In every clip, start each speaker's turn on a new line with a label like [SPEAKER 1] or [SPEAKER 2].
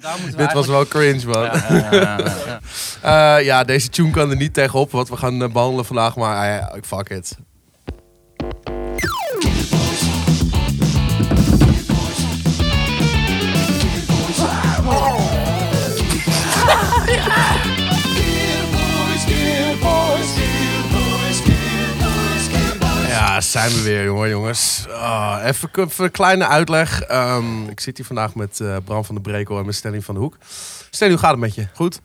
[SPEAKER 1] Daar moeten we
[SPEAKER 2] Dit was
[SPEAKER 1] eigenlijk-
[SPEAKER 2] wel cringe, man. Ja,
[SPEAKER 1] Ja, ja, ja, ja.
[SPEAKER 2] ja deze tune kan er niet tegenop wat we gaan eh, behandelen vandaag, maar ah, ja, fuck it. Ja, zijn we weer, jongen, jongens. Ah, even, k- even een kleine uitleg. Ehm, ik zit hier vandaag met eh, Bram van de Brekel en met Stanley van de Hoek. Stanley, hoe gaat het met je? Goed?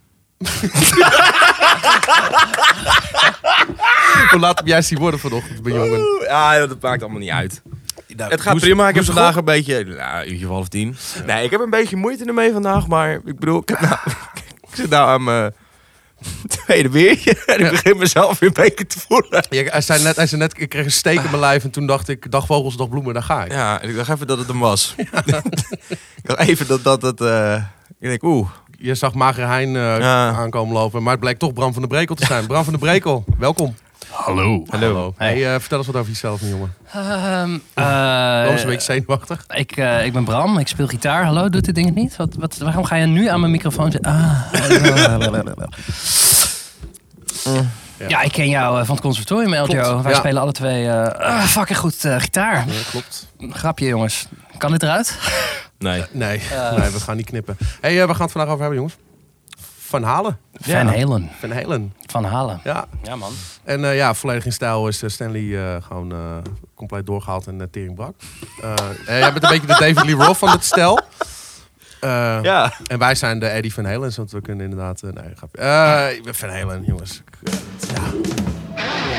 [SPEAKER 2] hoe laat heb jij zien worden vanochtend, mijn jongen?
[SPEAKER 3] Ja, joh, dat maakt allemaal niet uit. Het gaat prima. Ik heb vandaag een beetje... Nou, uurtje of half tien. Nee, ik heb een beetje moeite ermee vandaag. Maar ik bedoel, ik, heb nou, ik zit nou aan mijn tweede biertje. En ik begin mezelf weer een beetje te voelen.
[SPEAKER 2] Ja, hij zei net, hij zei net, ik kreeg een steek in mijn lijf en toen dacht ik, dag vogels, dag bloemen, daar ga ik.
[SPEAKER 3] Ja, en ik dacht even dat het hem was. ik dacht even dat dat... dat eh, ik denk, oeh.
[SPEAKER 2] Je zag Mager Hein eh,
[SPEAKER 3] Ja.
[SPEAKER 2] aankomen lopen, maar het blijkt toch Bram van de Brekel te zijn. Bram van de Brekel, welkom.
[SPEAKER 4] Hallo.
[SPEAKER 2] Hallo. Hey,
[SPEAKER 1] Hey.
[SPEAKER 2] eh, vertel eens wat over jezelf, mijn jongen.
[SPEAKER 1] Ehm, eh,
[SPEAKER 2] Bram is een beetje zenuwachtig.
[SPEAKER 1] ik, eh, ik ben Bram, ik speel gitaar. Hallo, doet dit ding het niet? Wat, wat, waarom ga je nu aan mijn microfoon zitten? Ah. Ja, ik ken jou eh, van het conservatorium, LTO.
[SPEAKER 2] Klopt,
[SPEAKER 1] Wij
[SPEAKER 2] ja.
[SPEAKER 1] spelen alle twee eh, ah, fucking goed eh, gitaar.
[SPEAKER 2] Ja, klopt.
[SPEAKER 1] Grapje, jongens. Kan dit eruit?
[SPEAKER 3] Nee.
[SPEAKER 2] Nee, nee, we gaan niet knippen. hey, eh, we gaan het vandaag over hebben, jongens. Van Halen.
[SPEAKER 1] Van Halen.
[SPEAKER 2] Van Halen,
[SPEAKER 1] Van Halen.
[SPEAKER 2] ja.
[SPEAKER 1] Ja, man.
[SPEAKER 2] En eh, ja, volledig in stijl is eh, Stanley eh, gewoon eh, compleet doorgehaald en eh, tering brak. Eh, eh, jij bent een beetje de David Lee Roth van het stel. Eh,
[SPEAKER 3] Ja.
[SPEAKER 2] En wij zijn de Eddie Van Halens, want we kunnen inderdaad... eh, nee, grapje. Eh, ik ben Van Halen, jongens. Ik, eh, ja.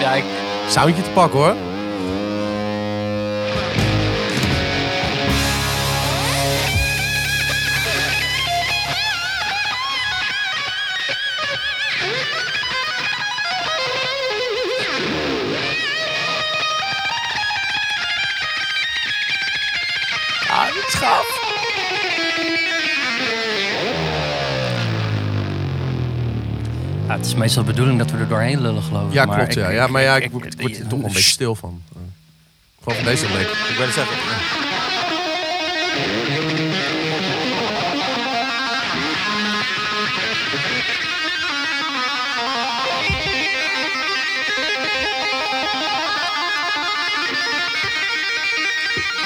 [SPEAKER 1] Ja, ik...
[SPEAKER 2] Soundje te pakken, hoor.
[SPEAKER 1] Ja, het is meestal de bedoeling dat we er doorheen lullen, geloof ik.
[SPEAKER 2] Ja,
[SPEAKER 1] Maar
[SPEAKER 2] klopt.
[SPEAKER 1] ik-
[SPEAKER 2] ja. ja, maar ja, ik,
[SPEAKER 1] ik-
[SPEAKER 2] word,
[SPEAKER 1] ik-
[SPEAKER 2] word er toch wel een beetje stil van. Eh, Gewoon van deze blik.
[SPEAKER 3] Ik ben het zeggen.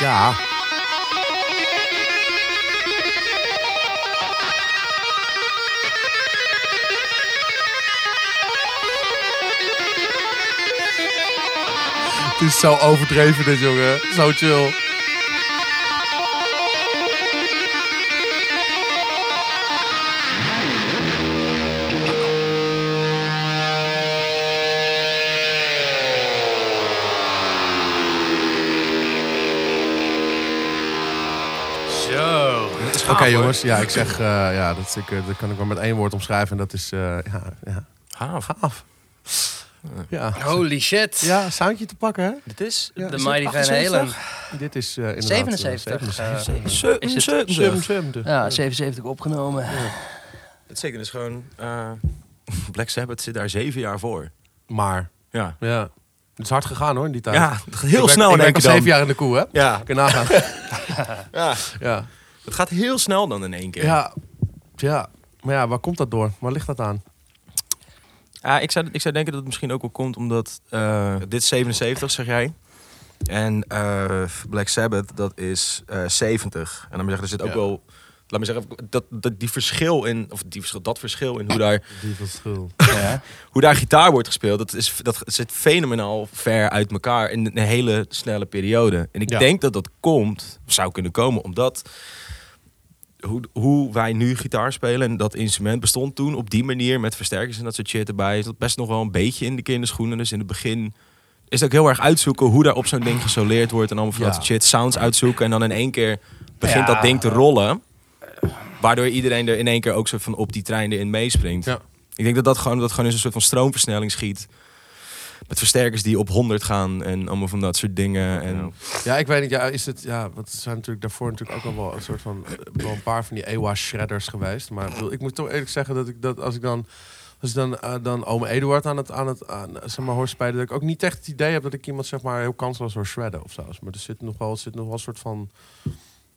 [SPEAKER 2] Ja. Het is zo overdreven dit, jongen. Zo chill.
[SPEAKER 4] Zo.
[SPEAKER 2] Oké, jongens. Ja, ik zeg... eh, ja, dat, is- ik, eh, dat kan ik maar met één woord omschrijven. En dat is... eh, ja, ja.
[SPEAKER 3] Gaaf.
[SPEAKER 2] Gaaf. Ja.
[SPEAKER 1] Holy shit.
[SPEAKER 2] Ja, soundje te pakken, hè?
[SPEAKER 3] Dit is...
[SPEAKER 2] Ja,
[SPEAKER 1] De
[SPEAKER 2] is
[SPEAKER 1] Mighty
[SPEAKER 2] het
[SPEAKER 1] Van
[SPEAKER 2] 78?
[SPEAKER 1] Halen.
[SPEAKER 2] Dit is eh inderdaad... eh,
[SPEAKER 1] 77. eh, Is het-
[SPEAKER 3] 77.
[SPEAKER 2] 77.
[SPEAKER 1] eh, Ja, 77 opgenomen.
[SPEAKER 3] Het zeker is gewoon... eh, Black Sabbath zit daar zeven jaar voor.
[SPEAKER 2] Maar,
[SPEAKER 3] Ja.
[SPEAKER 2] ja. Het is hard gegaan, hoor, in die tijd.
[SPEAKER 3] Ja, heel
[SPEAKER 2] Ik ben-
[SPEAKER 3] snel
[SPEAKER 2] ik
[SPEAKER 3] in
[SPEAKER 2] ben
[SPEAKER 3] één keer
[SPEAKER 2] al
[SPEAKER 3] dan.
[SPEAKER 2] zeven jaar in de koe, hè?
[SPEAKER 3] Ja,
[SPEAKER 2] Kun je nagaan.
[SPEAKER 3] ja,
[SPEAKER 2] ja.
[SPEAKER 3] het gaat heel snel dan in één keer.
[SPEAKER 2] Ja. ja. Maar ja, waar komt dat door? Waar ligt dat aan?
[SPEAKER 3] Ah, ik, zou, ik zou denken dat het misschien ook wel komt omdat... eh, dit is 77, zeg jij. En eh, Black Sabbath, dat is eh 70. En dan zeggen, er zit ook
[SPEAKER 2] Ja.
[SPEAKER 3] wel... Laat me zeggen, dat, dat, die verschil in, of die verschil, dat verschil in hoe daar,
[SPEAKER 2] Die verschil.
[SPEAKER 1] Ja.
[SPEAKER 3] hoe daar gitaar wordt gespeeld, dat, is, dat zit fenomenaal ver uit elkaar in een hele snelle periode. En ik
[SPEAKER 2] Ja.
[SPEAKER 3] denk dat dat komt, zou kunnen komen, omdat hoe, hoe wij nu gitaar spelen en dat instrument bestond toen op die manier met versterkers en dat soort shit erbij, is dat best nog wel een beetje in de kinderschoenen. Dus in het begin is het ook heel erg uitzoeken hoe daar op zo'n ding gesoleerd wordt en allemaal van dat
[SPEAKER 2] Ja.
[SPEAKER 3] soort shit, sounds uitzoeken en dan in één keer begint
[SPEAKER 1] Ja.
[SPEAKER 3] dat ding te rollen. Waardoor iedereen er in één keer ook soort van op die trein erin meespringt.
[SPEAKER 2] Ja.
[SPEAKER 3] Ik denk dat dat gewoon, dat gewoon in een soort van stroomversnelling schiet. met versterkers die op 100 gaan en allemaal van dat soort dingen. En,
[SPEAKER 2] Ja, ik weet niet. Ja, is het, ja, wat zijn natuurlijk daarvoor natuurlijk ook al wel een soort van eh, wel een paar van die EWA shredders geweest. Maar ik, bedoel, ik moet toch eerlijk zeggen dat ik dat als ik dan als ik dan, eh, dan oom Eduard aan het aan het aan, eh, zeg maar hoor spelen, dat ik ook niet echt het idee heb dat ik iemand zeg maar heel kansloos hoor shredden of zo. Dus, Maar er zit nog wel, er zit nog wel een soort van,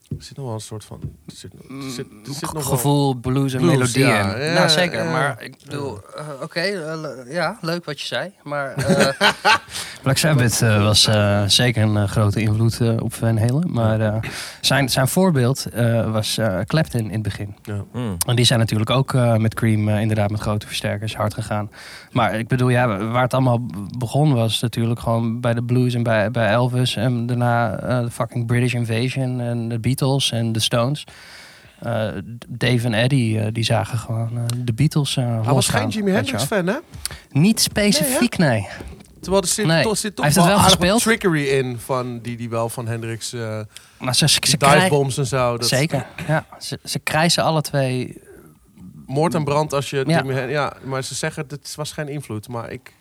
[SPEAKER 2] er zit nog wel een soort van, er zit, er zit, er zit nog wel-
[SPEAKER 1] Mm, gevoel, blues en
[SPEAKER 2] Blues,
[SPEAKER 1] melodieën.
[SPEAKER 2] ja, ja,
[SPEAKER 1] nou, zeker.
[SPEAKER 2] ja.
[SPEAKER 1] Maar ik bedoel, eh, oké, eh, le- ja, leuk wat je zei. Maar eh Black Sabbath eh, was eh, zeker een eh, grote invloed eh, op Van Halen. Maar eh, zijn, zijn voorbeeld eh, was eh, Clapton in het begin.
[SPEAKER 3] Hmm.
[SPEAKER 1] En die zijn natuurlijk ook eh, met Cream eh, inderdaad met grote versterkers hard gegaan. Maar ik bedoel, ja, waar het allemaal begon was natuurlijk gewoon bij de blues en bij, bij Elvis. En daarna eh, de fucking British Invasion en de Beatles en de Stones. Eh, Dave en Eddie, eh, die zagen gewoon eh, de Beatles eh
[SPEAKER 2] Hij was
[SPEAKER 1] losgaan,
[SPEAKER 2] geen Jimi
[SPEAKER 1] weet
[SPEAKER 2] Hendrix
[SPEAKER 1] je wel.
[SPEAKER 2] fan, hè?
[SPEAKER 1] Niet specifiek, nee.
[SPEAKER 2] Terwijl er zit,
[SPEAKER 1] Nee.
[SPEAKER 2] toch, zit toch
[SPEAKER 1] Hij heeft het wel
[SPEAKER 2] aardig wat
[SPEAKER 1] gespeeld.
[SPEAKER 2] trickery in van die die wel van Hendrix eh
[SPEAKER 1] Maar ze, ze, ze krijgen...
[SPEAKER 2] divebombs en zo. Dat
[SPEAKER 1] Zeker, ja. Ze, ze krijgen alle twee...
[SPEAKER 2] moord en brand als je
[SPEAKER 1] Ja.
[SPEAKER 2] Jimi Hen- ja, maar ze zeggen het was geen invloed, maar ik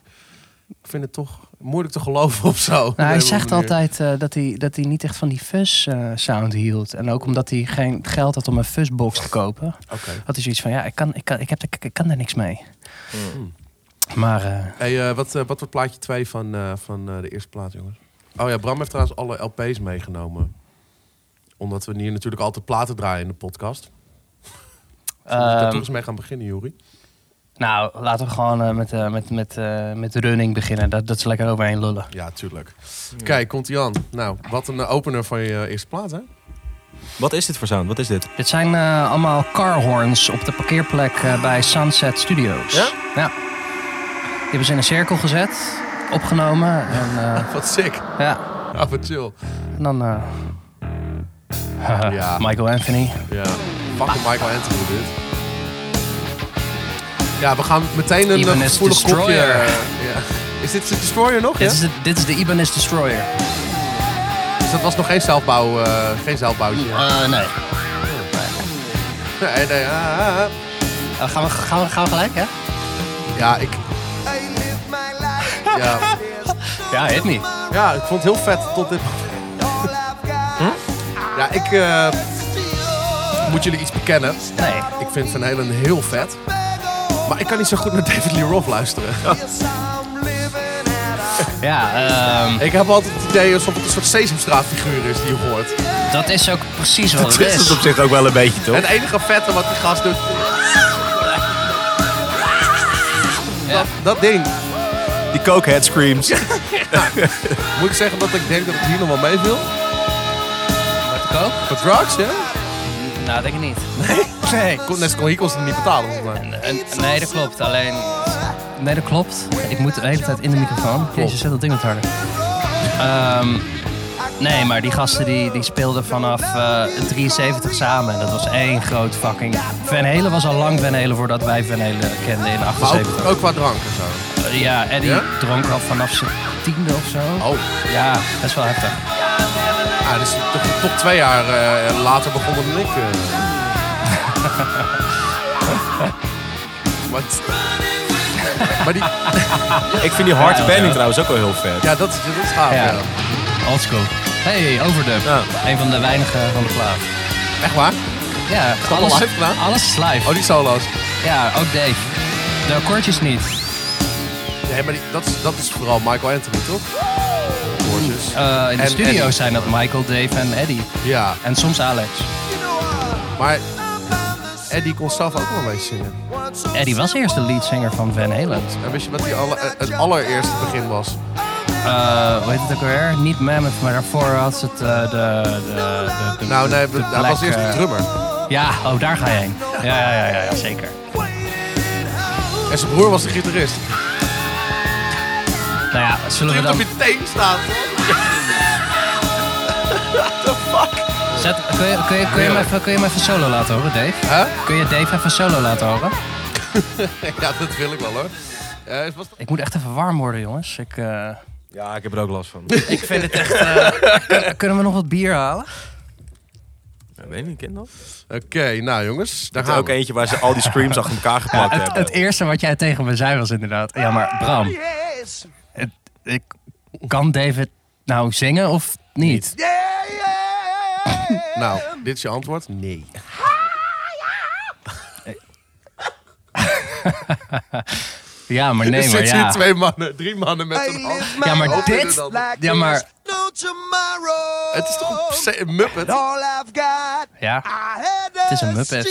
[SPEAKER 2] vind het toch moeilijk te geloven of zo.
[SPEAKER 1] Nou, hij
[SPEAKER 2] Op een
[SPEAKER 1] zegt
[SPEAKER 2] manier.
[SPEAKER 1] altijd eh, dat, hij, dat hij niet echt van die fuzz-sound hield. En ook omdat hij geen geld had om een fuzzbox te kopen.
[SPEAKER 2] Oké.
[SPEAKER 1] had hij zoiets van, ja, ik kan, ik kan, ik heb, de- ik, kan daar niks mee.
[SPEAKER 2] Mm.
[SPEAKER 1] Maar... eh,
[SPEAKER 2] Hey, eh, wat, eh, wat wordt plaatje 2 van, eh, van eh, de eerste plaat, jongens? Oh ja, Bram heeft trouwens alle LP's meegenomen. Omdat we hier natuurlijk altijd platen draaien in de podcast. Zullen we daar
[SPEAKER 1] ehm,
[SPEAKER 2] terug eens mee gaan beginnen, Jori.
[SPEAKER 1] Nou, laten we gewoon eh, met, eh, met, met, eh, met running beginnen. Dat, dat ze lekker overheen lullen.
[SPEAKER 2] Ja, tuurlijk. Kijk, komt hij aan. Nou, wat een eh, opener van je eh, eerste plaat, hè?
[SPEAKER 3] Wat is dit voor sound? Wat is dit?
[SPEAKER 1] Dit zijn eh, allemaal carhorns op de parkeerplek eh, bij Sunset Studios.
[SPEAKER 2] Ja?
[SPEAKER 1] Die hebben ze in een cirkel gezet, opgenomen. En, eh,
[SPEAKER 2] Wat sick.
[SPEAKER 1] ja,
[SPEAKER 2] Ah, wat chill.
[SPEAKER 1] en dan... eh,
[SPEAKER 2] Ja.
[SPEAKER 1] Michael Anthony.
[SPEAKER 2] Ja, fucking Michael Anthony, dit. Ja, we gaan meteen een
[SPEAKER 1] Even
[SPEAKER 2] eh,
[SPEAKER 1] is
[SPEAKER 2] gevoelig kopje...
[SPEAKER 1] Destroyer.
[SPEAKER 2] eh, ja. Is dit de Destroyer nog, ja?
[SPEAKER 1] Dit, is de, dit is de Ibanez Destroyer.
[SPEAKER 2] Dus dat was nog geen zelfbouw, eh, geen zelfbouwtje.
[SPEAKER 1] Eh, nee.
[SPEAKER 2] Nee, nee, ah, ah, ah.
[SPEAKER 1] Eh, gaan, we, gaan, we, gaan we gelijk, hè?
[SPEAKER 2] Ja, ik... Ja.
[SPEAKER 1] Ja, hit me.
[SPEAKER 2] ja, ik vond het heel vet tot dit... Ja, ik eh, moet jullie iets bekennen.
[SPEAKER 1] Nee.
[SPEAKER 2] Ik vind Van Halen heel vet. Maar ik kan niet zo goed naar David Lee Roth luisteren.
[SPEAKER 1] Ja, ehm,
[SPEAKER 2] Ik heb altijd het idee alsof het een soort sesamstraatfiguur is die je hoort.
[SPEAKER 1] dat is ook precies wat het is.
[SPEAKER 3] zich ook wel een beetje, toch?
[SPEAKER 2] Het enige vette wat die gast doet. Dat, dat ding.
[SPEAKER 3] Die cokehead screams.
[SPEAKER 2] Moet ik zeggen dat ik denk dat het hier nog wel mee wil?
[SPEAKER 1] Wat ik ook?
[SPEAKER 2] Voor drugs, hè?
[SPEAKER 1] Nou, denk ik niet.
[SPEAKER 2] Nee. Kon Net kon Hikos het niet betalen, volgens mij.
[SPEAKER 1] En- en- nee, dat klopt. Alleen... Nee, dat klopt. Ik moet de hele tijd in de microfoon. Jezus, zet dat ding wat harder. Ehm, nee, maar die gasten die, die speelden vanaf eh 73 samen. En dat was één groot fucking... Van Helen was al lang Van Helen voordat wij Van Helen kenden in
[SPEAKER 2] Maar
[SPEAKER 1] 78.
[SPEAKER 2] ook, ook qua drank en zo.
[SPEAKER 1] Eh, Ja, Eddie
[SPEAKER 2] Ja?
[SPEAKER 1] dronk al vanaf zijn tiende of zo.
[SPEAKER 2] Oh,
[SPEAKER 1] Ja, dat is wel heftig.
[SPEAKER 2] ja, dus toch, toch twee jaar eh, later begonnen dan ik. eh. Wat? maar die,
[SPEAKER 3] Ik vind die hard
[SPEAKER 1] Ja,
[SPEAKER 3] bending
[SPEAKER 1] ja.
[SPEAKER 3] trouwens ook wel heel vet.
[SPEAKER 2] ja, dat, is- dat is gaaf.
[SPEAKER 1] Ja.
[SPEAKER 2] ja.
[SPEAKER 1] Old school. Hey, overdub.
[SPEAKER 3] Ja.
[SPEAKER 1] Een van de weinigen van de plaat.
[SPEAKER 2] Echt waar?
[SPEAKER 1] Ja,
[SPEAKER 2] dat
[SPEAKER 1] alles,
[SPEAKER 2] al live gedaan?
[SPEAKER 1] alles is live.
[SPEAKER 2] Oh, die solo's.
[SPEAKER 1] Ja, ook Dave. De akkoordjes niet.
[SPEAKER 2] Nee, maar die, dat, is, dat is vooral Michael Anthony, toch? Hoortjes.
[SPEAKER 1] Eh, in de
[SPEAKER 2] En-
[SPEAKER 1] studio
[SPEAKER 2] en-
[SPEAKER 1] zijn dat Michael, Dave en Eddie.
[SPEAKER 2] Ja,
[SPEAKER 1] En soms Alex.
[SPEAKER 2] maar Eddie kon zelf ook wel een beetje zingen.
[SPEAKER 1] Eddie was eerst de leadzanger van Van Halen.
[SPEAKER 2] En wist je wat die alle, eh, het allereerste begin was?
[SPEAKER 1] Eh, hoe heet het ook alweer? Niet Mammoth, maar daarvoor had ze het eh, de, de, de, de-
[SPEAKER 2] Nou, nee,
[SPEAKER 1] de
[SPEAKER 2] hij was
[SPEAKER 1] Black,
[SPEAKER 2] eerst de
[SPEAKER 1] eh,
[SPEAKER 2] drummer.
[SPEAKER 1] Ja, oh, daar ga je heen. Ja, ja, ja, ja zeker.
[SPEAKER 2] En zijn broer was de gitarist.
[SPEAKER 1] Nou ja, zullen we
[SPEAKER 2] Drift op
[SPEAKER 1] dan...
[SPEAKER 2] je teen staan.
[SPEAKER 1] Zet, kun, je, kun, je, kun, je hem even, kun je hem even solo laten horen, Dave?
[SPEAKER 2] Hè?
[SPEAKER 1] Kun je Dave even solo laten horen?
[SPEAKER 2] Ja, dat wil ik wel hoor. Eh, het was-
[SPEAKER 1] Ik moet echt even warm worden, jongens. Ik, eh,
[SPEAKER 3] Ja, ik heb er ook last van.
[SPEAKER 1] ik vind het echt... eh, kun- kunnen we nog wat bier halen?
[SPEAKER 3] Ja, weet niet, ken dat?
[SPEAKER 2] Oké, nou jongens, daar
[SPEAKER 3] Er is
[SPEAKER 2] gaan
[SPEAKER 3] ook
[SPEAKER 2] we.
[SPEAKER 3] eentje waar ze al die screams achter elkaar geplakt
[SPEAKER 1] het,
[SPEAKER 3] hebben.
[SPEAKER 2] Ah,
[SPEAKER 1] het eerste wat jij tegen me zei was inderdaad... Ja, maar Bram,
[SPEAKER 5] Yes.
[SPEAKER 1] het, ik, kan David nou zingen of niet?
[SPEAKER 2] Nou, dit is je antwoord? Nee.
[SPEAKER 1] Ja, maar
[SPEAKER 2] er
[SPEAKER 1] nee, maar
[SPEAKER 2] zitten hier
[SPEAKER 1] ja.
[SPEAKER 2] twee mannen, drie mannen met een hand.
[SPEAKER 1] Ja, maar
[SPEAKER 2] Hopen
[SPEAKER 1] dit...
[SPEAKER 2] dat-
[SPEAKER 1] Ja, maar...
[SPEAKER 5] No tomorrow.
[SPEAKER 2] Het is toch een se- een muppet?
[SPEAKER 5] All I've got.
[SPEAKER 1] Ja,
[SPEAKER 5] Het
[SPEAKER 1] is een Muppet.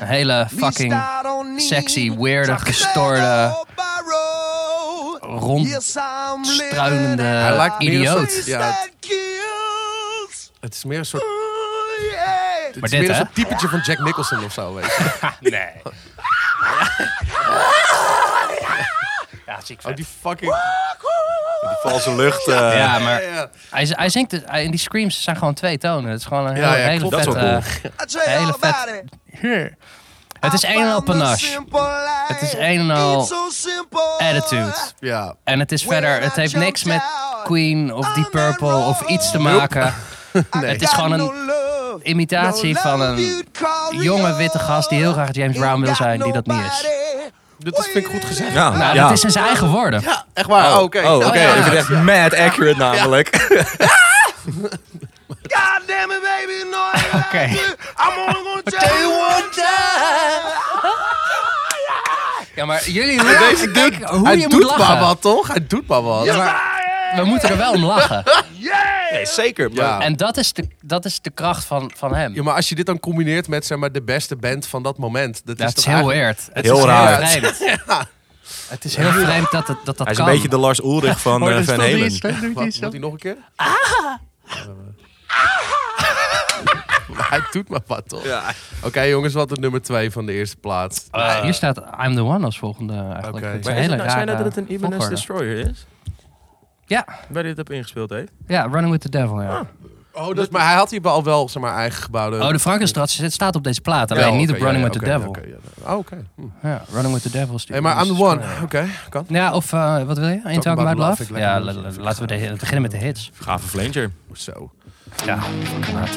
[SPEAKER 1] een hele fucking sexy, weirde,
[SPEAKER 5] nou
[SPEAKER 1] gestoorde, rond struinende
[SPEAKER 2] Hij lijkt meer een
[SPEAKER 1] idioot.
[SPEAKER 2] soort- Ja, het- het is meer een soort, het
[SPEAKER 1] Maar
[SPEAKER 2] is meer
[SPEAKER 1] dit, hè?
[SPEAKER 2] een soort typetje van Jack Nicholson of zo. Weet je.
[SPEAKER 1] Nee. Ja, ziek
[SPEAKER 2] Oh,
[SPEAKER 1] vet.
[SPEAKER 2] die fucking...
[SPEAKER 3] De valse lucht. eh,
[SPEAKER 1] Ja, maar
[SPEAKER 2] Ja, ja.
[SPEAKER 1] hij, z- hij zingt... het- hij- en die screams zijn gewoon twee tonen. Het is gewoon een
[SPEAKER 2] Ja,
[SPEAKER 1] hele,
[SPEAKER 2] ja,
[SPEAKER 1] hele
[SPEAKER 2] klopt.
[SPEAKER 3] Dat is
[SPEAKER 1] vette...
[SPEAKER 3] wel cool.
[SPEAKER 1] een hele vet... Het is een en al
[SPEAKER 5] dus
[SPEAKER 1] panache. Het is een en al attitude.
[SPEAKER 2] Ja.
[SPEAKER 1] En het is verder... Het heeft niks met Queen of Deep Purple of iets te maken. Het is gewoon een imitatie van een jonge witte gast die heel graag James Brown wil zijn, die dat niet is.
[SPEAKER 2] Dit is, vind ik goed gezegd.
[SPEAKER 3] ja,
[SPEAKER 1] Nou,
[SPEAKER 3] ja.
[SPEAKER 1] dat is in zijn eigen woorden.
[SPEAKER 2] Echt waar? Oh, oké.
[SPEAKER 3] Oh, oké.
[SPEAKER 1] ja.
[SPEAKER 3] Ik vind het echt mad accurate namelijk.
[SPEAKER 5] God damn it, baby, no, I ain't
[SPEAKER 1] Oké.
[SPEAKER 5] I'm only gonna tell you one time.
[SPEAKER 1] Ja, maar jullie weten kijk, hoe
[SPEAKER 2] Hij
[SPEAKER 1] je moet
[SPEAKER 2] doet maar
[SPEAKER 1] lachen.
[SPEAKER 2] wat, toch? Hij doet maar wat.
[SPEAKER 1] Ja, maar we moeten er wel om lachen.
[SPEAKER 3] Nee, zeker. maar-
[SPEAKER 2] Ja.
[SPEAKER 1] En dat is de, dat is de kracht van, van hem.
[SPEAKER 2] Ja, maar als je dit dan combineert met zeg maar, de beste band van dat moment. Dat
[SPEAKER 1] Dat
[SPEAKER 2] is
[SPEAKER 1] is
[SPEAKER 2] toch
[SPEAKER 1] heel
[SPEAKER 2] eigenlijk-
[SPEAKER 1] weird. Het
[SPEAKER 3] dus Heel
[SPEAKER 1] is
[SPEAKER 3] raar.
[SPEAKER 1] Heel vreemd. Het is heel vreemd dat het, dat, dat
[SPEAKER 3] Hij is
[SPEAKER 1] kan.
[SPEAKER 3] een beetje de Lars Ulrich van eh, Van Halen.
[SPEAKER 2] Wat, moet hij nog een keer? Eh, Hij doet maar wat, toch?
[SPEAKER 3] Ja.
[SPEAKER 2] Oké, jongens, wat de nummer twee van de eerste plaats?
[SPEAKER 1] Eh, Hier staat I'm the One als volgende eigenlijk.
[SPEAKER 2] Oké.
[SPEAKER 1] Het is
[SPEAKER 2] Maar
[SPEAKER 1] een
[SPEAKER 3] is
[SPEAKER 1] hele
[SPEAKER 3] het nou, zijn
[SPEAKER 1] rare
[SPEAKER 3] dat dat het een Evanescence
[SPEAKER 1] volgorde.
[SPEAKER 3] Destroyer is?
[SPEAKER 1] Ja,
[SPEAKER 3] Waar dit op ingespeeld heeft?
[SPEAKER 1] ja, Running with the Devil,
[SPEAKER 3] Ah.
[SPEAKER 1] ja.
[SPEAKER 2] oh, dat, maar hij had hier al wel zeg maar, eigen gebouwde...
[SPEAKER 1] Oh, de Frankenstrat zit- staat op deze plaat, alleen
[SPEAKER 2] Wel,
[SPEAKER 1] niet
[SPEAKER 2] oké,
[SPEAKER 1] op Running
[SPEAKER 2] ja,
[SPEAKER 1] with
[SPEAKER 2] ja,
[SPEAKER 1] the
[SPEAKER 2] oké,
[SPEAKER 1] Devil.
[SPEAKER 2] ja, oké, ja. Oh, oké. Hm.
[SPEAKER 1] Ja, Running with the Devil is de
[SPEAKER 2] Hey, maar I'm the
[SPEAKER 1] Evanescence
[SPEAKER 2] one. Oké,
[SPEAKER 1] Destroyer.
[SPEAKER 2] kan.
[SPEAKER 1] Ja, of eh, wat wil je? In Talk About Love?
[SPEAKER 2] vind ik
[SPEAKER 1] Ja,
[SPEAKER 2] lekker.
[SPEAKER 1] la- la- laten we de- beginnen met de hits.
[SPEAKER 3] Gave Flanger.
[SPEAKER 2] Zo.
[SPEAKER 1] Ja, fucking hard.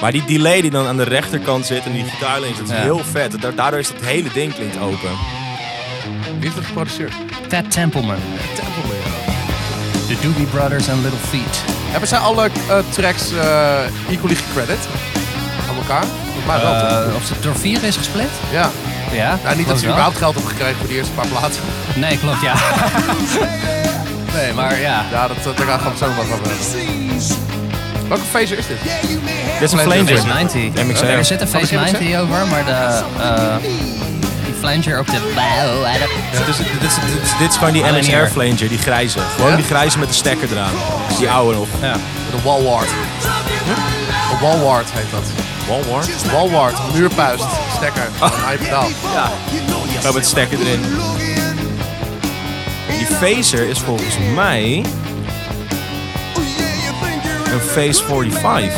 [SPEAKER 3] Maar die delay die dan aan de rechterkant zit en die gitaarlijns, dat is
[SPEAKER 1] Ja.
[SPEAKER 3] heel vet. Da- Daardoor is dat hele ding klinkt open.
[SPEAKER 2] Wie heeft het geproduceerd?
[SPEAKER 1] Ted Templeman,
[SPEAKER 2] Templeman. Oh,
[SPEAKER 1] The Doobie Brothers en Little Feet.
[SPEAKER 2] Hebben zij alle eh, tracks eh, equally gecredit? Aan elkaar? Volgens mij wel, toch?
[SPEAKER 1] Eh, of ze door vier is gesplit?
[SPEAKER 2] Ja.
[SPEAKER 1] Ja,
[SPEAKER 2] Nou, niet dat
[SPEAKER 1] klopt
[SPEAKER 2] ze
[SPEAKER 1] wel.
[SPEAKER 2] überhaupt geld hebben gekregen voor de eerste paar plaatsen.
[SPEAKER 1] Nee, klopt, ja. nee, maar ja.
[SPEAKER 2] Ja, dat, dat, daar gaan we het zo nog wat over hebben. Welke phaser is dit?
[SPEAKER 3] Dit is een
[SPEAKER 2] Flanger.
[SPEAKER 1] Face
[SPEAKER 3] Flanger.
[SPEAKER 1] 90.
[SPEAKER 3] MXR.
[SPEAKER 1] Er zit een Face
[SPEAKER 2] Oh, is
[SPEAKER 1] 90 over, maar de, eh, die flanger op de...
[SPEAKER 3] Dit
[SPEAKER 2] dus
[SPEAKER 3] is, dit, is, dit, is- dit is gewoon die
[SPEAKER 1] Alleen hier.
[SPEAKER 3] LNR Flanger, die grijze. Gewoon
[SPEAKER 2] Ja?
[SPEAKER 3] die grijze met de stekker eraan. Dus die oude nog.
[SPEAKER 1] Ja.
[SPEAKER 2] De Walwart. Een Walwart heet dat.
[SPEAKER 3] Walmart.
[SPEAKER 2] Walwart, muurpuist, stekker.
[SPEAKER 3] Ah,
[SPEAKER 2] Hij pedaal.
[SPEAKER 3] Zo met de stekker erin. Die phaser is volgens mij een Phase 45.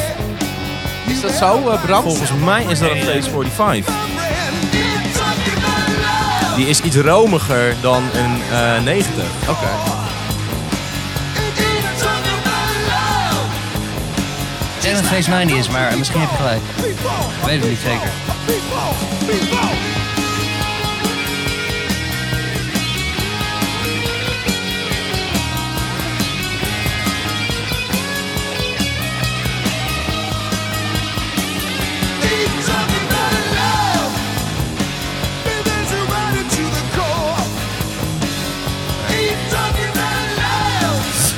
[SPEAKER 2] Is dat zo, eh Bram?
[SPEAKER 3] Volgens mij is dat een Phase 45. Die is iets romiger dan een eh 90.
[SPEAKER 2] Oké.
[SPEAKER 1] Ik denk dat het Face 90 is, maar misschien heb je gelijk. Ik weet het niet zeker.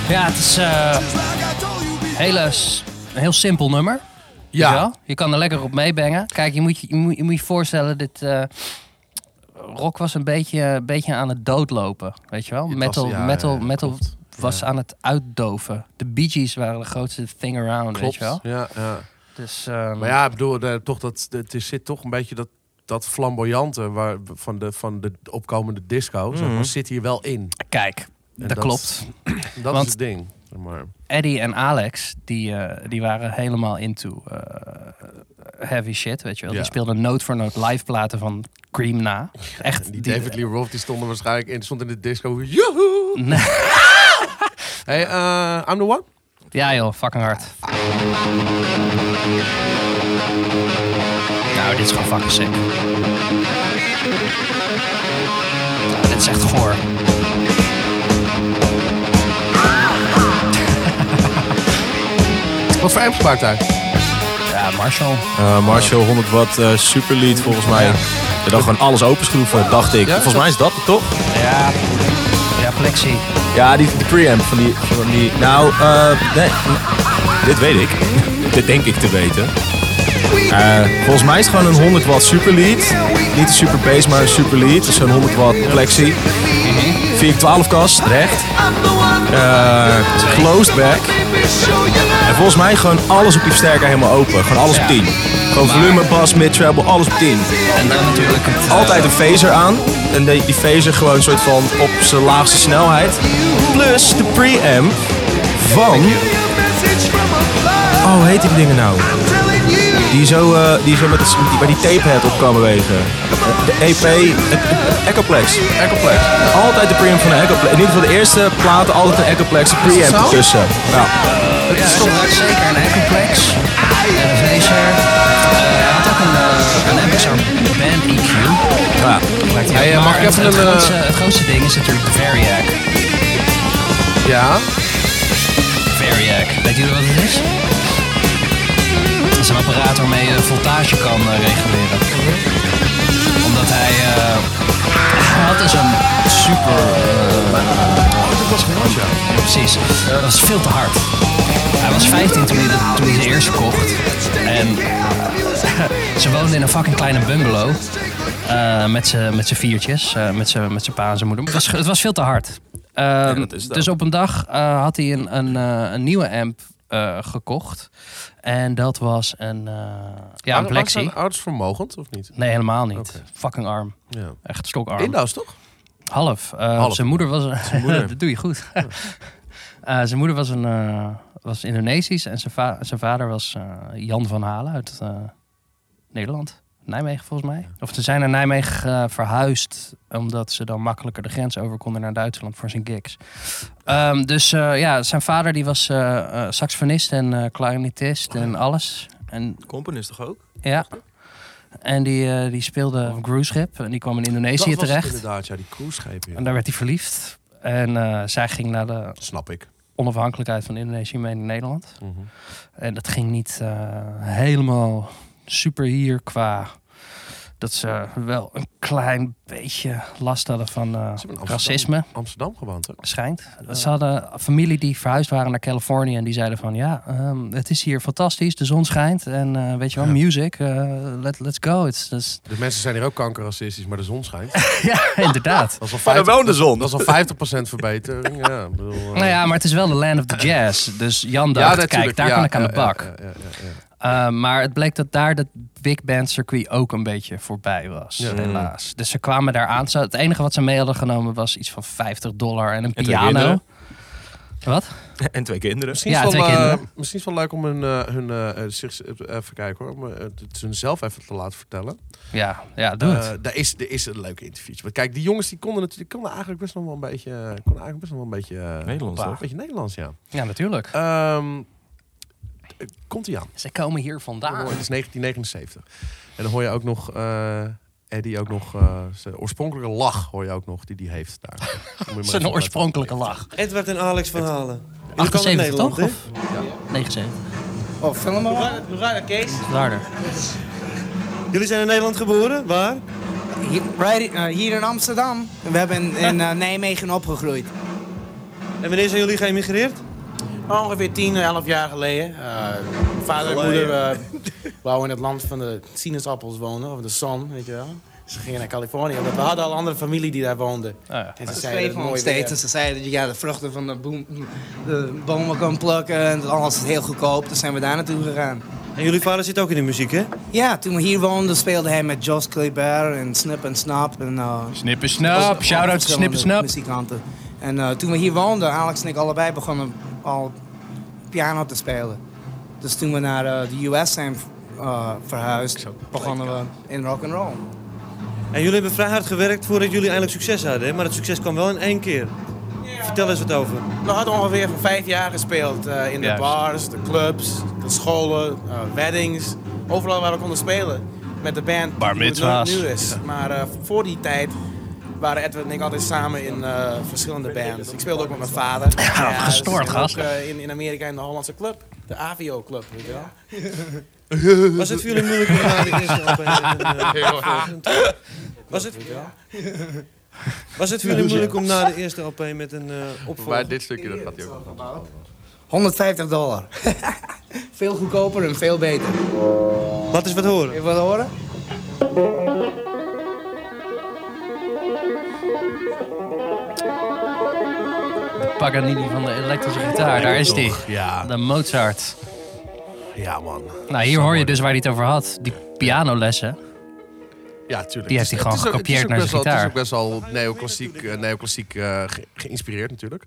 [SPEAKER 1] Ja, het is eh, hele, s- een heel simpel nummer.
[SPEAKER 2] Ja.
[SPEAKER 1] Weet je wel? Je kan er lekker op meebangen. Kijk, je moet je, je moet je, moet je voorstellen, dit... eh, rock was een beetje, een beetje aan het doodlopen, weet je wel?
[SPEAKER 2] was-
[SPEAKER 1] Metal,
[SPEAKER 2] ja,
[SPEAKER 1] metal,
[SPEAKER 2] ja,
[SPEAKER 1] metal was aan het uitdoven. De Bee Gees waren de grootste thing around, weet
[SPEAKER 2] Klopt.
[SPEAKER 1] je wel?
[SPEAKER 2] Ja, ja.
[SPEAKER 1] Dus, ehm,
[SPEAKER 2] Maar ja, ik bedoel, eh, toch dat, het is- zit toch een beetje dat, dat flamboyante waar, van, de, van de opkomende disco. Zeg maar, zit hier wel in.
[SPEAKER 1] Kijk, dat,
[SPEAKER 2] dat-
[SPEAKER 1] klopt.
[SPEAKER 2] Dat
[SPEAKER 1] Want-
[SPEAKER 2] is het ding. zeg Maar.
[SPEAKER 1] Eddie en Alex, die, eh, die waren helemaal into eh, heavy shit, weet je wel.
[SPEAKER 2] Ja.
[SPEAKER 1] Die speelden noot voor noot live platen van Cream na. Echt.
[SPEAKER 2] Die eh, David Lee Roth die stond er waarschijnlijk in, stond in de disco. Joehoe!
[SPEAKER 1] Nee.
[SPEAKER 2] Hey, eh, I'm the one?
[SPEAKER 1] Ja joh, fucking hard. Nou, dit is gewoon fucking sick. Ah, dit is echt goor.
[SPEAKER 2] Wat voor amp maakt hij?
[SPEAKER 1] Ja, Marshall.
[SPEAKER 3] Eh, Marshall 100 watt eh, superlead volgens mij. Je dan gewoon alles openschroeven, dacht ik.
[SPEAKER 2] Ja,
[SPEAKER 3] volgens
[SPEAKER 2] dat-
[SPEAKER 3] mij is dat het toch?
[SPEAKER 1] Ja, ja Plexi.
[SPEAKER 3] Ja, die, die preamp van die, van die... Nou, eh, nee. Dit weet ik. Dit denk ik te weten. Eh, volgens mij is het gewoon een 100 watt superlead. Niet een super bass, maar een superlead. Dus zo'n 100 watt plexi. 4x12 kast, recht. Eh, closed back. En volgens mij gewoon alles op die versterker helemaal open. Gewoon alles op 10. Gewoon volume, bas, mid, treble, alles op 10.
[SPEAKER 1] En dan natuurlijk het... eh,
[SPEAKER 3] Altijd een phaser aan. En die, die phaser gewoon een soort van op zijn laagste snelheid. Plus de preamp van... Oh, hoe heet die dingen nou? Die zo, eh, die zo met het, die, waar die tapehead op kan bewegen. E De EP, het- Echoplex. Echoplex. Altijd de preamp van een Echoplex. In ieder geval de eerste platen altijd een Echoplex de preamp ertussen. Ja.
[SPEAKER 1] Het is toch zeker een Ecomplex. En een Vaser. Eh, Hij had ook een, eh, een MXR Band EQ.
[SPEAKER 3] ja.
[SPEAKER 1] Maakt hij
[SPEAKER 2] Hey,
[SPEAKER 1] ook. Maar
[SPEAKER 2] eh, mag ik
[SPEAKER 1] het-
[SPEAKER 2] even
[SPEAKER 1] het,
[SPEAKER 2] een, eh,
[SPEAKER 1] grootste, het grootste ding is natuurlijk de Variac.
[SPEAKER 2] Ja.
[SPEAKER 1] Variac. Weet jullie wat het is? Dat is een apparaat waarmee je de voltage kan eh, reguleren. Omdat hij... eh, hij had dus een super...
[SPEAKER 3] Oh,
[SPEAKER 1] dat was gewoon ja. Precies. Dat was veel te hard. Hij was 15 toen hij, de, toen hij de eerste kocht. En eh, ze woonden in een fucking kleine bungalow. eh, met z'n met z'n viertjes. eh, met z'n met z'n pa en zijn moeder. Het was, het was veel te hard. Ehm,
[SPEAKER 3] dat is het ook.
[SPEAKER 1] dus op een dag eh, had hij een, een, eh, een nieuwe amp eh, gekocht. En dat was een, eh ja, een
[SPEAKER 2] Waren- waren
[SPEAKER 1] Plexi.
[SPEAKER 2] zijn ouders vermogend of niet?
[SPEAKER 1] Nee, helemaal niet.
[SPEAKER 2] Oké.
[SPEAKER 1] Fucking arm.
[SPEAKER 2] Ja.
[SPEAKER 1] Echt stokarm.
[SPEAKER 2] Inda's toch?
[SPEAKER 1] Half. Eh,
[SPEAKER 2] Half.
[SPEAKER 1] Zijn moeder was.
[SPEAKER 3] moeder.
[SPEAKER 1] dat doe je goed. Eh, zijn moeder was, een, eh, was Indonesisch en zijn, va- zijn vader was eh, Jan van Halen uit eh, Nederland. Nijmegen volgens mij. Of ze zijn naar Nijmegen eh, verhuisd omdat ze dan makkelijker de grens over konden naar Duitsland voor zijn gigs. Ehm, dus eh, ja, zijn vader die was eh, eh, saxofonist en eh, clarinetist en alles. En
[SPEAKER 3] Componist toch ook?
[SPEAKER 1] ja. En die, eh, die speelde op een cruise ship en die kwam in Indonesië
[SPEAKER 2] Dat was het
[SPEAKER 1] terecht.
[SPEAKER 2] inderdaad, ja, die cruiseschepen. ja.
[SPEAKER 1] En daar werd hij verliefd. En eh, zij ging naar de
[SPEAKER 2] Snap ik.
[SPEAKER 1] onafhankelijkheid van Indonesië mee naar Nederland.
[SPEAKER 2] Mhm.
[SPEAKER 1] En dat ging niet eh, helemaal super hier qua dat ze wel een klein beetje last hadden van eh,
[SPEAKER 2] hebben in Amsterdam-
[SPEAKER 1] racisme,
[SPEAKER 2] Amsterdam gewoond, hè?
[SPEAKER 1] schijnt. Ze hadden familie die verhuisd waren naar Californië en die zeiden van ja, ehm, het is hier fantastisch, de zon schijnt en eh, weet je wel, music, eh, let, let's go. It's, it's-
[SPEAKER 2] De mensen zijn hier ook kankerracistisch, maar de zon schijnt. Dat
[SPEAKER 1] ja, inderdaad.
[SPEAKER 2] is al 50%,
[SPEAKER 3] Maar dan wel in de zon.
[SPEAKER 2] Dat is al 50% verbetering. Ja, ik bedoel, eh,
[SPEAKER 1] Nou ja, maar het is wel de land of the jazz. Dus Jan
[SPEAKER 2] ja,
[SPEAKER 1] dacht, kijk,
[SPEAKER 2] natuurlijk,
[SPEAKER 1] daar
[SPEAKER 2] ja, eh,
[SPEAKER 1] kan ik aan
[SPEAKER 2] ja,
[SPEAKER 1] de bak.
[SPEAKER 2] ja, ja, ja, ja.
[SPEAKER 1] Uh, maar het bleek dat daar dat big band circuit ook een beetje voorbij was,
[SPEAKER 2] Ja.
[SPEAKER 1] helaas. Dus ze kwamen daar aan. Ze- Het enige wat ze mee hadden genomen was iets van 50 dollar en een
[SPEAKER 3] En twee
[SPEAKER 1] piano.
[SPEAKER 3] kinderen.
[SPEAKER 1] Wat?
[SPEAKER 3] En twee kinderen.
[SPEAKER 2] Misschien,
[SPEAKER 1] Ja,
[SPEAKER 2] is wel,
[SPEAKER 1] twee
[SPEAKER 2] eh,
[SPEAKER 1] kinderen.
[SPEAKER 2] misschien is wel leuk om hun, eh, hun eh, eh, zich, eh, even kijken hoor, om eh, het hunzelf even te laten vertellen.
[SPEAKER 1] Ja, ja doe het.
[SPEAKER 2] Eh, daar, is, daar is een leuk interviewtje. Want kijk, die jongens die konden natuurlijk die konden eigenlijk best nog wel een beetje, eh, konden eigenlijk best nog wel een beetje eh,
[SPEAKER 3] Nederlands,
[SPEAKER 2] een
[SPEAKER 3] toch?
[SPEAKER 2] beetje Nederlands, ja.
[SPEAKER 1] Ja, natuurlijk.
[SPEAKER 2] Ehm, eh, komt hij aan?
[SPEAKER 1] Ze komen hier vandaan.
[SPEAKER 2] Het is 1979. En dan hoor je ook nog eh Eddie ook nog eh, zijn oorspronkelijke lach hoor je ook nog die die heeft daar. Moet je maar even
[SPEAKER 1] Zijn
[SPEAKER 2] op
[SPEAKER 1] oorspronkelijke lach.
[SPEAKER 6] Edward en Alex van Halen. Jullie komen uit
[SPEAKER 1] 78
[SPEAKER 6] Nederland,
[SPEAKER 1] toch?
[SPEAKER 6] hè?
[SPEAKER 1] Of? 79.
[SPEAKER 6] Oh, film maar. Hoe gaat het, Kees?
[SPEAKER 1] Harder.
[SPEAKER 6] Jullie zijn in Nederland geboren, waar?
[SPEAKER 7] Hier, right, eh, hier in Amsterdam. We hebben in, in, eh, Nijmegen opgegroeid.
[SPEAKER 6] En wanneer zijn jullie geëmigreerd?
[SPEAKER 8] Ongeveer 10, 11 jaar geleden. eh, vader en moeder eh wouden in het land van de sinaasappels wonen, of de zon, weet je wel. Ze gingen naar Californië, want we hadden al andere familie die daar woonde.
[SPEAKER 1] ja.
[SPEAKER 8] En ze
[SPEAKER 7] Ze
[SPEAKER 8] zeiden, dat
[SPEAKER 7] schreven
[SPEAKER 8] het
[SPEAKER 7] ons
[SPEAKER 8] mooi
[SPEAKER 7] steeds en
[SPEAKER 8] weer.
[SPEAKER 7] ze zeiden dat je ja, de vruchten van de, boom, de bomen kan plukken en dat alles is heel goedkoop. Dus zijn we daar naartoe gegaan.
[SPEAKER 6] En jullie vader zit ook in de muziek, hè?
[SPEAKER 7] Ja, toen we hier woonden speelde hij met Jos Kleber en Snip en Snap. En, eh,
[SPEAKER 1] Snippen snap. Shout out to Snippen snap.
[SPEAKER 7] Muzikanten. En eh, toen we hier woonden, Alex en ik allebei begonnen al piano te spelen. Dus toen we naar eh, de US zijn eh, verhuisd, begonnen we in rock and roll.
[SPEAKER 6] En jullie hebben vrij hard gewerkt voordat jullie eindelijk succes hadden, hè? Maar het succes kwam wel in één keer. Vertel eens wat over.
[SPEAKER 8] We hadden ongeveer voor vijf jaar gespeeld eh, in de
[SPEAKER 1] Juist.
[SPEAKER 8] bars, de clubs, de scholen, eh, weddings. Overal waar we konden spelen. met de band.
[SPEAKER 1] Bar
[SPEAKER 8] die het
[SPEAKER 1] mitzwa's.
[SPEAKER 8] Nu is. Maar eh, voor die tijd waren Edward en ik altijd samen in eh, verschillende bands. Ik speelde ook met mijn vader. Ja,
[SPEAKER 1] gestoord,
[SPEAKER 8] dus ik ben ook,
[SPEAKER 1] gast.
[SPEAKER 8] eh, in, in Amerika in de Hollandse club. De AVO club, weet je wel.
[SPEAKER 6] Was het voor jullie moeilijk om naar de eerste op een... eh, Was het,
[SPEAKER 8] Weet je wel.
[SPEAKER 6] was het voor jullie moeilijk om na de eerste LP met een eh opvolger?
[SPEAKER 2] Maar dit stukje, dat gaat hij ook nog.
[SPEAKER 7] 150 dollar. veel goedkoper en veel beter.
[SPEAKER 6] Laat eens wat horen.
[SPEAKER 7] Even wat horen?
[SPEAKER 1] Paganini van de elektrische gitaar, daar is die.
[SPEAKER 2] Ja,
[SPEAKER 1] De Mozart.
[SPEAKER 2] ja man.
[SPEAKER 1] Nou, hier hoor je dus waar hij het over had. Die pianolessen.
[SPEAKER 2] Ja, tuurlijk.
[SPEAKER 1] Die
[SPEAKER 2] Het
[SPEAKER 1] heeft
[SPEAKER 2] is-
[SPEAKER 1] hij gewoon
[SPEAKER 2] het is ook-
[SPEAKER 1] gekopieerd naar zijn
[SPEAKER 2] Het is
[SPEAKER 1] gitaar.
[SPEAKER 2] ook best wel, het is ook best wel neoclassiek, eh, neoclassiek eh, ge- geïnspireerd natuurlijk.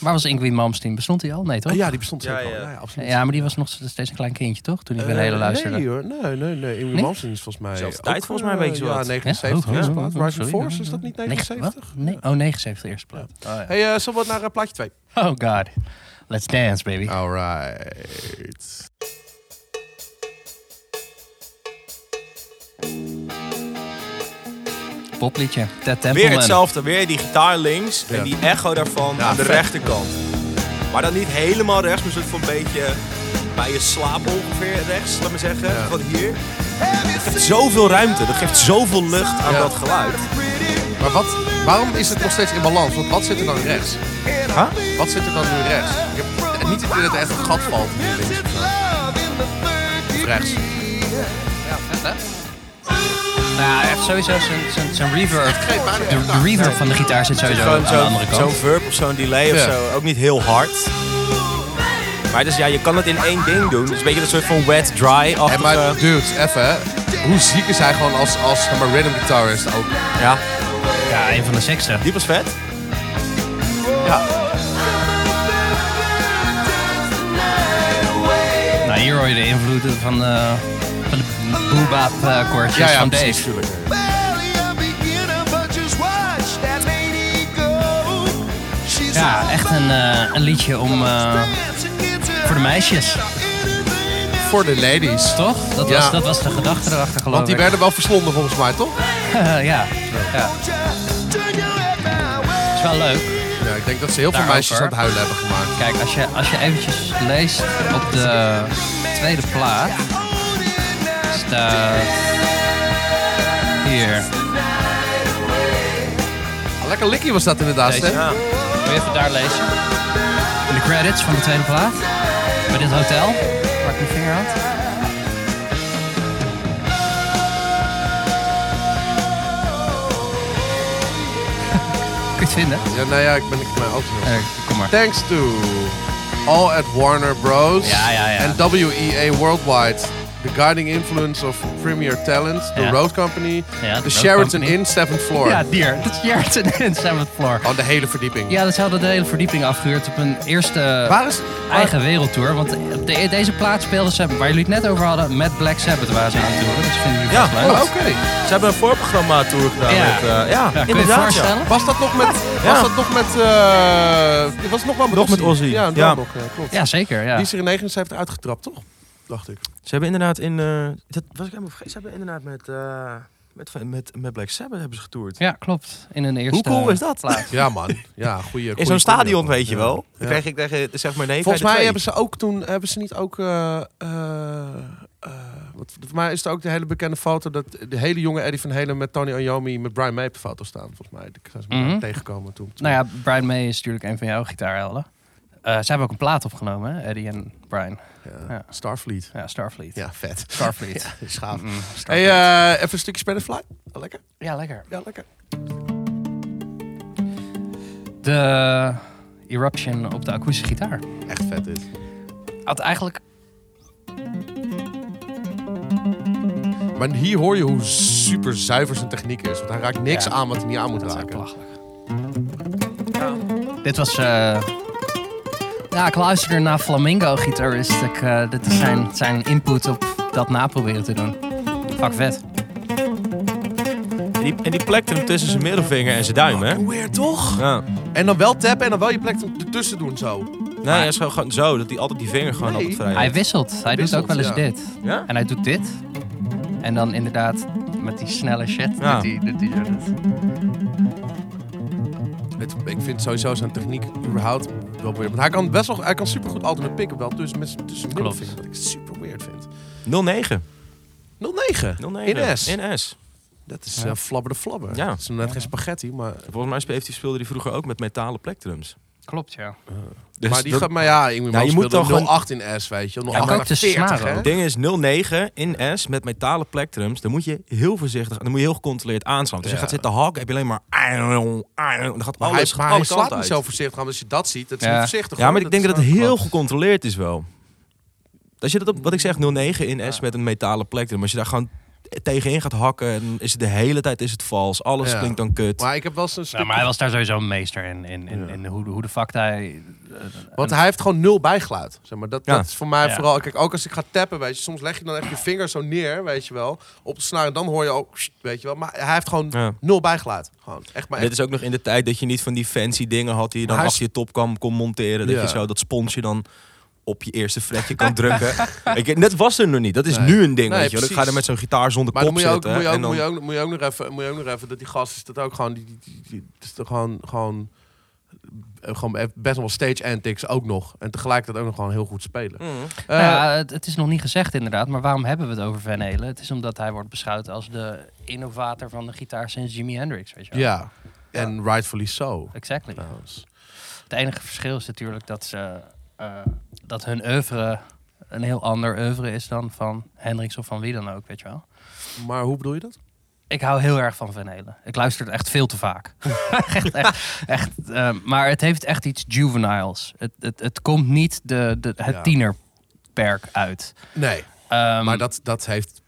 [SPEAKER 1] Waar was Ingrid Malmsteen? Bestond hij al? Nee, toch?
[SPEAKER 2] Ah, ja, die bestond
[SPEAKER 3] Oh, Ja,
[SPEAKER 2] zeker al.
[SPEAKER 3] ja.
[SPEAKER 2] Ja, ja, absoluut.
[SPEAKER 1] Ja, maar die was nog steeds een klein kindje, toch? Toen ik ben
[SPEAKER 2] Eh,
[SPEAKER 1] hele luisterde.
[SPEAKER 2] Nee hoor, nee, nee, nee. Ingrid
[SPEAKER 1] Nee?
[SPEAKER 2] Malmsteen is volgens mij...
[SPEAKER 3] Zelfde
[SPEAKER 2] ook,
[SPEAKER 3] tijd volgens mij een
[SPEAKER 2] eh,
[SPEAKER 3] beetje zo
[SPEAKER 2] Ja,
[SPEAKER 3] wat.
[SPEAKER 2] 79
[SPEAKER 1] Ja?
[SPEAKER 2] eerste
[SPEAKER 1] Oh, oh,
[SPEAKER 2] plaat. Rising
[SPEAKER 1] sorry.
[SPEAKER 2] Force, is dat niet
[SPEAKER 1] Negen-
[SPEAKER 2] 79?
[SPEAKER 1] wat? Nee, oh, 79 eerste plaat. Oh, ja.
[SPEAKER 2] Hé, hey, eh, zullen we naar eh, plaatje 2?
[SPEAKER 1] oh god. Let's dance, baby.
[SPEAKER 2] Alright.
[SPEAKER 1] Popliedje. Ted Templeman.
[SPEAKER 3] Weer hetzelfde, weer die gitaar links en
[SPEAKER 2] Ja.
[SPEAKER 3] die echo daarvan
[SPEAKER 2] Ja,
[SPEAKER 3] aan de
[SPEAKER 2] vet.
[SPEAKER 3] rechterkant. Maar dan niet helemaal rechts, maar een soort van beetje bij je slaap ongeveer rechts, laat maar zeggen. Van hier. Het geeft zoveel ruimte, dat geeft zoveel lucht aan
[SPEAKER 2] Ja.
[SPEAKER 3] dat geluid.
[SPEAKER 2] Maar wat, waarom is het nog steeds in balans? Want wat zit er dan rechts?
[SPEAKER 3] Huh?
[SPEAKER 2] Wat zit er dan nu rechts? Ik heb eh, niet het idee dat er echt een gat valt. hier links. Of rechts.
[SPEAKER 1] Nou, hij heeft sowieso zijn- zijn- zijn reverb.
[SPEAKER 2] Geen pijn.
[SPEAKER 1] De, de reverb van de gitaar zit sowieso aan
[SPEAKER 3] Gewoon
[SPEAKER 1] de andere
[SPEAKER 3] zo'n zo'n
[SPEAKER 1] kant.
[SPEAKER 3] verb of zo'n delay of
[SPEAKER 2] Ja.
[SPEAKER 3] zo. Ook niet heel hard. Maar dus ja, je kan het in één ding doen. Het is een beetje een soort van wet, dry
[SPEAKER 2] Hey,
[SPEAKER 3] achtige
[SPEAKER 2] maar dude, even. hè. Hoe ziek is hij gewoon als, als zeg maar, rhythm guitarist ook?
[SPEAKER 3] Ja,
[SPEAKER 1] Ja, een van de sekste.
[SPEAKER 3] die was vet.
[SPEAKER 1] Nou, hier hoor je de invloeden van, eh van de boebap eh koortjes
[SPEAKER 2] Ja, ja,
[SPEAKER 1] van
[SPEAKER 2] precies,
[SPEAKER 1] Dave.
[SPEAKER 2] natuurlijk.
[SPEAKER 1] Ja, echt een, eh, een liedje om, eh, voor de meisjes, eh,
[SPEAKER 2] Voor de ladies.
[SPEAKER 1] toch? Dat,
[SPEAKER 2] Ja.
[SPEAKER 1] was, dat was de gedachte erachter, geloof
[SPEAKER 2] Want die
[SPEAKER 1] ik.
[SPEAKER 2] werden wel verslonden volgens mij, toch?
[SPEAKER 1] ja, ja. Het is wel leuk.
[SPEAKER 2] Ja, ik denk dat ze heel veel
[SPEAKER 1] Daarover.
[SPEAKER 2] meisjes aan het huilen hebben gemaakt.
[SPEAKER 1] Kijk, als je, als je eventjes leest op de tweede plaat. Staat. Hier.
[SPEAKER 2] Lekker likkie was dat inderdaad,
[SPEAKER 1] Deze.
[SPEAKER 2] hè?
[SPEAKER 1] Ja. Wil je even daar lezen? In de credits van de tweede plaat. Bij dit hotel. Waar ik mijn vinger had. Kun je het vinden?
[SPEAKER 2] Ja, nou ja, ik ben ik mijn auto.
[SPEAKER 1] Eh, kom maar.
[SPEAKER 2] Thanks to all at Warner Bros.
[SPEAKER 1] Ja, ja, ja.
[SPEAKER 2] En WEA Worldwide. The guiding influence of premier talent, the
[SPEAKER 1] Ja.
[SPEAKER 2] road company,
[SPEAKER 1] Ja, de
[SPEAKER 2] the
[SPEAKER 1] Road
[SPEAKER 2] Sheraton
[SPEAKER 1] Company.
[SPEAKER 2] Inn, seventh floor.
[SPEAKER 1] Ja, dier. Dat is Jared en Seventh Floor.
[SPEAKER 2] Oh, de hele verdieping.
[SPEAKER 1] Ja, dat ze hadden de hele verdieping afgehuurd op een eerste
[SPEAKER 2] Waar is...
[SPEAKER 1] eigen wereldtour. Want de- deze plaat speelden ze, waar jullie het net over hadden, met Black Sabbath waar ze aan het toeren. Dus vinden jullie
[SPEAKER 3] Ja,
[SPEAKER 1] vast leuk.
[SPEAKER 2] Oh, oké.
[SPEAKER 3] Ze hebben een voorprogramma tour gedaan
[SPEAKER 1] Ja.
[SPEAKER 3] met... eh, ja,
[SPEAKER 1] Ja, kun je je
[SPEAKER 3] inderdaad. ja.
[SPEAKER 1] voorstellen?
[SPEAKER 2] Was dat nog met... Was
[SPEAKER 3] Ja.
[SPEAKER 2] dat nog met... eh was het nog wel met
[SPEAKER 3] Nog met Ozzy.
[SPEAKER 2] Ja,
[SPEAKER 3] Ja.
[SPEAKER 2] nog, ja, klopt.
[SPEAKER 1] Ja, zeker. Ja.
[SPEAKER 2] Die is er in dus 79 uitgetrapt, toch? Dacht ik.
[SPEAKER 3] Ze hebben inderdaad in... eh, dat was ik helemaal vergeten. Ze hebben inderdaad met, eh, met, met, met Black Sabbath hebben ze getoerd.
[SPEAKER 1] ja, klopt. In een eerste...
[SPEAKER 3] cool is dat?
[SPEAKER 1] plaat.
[SPEAKER 2] Ja, man. Ja, goeie.
[SPEAKER 3] In
[SPEAKER 2] goeie
[SPEAKER 3] zo'n stadion,
[SPEAKER 2] combi ook.
[SPEAKER 3] weet je
[SPEAKER 2] Ja.
[SPEAKER 3] wel.
[SPEAKER 2] Ja.
[SPEAKER 3] Dan kreeg ik tegen, zeg maar nee.
[SPEAKER 2] Volgens
[SPEAKER 3] bij
[SPEAKER 2] mij
[SPEAKER 3] de
[SPEAKER 2] hebben ze ook toen hebben ze niet ook. eh, eh, eh, wat, voor mij is er ook de hele bekende foto dat de hele jonge Eddie van Helen met Tony Iommi met Brian May op de foto staan. Volgens mij. Ik zijn ze elkaar
[SPEAKER 1] Mhm.
[SPEAKER 2] tegengekomen toen.
[SPEAKER 1] Nou ja, Brian May is natuurlijk een van jouw gitaarhelden. Eh ze hebben ook een plaat opgenomen, hè? Eddie en Brian.
[SPEAKER 2] Ja.
[SPEAKER 1] ja.
[SPEAKER 2] Starfleet.
[SPEAKER 1] Ja, Starfleet.
[SPEAKER 2] Ja, vet.
[SPEAKER 1] Starfleet.
[SPEAKER 2] Ja, schaaf.
[SPEAKER 1] Mm,
[SPEAKER 2] Hey,
[SPEAKER 1] Starfleet.
[SPEAKER 2] eh, even een stukje Spanish Fly. Lekker.
[SPEAKER 1] ja, lekker.
[SPEAKER 2] Ja, lekker.
[SPEAKER 1] De Eruption op de akoestische gitaar.
[SPEAKER 2] Echt vet dit.
[SPEAKER 1] Had eigenlijk...
[SPEAKER 2] Maar hier hoor je hoe super zuiver zijn techniek is. Want hij raakt niks
[SPEAKER 1] Ja.
[SPEAKER 2] aan wat hij niet aan moet
[SPEAKER 1] Dat is echt
[SPEAKER 2] raken.
[SPEAKER 1] belachelijk. Dit was... eh, ja, ik luisterde naar Flamingo-gitarist. Ik, eh, dit is zijn, zijn input op dat naproberen te doen. Fuck vet.
[SPEAKER 3] En die, en die plekte hem tussen zijn middelvinger en zijn duim, hè?
[SPEAKER 2] Weird toch?
[SPEAKER 3] Ja.
[SPEAKER 2] En dan wel tappen en dan wel je plek ertussen doen zo.
[SPEAKER 3] Nee, hij is gewoon- gewoon zo, dat hij altijd die vinger gewoon
[SPEAKER 2] Nee.
[SPEAKER 3] altijd vrij
[SPEAKER 1] Hij
[SPEAKER 3] heeft.
[SPEAKER 1] wisselt. Hij doet
[SPEAKER 2] wisselt,
[SPEAKER 1] ook wel eens
[SPEAKER 2] ja.
[SPEAKER 1] dit.
[SPEAKER 3] Ja?
[SPEAKER 1] En hij doet dit. En En dan inderdaad met die snelle shit.
[SPEAKER 3] Ja.
[SPEAKER 1] Met die, dat die- dat-
[SPEAKER 2] Het- ik vind sowieso zijn techniek überhaupt wel weird. Want hij kan best wel, hij kan supergoed altijd een pick-up wel tussen met tussen
[SPEAKER 1] Klopt.
[SPEAKER 2] Wat ik super weird vind.
[SPEAKER 3] 09.
[SPEAKER 2] 09.
[SPEAKER 3] 09.
[SPEAKER 2] In S.
[SPEAKER 3] In S.
[SPEAKER 2] Dat is eh, flabber de flabber.
[SPEAKER 3] Ja.
[SPEAKER 2] Het is net geen spaghetti, maar...
[SPEAKER 3] Volgens mij spe- heeft hij- speelde hij vroeger ook met metalen plektrums.
[SPEAKER 1] Klopt, ja.
[SPEAKER 3] Dus
[SPEAKER 2] maar die
[SPEAKER 3] dat-
[SPEAKER 2] gaat, maar ja, ik
[SPEAKER 3] Nou, je moet
[SPEAKER 2] moet
[SPEAKER 3] dan
[SPEAKER 2] dan
[SPEAKER 3] gewoon-
[SPEAKER 2] 08 in S, weet je.
[SPEAKER 1] maar
[SPEAKER 2] 08 naar
[SPEAKER 1] ook de
[SPEAKER 2] 40,
[SPEAKER 1] snaren
[SPEAKER 2] hè?
[SPEAKER 1] ook.
[SPEAKER 3] Het ding is 09 in S met metalen plektrums. Dan moet je heel voorzichtig, dan moet je heel gecontroleerd aanslaan. Dus je
[SPEAKER 2] Ja.
[SPEAKER 3] gaat zitten hakken, heb je alleen maar... Dan gaat
[SPEAKER 2] Maar
[SPEAKER 3] alles,
[SPEAKER 2] hij, maar hij
[SPEAKER 3] alle
[SPEAKER 2] slaat
[SPEAKER 3] kanten
[SPEAKER 2] niet
[SPEAKER 3] uit.
[SPEAKER 2] zo voorzichtig aan. Als je dat ziet, dat is
[SPEAKER 1] Ja.
[SPEAKER 2] niet voorzichtig.
[SPEAKER 3] Ja,
[SPEAKER 2] hoor.
[SPEAKER 3] maar ik denk dat het
[SPEAKER 2] is
[SPEAKER 3] heel
[SPEAKER 2] gewoon-
[SPEAKER 3] gecontroleerd is wel. Als je dat op, wat ik zeg, 09 in S met een metalen plektrum. Als je daar gewoon tegenin gaat hakken, dan is het de hele tijd is het vals. Alles
[SPEAKER 2] Ja.
[SPEAKER 3] klinkt dan kut.
[SPEAKER 2] Maar ik heb wel eens een stuk...
[SPEAKER 1] Nou, maar hij was daar sowieso een meester in. in, in,
[SPEAKER 2] Ja.
[SPEAKER 1] in hoe, hoe de fuck hij...
[SPEAKER 2] Want hij heeft gewoon nul bijgeluid. Zeg maar. dat,
[SPEAKER 3] Ja.
[SPEAKER 2] dat is voor mij
[SPEAKER 1] Ja.
[SPEAKER 2] vooral... Kijk, ook als ik ga tappen, weet je. Soms leg je dan even je vinger zo neer, weet je wel. Op de snaar. En dan hoor je ook... sst, Weet je wel. Maar hij heeft gewoon
[SPEAKER 3] Ja.
[SPEAKER 2] nul bijgeluid. Gewoon. Echt maar
[SPEAKER 3] Dit
[SPEAKER 2] echt.
[SPEAKER 3] is ook nog in de tijd dat je niet van die fancy dingen had die je dan
[SPEAKER 2] Maar hij
[SPEAKER 3] achter je top kon, kon monteren. Dat
[SPEAKER 2] Ja.
[SPEAKER 3] je zo dat sponsje dan op je eerste fretje kan drukken. Ik, net was er nog niet. Dat is nu een ding.
[SPEAKER 2] Nee,
[SPEAKER 3] weet je. wel. Ik ga
[SPEAKER 2] precies.
[SPEAKER 3] er met zo'n gitaar zonder
[SPEAKER 2] Maar dan
[SPEAKER 3] kop
[SPEAKER 2] moet je, ook,
[SPEAKER 3] zitten.
[SPEAKER 2] moet, je ook,
[SPEAKER 3] en dan,
[SPEAKER 2] moet, je ook, moet, je ook nog even, moet je ook nog even... Dat die gast is dat ook gewoon... Die, die, die, die- het is toch gewoon... gewoon eh, gewoon best nog wel stage antics ook nog. En tegelijkertijd ook nog gewoon heel goed spelen.
[SPEAKER 3] Mm.
[SPEAKER 2] Eh,
[SPEAKER 1] Nou ja, het, het is nog niet gezegd inderdaad, maar waarom hebben we het over Van Halen? Het is omdat hij wordt beschouwd als de innovator van de gitaar sinds Jimi Hendrix, weet je wel.
[SPEAKER 2] ja. En rightfully so.
[SPEAKER 1] Exactly.
[SPEAKER 2] Trouwens.
[SPEAKER 1] Het enige verschil is natuurlijk dat, ze, eh, dat hun oeuvre een heel ander oeuvre is dan van Hendrix of van wie dan ook, weet je wel.
[SPEAKER 2] Maar hoe bedoel je dat?
[SPEAKER 1] Ik hou heel erg van Van Halen. Ik luister het echt veel te vaak. echt, echt, echt, eh, maar het heeft echt iets juveniles. Het, het, het komt niet de, de, het
[SPEAKER 2] Ja.
[SPEAKER 1] tienerperk uit.
[SPEAKER 2] Nee.
[SPEAKER 1] Ehm,
[SPEAKER 2] Maar dat, dat heeft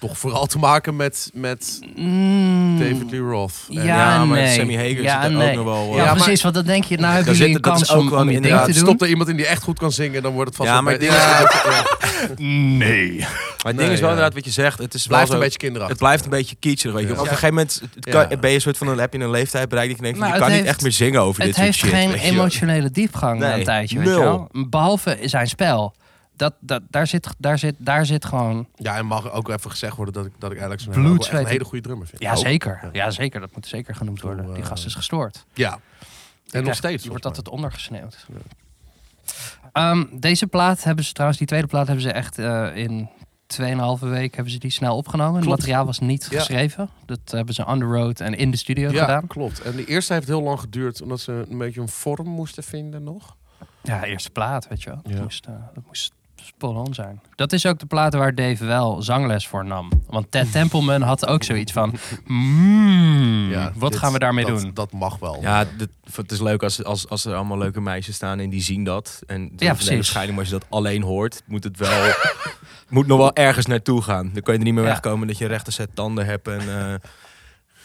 [SPEAKER 2] toch vooral te maken met, met
[SPEAKER 1] mm,
[SPEAKER 2] David Lee Roth.
[SPEAKER 1] Ja,
[SPEAKER 2] En- eh,
[SPEAKER 3] ja, maar
[SPEAKER 1] nee.
[SPEAKER 3] Sammy Hagar
[SPEAKER 1] ja,
[SPEAKER 3] zit er ook
[SPEAKER 1] nee.
[SPEAKER 3] nog wel, eh,
[SPEAKER 1] Ja,
[SPEAKER 2] Ja, maar-
[SPEAKER 1] precies. Want dan denk je, nou hebben
[SPEAKER 3] Daar
[SPEAKER 1] jullie
[SPEAKER 3] zit-
[SPEAKER 1] een
[SPEAKER 3] dat is
[SPEAKER 1] kans
[SPEAKER 3] ook
[SPEAKER 1] om,
[SPEAKER 3] wel
[SPEAKER 1] om je ding
[SPEAKER 3] inderdaad-
[SPEAKER 1] te doen.
[SPEAKER 2] Stopt er iemand in die echt goed kan zingen, dan wordt het vast...
[SPEAKER 3] Ja,
[SPEAKER 2] een
[SPEAKER 3] maar
[SPEAKER 2] beetje-
[SPEAKER 3] dit is-
[SPEAKER 2] Ja.
[SPEAKER 4] Nee.
[SPEAKER 3] Maar het ding
[SPEAKER 2] Nee,
[SPEAKER 3] is wel
[SPEAKER 2] ja.
[SPEAKER 3] inderdaad wat je zegt. Het is
[SPEAKER 2] blijft
[SPEAKER 3] wel
[SPEAKER 2] een
[SPEAKER 3] zo-
[SPEAKER 2] beetje kinderachtig.
[SPEAKER 3] Het blijft een beetje kitscherig. Weet je.
[SPEAKER 2] Ja.
[SPEAKER 3] Op een gegeven moment het
[SPEAKER 2] Ja.
[SPEAKER 3] kan, ben je een soort van een, heb je een leeftijd bereikt dat je denkt, van,
[SPEAKER 1] Maar het
[SPEAKER 3] je kan niet
[SPEAKER 1] heeft-
[SPEAKER 3] echt meer zingen over
[SPEAKER 1] Het
[SPEAKER 3] dit soort
[SPEAKER 1] heeft
[SPEAKER 3] shit.
[SPEAKER 1] geen
[SPEAKER 3] weet je.
[SPEAKER 1] emotionele diepgang na
[SPEAKER 3] Nee,
[SPEAKER 1] een tijdje, weet je
[SPEAKER 3] nul.
[SPEAKER 1] wel. Behalve zijn spel. Dat, dat, daar, zit, daar, zit, daar zit gewoon...
[SPEAKER 2] Ja, en mag ook even gezegd worden dat ik, dat ik Alex een,
[SPEAKER 1] Bloed,
[SPEAKER 2] wel echt een
[SPEAKER 1] zweet-
[SPEAKER 2] hele goede drummer vind.
[SPEAKER 1] Ja,
[SPEAKER 2] Ook.
[SPEAKER 1] zeker. Ja, zeker. Dat moet zeker genoemd worden. Die
[SPEAKER 3] eh.
[SPEAKER 1] gast is gestoord.
[SPEAKER 2] Ja. En nog steeds.
[SPEAKER 1] Je
[SPEAKER 2] volgens
[SPEAKER 1] wordt
[SPEAKER 2] mij.
[SPEAKER 1] altijd ondergesneeuwd. Ehm, deze plaat hebben ze trouwens, die tweede plaat hebben ze echt eh in 2,5 week hebben ze die snel opgenomen. Het
[SPEAKER 2] Klopt.
[SPEAKER 1] materiaal was niet
[SPEAKER 2] Ja.
[SPEAKER 1] geschreven. Dat hebben ze on the road en in de studio
[SPEAKER 2] ja,
[SPEAKER 1] eh, gedaan.
[SPEAKER 2] klopt. En de eerste heeft heel lang geduurd, omdat ze een beetje een vorm moesten vinden nog.
[SPEAKER 1] Ja, eerste plaat, weet je wel. Dat
[SPEAKER 2] Ja.
[SPEAKER 1] moest, eh, dat moest spot-on zijn. Dat is ook de plaat waar Dave wel zangles voor nam. Want Ted Templeman had ook zoiets van... "Hmm,
[SPEAKER 2] Ja,
[SPEAKER 1] wat
[SPEAKER 2] dit-
[SPEAKER 1] gaan we daarmee
[SPEAKER 2] dat-
[SPEAKER 1] doen?
[SPEAKER 2] Dat mag wel.
[SPEAKER 3] Ja, dit- het is leuk als, als, als er allemaal leuke meisjes staan en die zien dat. En dat is een
[SPEAKER 1] precies.
[SPEAKER 3] hele scheiding, maar als je dat alleen hoort, moet het wel... moet nog wel ergens naartoe gaan. Dan kan je er niet meer
[SPEAKER 1] Ja.
[SPEAKER 3] wegkomen dat je een rechter set tanden hebt en... eh,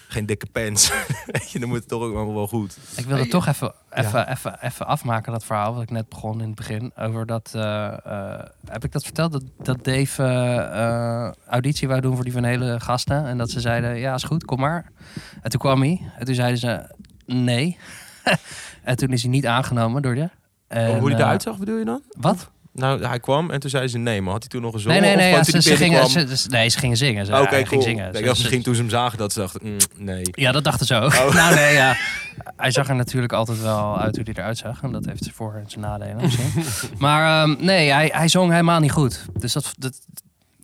[SPEAKER 3] geen dikke pens. Weet je, dan moet het toch ook allemaal wel goed.
[SPEAKER 1] Ik wilde toch even, even, even, even afmaken, dat verhaal wat ik net begon in het begin. Over dat, eh, eh, heb ik dat verteld? Dat, dat Dave eh, eh, auditie wou doen voor die van hele gasten. En dat ze zeiden, ja is goed, kom maar. En toen kwam hij. En toen zeiden ze, nee. en toen is hij niet aangenomen door je. En,
[SPEAKER 3] Oh, Hoe die
[SPEAKER 1] eh,
[SPEAKER 3] eruit zag, bedoel je dan?
[SPEAKER 1] Wat?
[SPEAKER 3] Nou, hij kwam en toen zei ze nee, maar had hij toen nog
[SPEAKER 1] Nee,
[SPEAKER 3] gezongen?
[SPEAKER 1] nee, nee.
[SPEAKER 3] Of
[SPEAKER 1] ja,
[SPEAKER 3] gewoon
[SPEAKER 1] ze,
[SPEAKER 3] toen
[SPEAKER 1] ze
[SPEAKER 3] hij
[SPEAKER 1] gingen,
[SPEAKER 3] binnenkwam?
[SPEAKER 1] ze- ze- nee, ze gingen zingen. Ze,
[SPEAKER 3] Oké,
[SPEAKER 1] hij
[SPEAKER 3] cool.
[SPEAKER 1] ging zingen.
[SPEAKER 3] Ik
[SPEAKER 1] Ze-
[SPEAKER 3] dacht,
[SPEAKER 1] ze-
[SPEAKER 3] misschien toen ze hem zagen dat ze dachten, mm, nee.
[SPEAKER 1] Ja, dat dachten ze ook. nou nee, ja. Hij zag er natuurlijk altijd wel uit hoe hij eruit zag. En dat heeft zijn voor- en zijn nadelen misschien. maar ehm, nee, hij, hij zong helemaal niet goed. Dus dat, dat,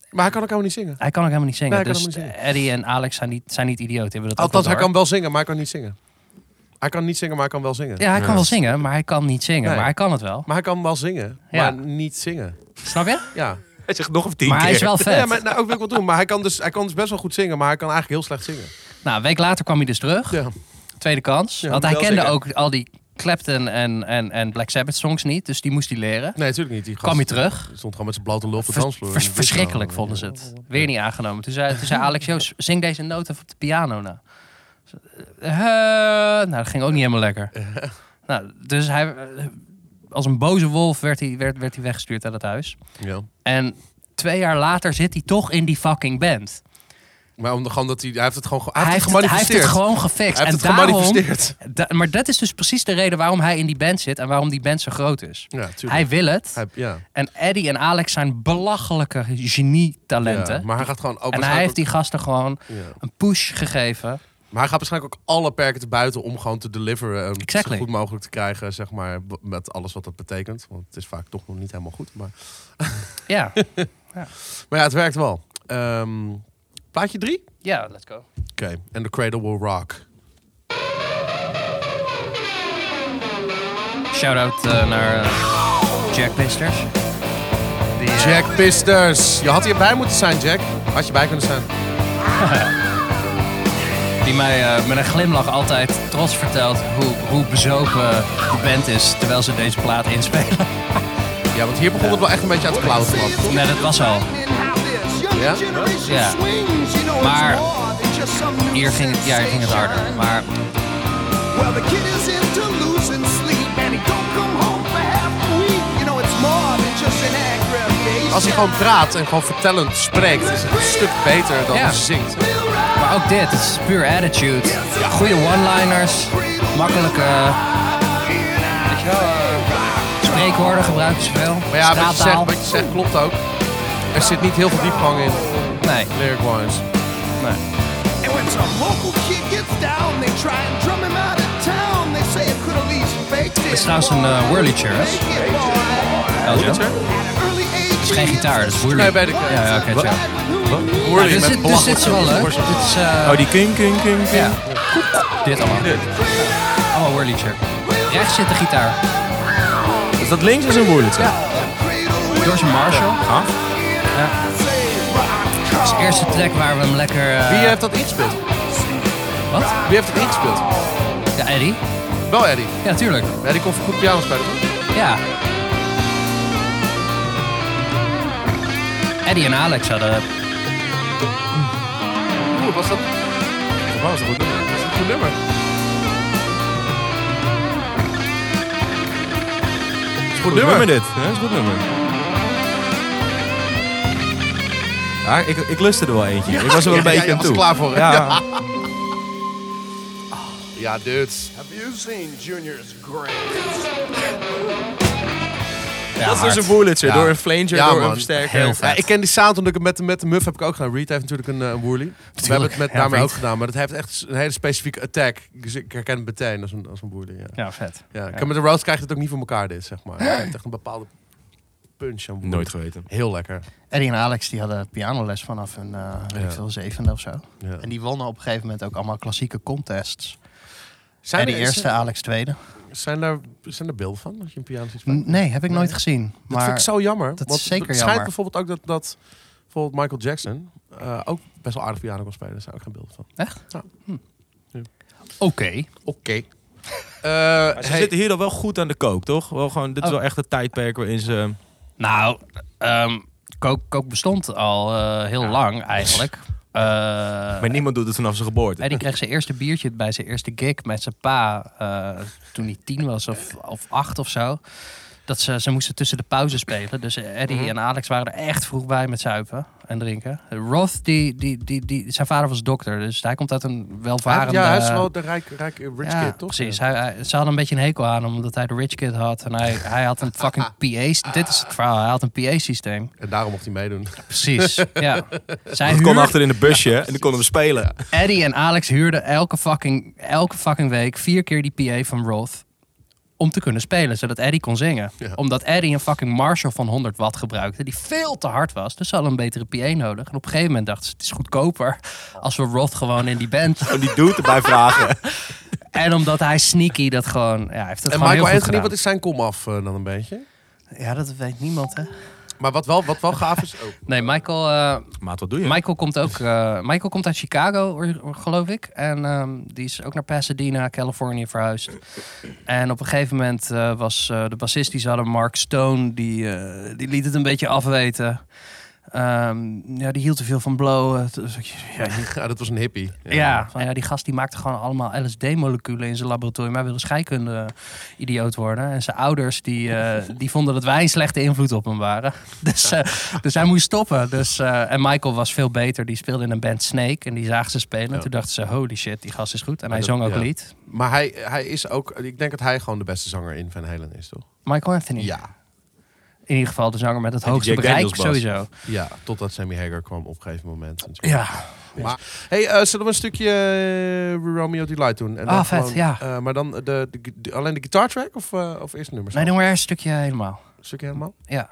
[SPEAKER 2] Maar hij kan ook helemaal niet zingen.
[SPEAKER 1] hij kan ook helemaal niet zingen.
[SPEAKER 2] Nee, hij kan
[SPEAKER 1] dus
[SPEAKER 2] helemaal niet
[SPEAKER 1] Eddie en Alex zijn niet, zijn niet idioot. die Hebben dat ook
[SPEAKER 2] Althans,
[SPEAKER 1] wel
[SPEAKER 2] hij
[SPEAKER 1] door.
[SPEAKER 2] kan wel zingen, maar hij kan niet zingen. Hij kan niet zingen, maar hij kan wel zingen.
[SPEAKER 1] Ja, hij kan wel zingen, maar hij kan niet zingen.
[SPEAKER 2] Nee.
[SPEAKER 1] Maar hij kan het wel.
[SPEAKER 2] Maar hij kan wel zingen,
[SPEAKER 1] Ja.
[SPEAKER 2] maar niet zingen.
[SPEAKER 1] Snap je?
[SPEAKER 2] Ja.
[SPEAKER 3] Hij zegt nog of tien
[SPEAKER 1] Maar hij is
[SPEAKER 3] keer.
[SPEAKER 1] wel vet.
[SPEAKER 2] Ja, maar nou, ook wil ik wel doen. Maar hij kan, dus, hij kan dus best wel goed zingen, maar hij kan eigenlijk heel slecht zingen.
[SPEAKER 1] Nou, een week later kwam hij dus terug.
[SPEAKER 2] Ja.
[SPEAKER 1] Tweede kans. want hij
[SPEAKER 3] wel
[SPEAKER 1] kende
[SPEAKER 3] zingen.
[SPEAKER 1] ook al die Clapton en, en, en Black Sabbath songs niet. Dus die moest hij leren.
[SPEAKER 2] Nee, natuurlijk niet. Die gast
[SPEAKER 1] Kwam hij terug.
[SPEAKER 2] stond gewoon met zijn blote lul op de
[SPEAKER 1] Vers-
[SPEAKER 2] dansvloer.
[SPEAKER 1] vers-
[SPEAKER 2] En dit
[SPEAKER 1] verschrikkelijk
[SPEAKER 2] nou,
[SPEAKER 1] vonden ze het. Weer niet aangenomen. Toen zei, toen zei Alex, Joost, zing deze noot even op de piano na. Eh, nou, dat ging ook niet helemaal lekker. Nou, dus hij, eh, als een boze wolf werd hij, werd, werd hij weggestuurd uit het huis.
[SPEAKER 2] Ja.
[SPEAKER 1] En twee jaar later zit hij toch in die fucking band.
[SPEAKER 2] Maar om, gewoon dat hij, hij heeft het gewoon ge- hij
[SPEAKER 1] hij,
[SPEAKER 2] heeft
[SPEAKER 1] heeft
[SPEAKER 2] het
[SPEAKER 1] het, hij
[SPEAKER 2] gemanifesteerd.
[SPEAKER 1] heeft het gewoon gefixt.
[SPEAKER 2] Hij heeft
[SPEAKER 1] en
[SPEAKER 2] het
[SPEAKER 1] daarom,
[SPEAKER 2] gemanifesteerd.
[SPEAKER 1] da- maar dat is dus precies de reden waarom hij in die band zit en waarom die band zo groot is.
[SPEAKER 2] Ja, tuurlijk.
[SPEAKER 1] Hij wil het.
[SPEAKER 2] Hij- ja.
[SPEAKER 1] En Eddie en Alex zijn belachelijke genietalenten.
[SPEAKER 2] Ja, maar hij gaat gewoon ook
[SPEAKER 1] en hij
[SPEAKER 2] waarschijnlijk
[SPEAKER 1] heeft die gasten gewoon
[SPEAKER 2] ook- ja.
[SPEAKER 1] een push gegeven.
[SPEAKER 2] Maar hij gaat waarschijnlijk ook alle perken te buiten om gewoon te deliveren. En
[SPEAKER 1] Exactly.
[SPEAKER 2] zo goed mogelijk te krijgen, zeg maar, b- met alles wat dat betekent. Want het is vaak toch nog niet helemaal goed. Maar,
[SPEAKER 1] Ja,
[SPEAKER 2] maar ja, het werkt wel. Ehm, plaatje drie?
[SPEAKER 1] ja let's go.
[SPEAKER 2] Oké, en The Cradle Will Rock.
[SPEAKER 1] Shout-out eh, naar eh, Jack Pisters. Die, eh,
[SPEAKER 2] Jack Pisters. Je had hierbij moeten zijn, Jack. Had je bij kunnen zijn.
[SPEAKER 1] die mij eh, met een glimlach altijd trots vertelt hoe, hoe bezopen de band is terwijl ze deze plaat inspelen.
[SPEAKER 2] Ja, want hier begon het wel echt een beetje aan het klauwen. man.
[SPEAKER 1] Nee, dat was al.
[SPEAKER 2] Ja?
[SPEAKER 1] Ja. Maar hier ging het, ja, hier ging het harder. Maar
[SPEAKER 5] Well, the kid is into losing sleep and he don't come home for half a week. You know, it's more than just an aggravation.
[SPEAKER 2] Als hij gewoon praat en gewoon vertellend spreekt, is het een stuk beter dan
[SPEAKER 1] Ja.
[SPEAKER 2] als hij zingt.
[SPEAKER 1] Maar ook dit, het is puur attitude. Goede one-liners, makkelijke. weet je wel, eh, Spreekwoorden gebruiken ze veel.
[SPEAKER 2] Maar ja, wat je, zegt,
[SPEAKER 1] straattaal.
[SPEAKER 2] wat je zegt klopt ook. Er zit niet heel veel diepgang in,
[SPEAKER 1] Nee,
[SPEAKER 2] lyric-wise.
[SPEAKER 1] nee.
[SPEAKER 5] And when some local kid gets down, they try and drum him out of town. They say it could at least fake it.
[SPEAKER 1] is trouwens een, eh, whirlychair, hè?
[SPEAKER 5] Make it, boy.
[SPEAKER 1] Eljo. Het is geen gitaar, dat is woerlijk.
[SPEAKER 2] Nee, weet ik.
[SPEAKER 1] Ja, ja, oké, chill.
[SPEAKER 2] Hoor
[SPEAKER 1] Maar
[SPEAKER 2] je
[SPEAKER 1] dit
[SPEAKER 2] met
[SPEAKER 1] zit- dit zit zo wel leuk. Dit dus is, eh,
[SPEAKER 3] die kink, kink, kink.
[SPEAKER 1] ja. Dit allemaal. Allemaal whirlychair. Rechts zit de gitaar.
[SPEAKER 3] Is dat links is een woerletje?
[SPEAKER 1] George Marshall. Ja. Dat is de eerste track waar we hem lekker... eh,
[SPEAKER 2] Wie heeft dat ingespeeld?
[SPEAKER 1] Wat?
[SPEAKER 2] Wie heeft het ingespeeld?
[SPEAKER 1] Ja, Eddie.
[SPEAKER 2] Wel Eddie.
[SPEAKER 1] Ja, natuurlijk.
[SPEAKER 2] Eddie kon goed piano spelen. toch?
[SPEAKER 1] Ja. Eddie en Alex hadden.
[SPEAKER 2] Oeh, was dat... Wauw, is dat goed nummer. Dat is een goed nummer. Dat is een goed
[SPEAKER 3] Goed nummer
[SPEAKER 2] nummer.
[SPEAKER 3] dit. Ja, is goed nummer. Ja, ik, ik lustte er wel eentje. ik was er wel
[SPEAKER 2] ja,
[SPEAKER 3] een beetje
[SPEAKER 2] ja,
[SPEAKER 3] aan
[SPEAKER 2] was
[SPEAKER 3] toe.
[SPEAKER 2] klaar voor, hè?
[SPEAKER 3] Ja.
[SPEAKER 2] Ja, dudes.
[SPEAKER 4] Have you seen Junior's grave?
[SPEAKER 1] Ja,
[SPEAKER 3] Dat is
[SPEAKER 1] hard.
[SPEAKER 3] een woerletje.
[SPEAKER 2] Ja.
[SPEAKER 3] Door een flanger,
[SPEAKER 2] Ja,
[SPEAKER 3] door
[SPEAKER 2] man.
[SPEAKER 3] een versterker.
[SPEAKER 1] Heel
[SPEAKER 2] Ja,
[SPEAKER 1] vet.
[SPEAKER 2] ik ken die sound omdat ik het met, de- met de Muff heb ik ook gedaan. Reed heeft natuurlijk een, eh, een Woerly. We hebben het met
[SPEAKER 1] ja,
[SPEAKER 2] daarmee
[SPEAKER 1] weet.
[SPEAKER 2] ook gedaan. Maar dat heeft echt een hele specifieke attack. Dus ik herken het meteen als een, als een Woerly. Ja.
[SPEAKER 1] Ja, vet.
[SPEAKER 2] Ja, ik heb Met de Roast krijgt het ook niet voor elkaar dit, zeg maar. Het heeft echt een bepaalde punch aan Woerly.
[SPEAKER 3] Nooit geweten.
[SPEAKER 2] Heel lekker.
[SPEAKER 1] Eddie en Alex die hadden pianoles vanaf hun eh, weet ik veel, zevende of zo.
[SPEAKER 2] Ja.
[SPEAKER 1] En die wonnen op een gegeven moment ook allemaal klassieke contests.
[SPEAKER 2] Zijn,
[SPEAKER 1] Eddie
[SPEAKER 2] er, eh,
[SPEAKER 1] eerste, Alex tweede.
[SPEAKER 2] zijn, daar, zijn er beelden van als je een piano ziet spelen?
[SPEAKER 1] N- Nee, heb ik nooit gezien.
[SPEAKER 2] dat
[SPEAKER 1] Maar
[SPEAKER 2] vind ik zo jammer.
[SPEAKER 1] dat is
[SPEAKER 2] want
[SPEAKER 1] zeker
[SPEAKER 2] het
[SPEAKER 1] jammer.
[SPEAKER 2] schijnt bijvoorbeeld ook dat, dat bijvoorbeeld Michael Jackson eh, ook best wel aardig piano kon spelen. Daar zijn ook geen beelden van.
[SPEAKER 1] echt?
[SPEAKER 2] Ja.
[SPEAKER 1] Hm.
[SPEAKER 2] Ja.
[SPEAKER 1] Oké.
[SPEAKER 2] Oké.
[SPEAKER 3] Maar ze zitten hier dan wel goed aan de kook, toch? Wel gewoon, dit is
[SPEAKER 1] Oh.
[SPEAKER 3] wel echt het tijdperk waarin ze...
[SPEAKER 1] Nou, ehm kook, kook bestond al eh, heel lang eigenlijk. Eh,
[SPEAKER 3] Maar niemand doet het vanaf zijn geboorte.
[SPEAKER 1] Eddie kreeg zijn eerste biertje bij zijn eerste gig met zijn pa eh, toen hij tien was of, of acht of zo. Dat ze, ze moesten tussen de pauze spelen. Dus Eddie
[SPEAKER 2] Mhm.
[SPEAKER 1] en Alex waren er echt vroeg bij met zuipen en drinken. Roth, die, die, die, die, zijn vader was dokter, dus hij komt uit een welvarende...
[SPEAKER 2] ja, hij is wel de rijk, rijk eh, rich
[SPEAKER 1] Ja,
[SPEAKER 2] kid, toch?
[SPEAKER 1] Precies.
[SPEAKER 2] Ja.
[SPEAKER 1] Hij, hij- ze hadden een beetje een hekel aan hem, omdat hij de rich kid had. En hij, hij had een fucking PA... Dit is het verhaal. Hij had een PA-systeem.
[SPEAKER 2] En daarom mocht hij meedoen.
[SPEAKER 1] Precies, ja. Zij
[SPEAKER 3] Dat kon
[SPEAKER 1] huurden-
[SPEAKER 3] achter in de busje en dan konden we spelen.
[SPEAKER 1] Eddie en Alex huurden elke fucking, elke fucking week vier keer die PA van Roth. Om te kunnen spelen, zodat Eddie kon zingen.
[SPEAKER 2] Ja.
[SPEAKER 1] Omdat Eddie een fucking Marshall van 100 watt gebruikte, die veel te hard was. Dus ze hadden een betere PA nodig. En op een gegeven moment dachten ze, het is goedkoper als we Roth gewoon in die band.
[SPEAKER 3] Gewoon die dude erbij vragen.
[SPEAKER 1] en omdat hij sneaky dat gewoon, ja, hij heeft het
[SPEAKER 2] En
[SPEAKER 1] gewoon
[SPEAKER 2] Michael
[SPEAKER 1] heel
[SPEAKER 2] Anthony,
[SPEAKER 1] goed gedaan.
[SPEAKER 2] wat is zijn komaf eh, dan een beetje?
[SPEAKER 1] Ja, dat weet niemand, hè?
[SPEAKER 2] Maar wat wel, wat wel gaaf is... Oh,
[SPEAKER 1] Nee, Michael, eh,
[SPEAKER 3] Maat, wat doe je?
[SPEAKER 1] Michael komt ook. eh, Michael komt uit Chicago, or- or- geloof ik. En ehm, die is ook naar Pasadena, Californië verhuisd. En op een gegeven moment eh, was eh, de bassist die ze hadden, Mark Stone, die, eh, die liet het een beetje afweten. Ehm, ja, die hield te veel van blowen. Toen was ik, Ja, je-
[SPEAKER 2] Ja, dat was een hippie.
[SPEAKER 1] ja. van, ja, die gast die maakte gewoon allemaal LSD-moleculen in zijn laboratorium. Hij wilde scheikunde-idioot worden. En zijn ouders die, eh, die vonden dat wij een slechte invloed op hem waren. Dus, eh, dus hij moest stoppen. Dus, eh, en Michael was veel beter. Die speelde in een band Snake. En die zagen ze spelen.
[SPEAKER 2] Ja.
[SPEAKER 1] Toen dachten ze, holy shit, die gast is goed. En
[SPEAKER 2] Maar
[SPEAKER 1] hij
[SPEAKER 2] dat-
[SPEAKER 1] zong ook
[SPEAKER 2] ja.
[SPEAKER 1] lied.
[SPEAKER 2] Maar hij, hij is ook... Ik denk dat hij gewoon de beste zanger in Van Halen is, toch?
[SPEAKER 1] Michael Anthony.
[SPEAKER 2] Ja.
[SPEAKER 1] In ieder geval de zanger met het
[SPEAKER 3] die
[SPEAKER 1] hoogste
[SPEAKER 3] Jack
[SPEAKER 1] bereik
[SPEAKER 3] Daniels bas.
[SPEAKER 1] sowieso.
[SPEAKER 2] Ja, totdat Sammy Hagar kwam op een gegeven moment. natuurlijk.
[SPEAKER 1] Ja,
[SPEAKER 2] Maar, hey, eh, zullen we een stukje eh, Romeo Delight doen? En dan
[SPEAKER 1] Ah, vet, ja.
[SPEAKER 2] eh, maar dan de, de, de- alleen de guitar track of, eh, of eerst de nummers?
[SPEAKER 1] nee, doen we er een stukje helemaal.
[SPEAKER 2] Een stukje helemaal?
[SPEAKER 1] Ja.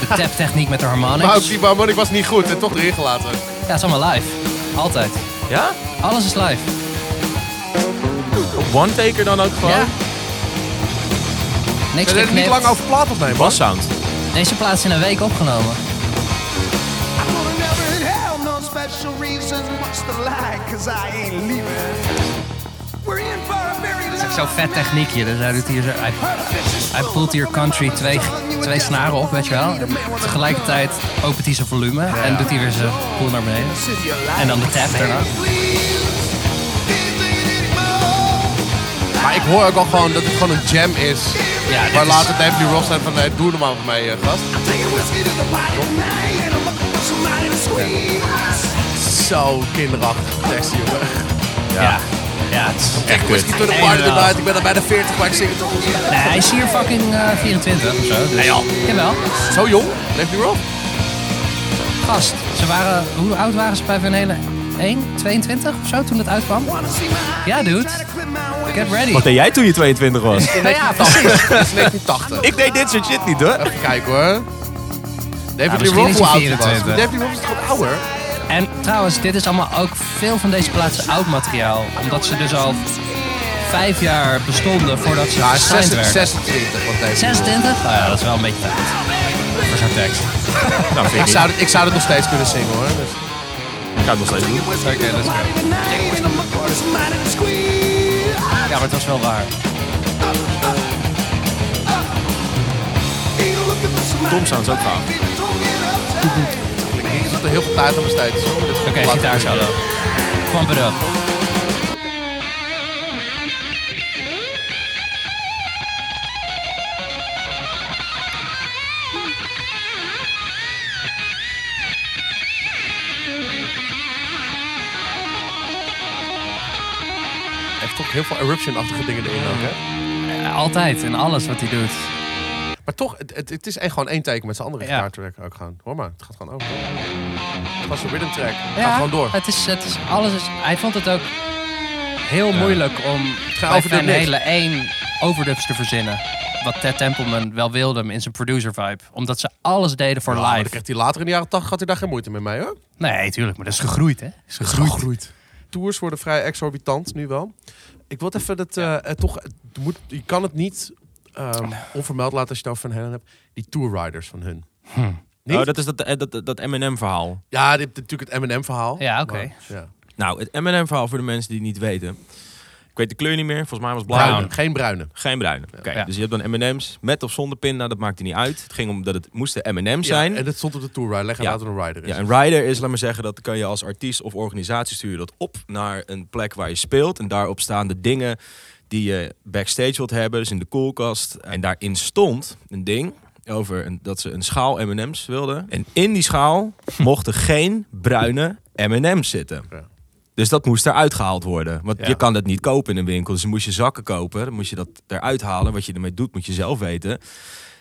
[SPEAKER 1] De taptechniek met de
[SPEAKER 2] Maar ook
[SPEAKER 1] harmonics.
[SPEAKER 2] die harmonic was niet goed en toch erin gelaten.
[SPEAKER 1] Ja, het is allemaal live. Altijd.
[SPEAKER 3] Ja?
[SPEAKER 1] Alles is live.
[SPEAKER 3] One taker dan ook gewoon?
[SPEAKER 1] Ja. Niks
[SPEAKER 2] We hebben er niet lang
[SPEAKER 1] geknipt.
[SPEAKER 2] over plaat opnemen.
[SPEAKER 3] Bass sound.
[SPEAKER 1] Deze plaats in een week opgenomen.
[SPEAKER 5] I'm gonna never in hell no special reasons much to lie, cause I ain't leaving. We're in for a very
[SPEAKER 1] Het is ook zo'n vet techniekje. Dus hij, doet hier zo, hij, hij poelt hier country twee, twee snaren op, weet je wel. En tegelijkertijd opent hij zijn volume en doet hij weer zijn poel naar beneden. En dan de tap daarna.
[SPEAKER 2] Maar ik hoor ook al gewoon dat het gewoon een jam is.
[SPEAKER 1] Ja, dit
[SPEAKER 2] maar
[SPEAKER 1] is-
[SPEAKER 2] later Dave Lee Roth zei van, nee, doe normaal met mij, eh, gast. Zo kinderachtig tekst, jongen.
[SPEAKER 1] Ja. Ja, het is echt kut.
[SPEAKER 2] Whisky to the party tonight, ik ben er bij de 40, maar ik zing het ook.
[SPEAKER 1] Nee, hij is hier fucking eh, 24 of zo. Dus. Nee joh. Jawel.
[SPEAKER 2] Zo jong, Dave Lee Roth.
[SPEAKER 1] Gast. Ze waren, hoe oud waren ze bij Van Halen? 1, 22 of zo toen het uitkwam? Ja, dude. Get ready.
[SPEAKER 3] Wat deed jij toen je 22 was?
[SPEAKER 1] Ja, ja, precies.
[SPEAKER 2] Dat is 1980.
[SPEAKER 3] ik deed dit soort shit niet hoor.
[SPEAKER 2] Nou, Even kijken hoor. David Lee
[SPEAKER 1] misschien
[SPEAKER 2] Roth,
[SPEAKER 1] is
[SPEAKER 2] hoe
[SPEAKER 1] hij
[SPEAKER 2] oud hij was.
[SPEAKER 1] 24.
[SPEAKER 2] Maar David Lee Roth is toch wat ouder?
[SPEAKER 1] En trouwens, dit is allemaal ook veel van deze plaatsen oud materiaal. Omdat ze dus al vijf jaar bestonden voordat ze
[SPEAKER 2] Ja,
[SPEAKER 1] gesigned werden.
[SPEAKER 2] 26. Wat David Lee Roth.
[SPEAKER 1] 26? Nou ja, dat is wel een beetje tijd. Voor zo'n tekst.
[SPEAKER 3] Nou, vind
[SPEAKER 2] Ik
[SPEAKER 3] ik, niet.
[SPEAKER 2] zou, dit, ik zou dit nog steeds kunnen zingen hoor. Dus.
[SPEAKER 3] ik ga het nog steeds doen.
[SPEAKER 2] Oké, let's go.
[SPEAKER 1] Ja, maar het was wel waar.
[SPEAKER 3] Tom sounds ook gaaf.
[SPEAKER 2] Ik zit er heel veel tijd aan besteed. dus hoor, dit
[SPEAKER 1] Oké,
[SPEAKER 2] laten we
[SPEAKER 1] gitaar
[SPEAKER 2] doen.
[SPEAKER 1] solo. Pump it up.
[SPEAKER 2] Hij heeft toch heel veel eruption-achtige dingen erin ook, hè?
[SPEAKER 1] Eh, Altijd in alles wat hij doet.
[SPEAKER 2] Maar toch, het, het, het is echt gewoon één teken met zijn andere
[SPEAKER 1] Ja.
[SPEAKER 2] gitaartrack ook gewoon. Hoor maar, het gaat gewoon over. Het was een rhythm track. Het
[SPEAKER 1] Ja,
[SPEAKER 2] gaat gewoon door.
[SPEAKER 1] Het is, het is, alles is, hij vond het ook heel moeilijk om bij
[SPEAKER 2] overdub
[SPEAKER 1] Van
[SPEAKER 2] niks.
[SPEAKER 1] Halen één overdubs te verzinnen. Wat Ted Templeman wel wilde in zijn producer vibe. Omdat ze alles deden voor
[SPEAKER 2] Ja, maar dan
[SPEAKER 1] live.
[SPEAKER 2] krijgt hij later in de jaren 80 had hij daar geen moeite mee, hoor.
[SPEAKER 1] Nee, tuurlijk, maar dat is gegroeid, hè? Is gegroeid.
[SPEAKER 2] Groeit. Tours worden vrij exorbitant nu wel. Ik wil even dat eh, eh, toch, het moet, je kan het niet ehm, onvermeld laten als je het over Van Halen hebt. Die tourriders van hun. Niet?
[SPEAKER 3] Oh, dat is dat, eh, dat, dat, M&M verhaal.
[SPEAKER 2] Ja, dit dit natuurlijk het M&M verhaal.
[SPEAKER 1] Ja, oké.
[SPEAKER 2] maar, ja.
[SPEAKER 3] Nou, het M&M verhaal voor de mensen die het niet weten. Ik weet de kleur niet meer. Volgens mij was blauw.
[SPEAKER 2] Bruine, geen bruine.
[SPEAKER 3] Geen bruine. Oké,
[SPEAKER 1] Ja.
[SPEAKER 3] dus je hebt dan M&M's met of zonder pinda. Dat maakte niet uit. Het ging om dat het moesten M&M's zijn.
[SPEAKER 2] Ja, en dat stond op de tourrider. Leg er
[SPEAKER 3] Ja.
[SPEAKER 2] later een rider in.
[SPEAKER 3] Ja, een rider is, laat maar zeggen, dat kan je als artiest of organisatie sturen dat op naar een plek waar je speelt. En daarop staan de dingen die je backstage wilt hebben, dus in de koelkast. En daarin stond een ding over een, dat ze een schaal M&M's wilden. En in die schaal mochten geen bruine M&M's zitten.
[SPEAKER 2] Ja.
[SPEAKER 3] Dus dat moest eruit gehaald worden. Want
[SPEAKER 2] Ja.
[SPEAKER 3] je kan dat niet kopen in een winkel. Dus dan moest je zakken kopen. Dan moest je dat eruit halen. Wat je ermee doet, moet je zelf weten.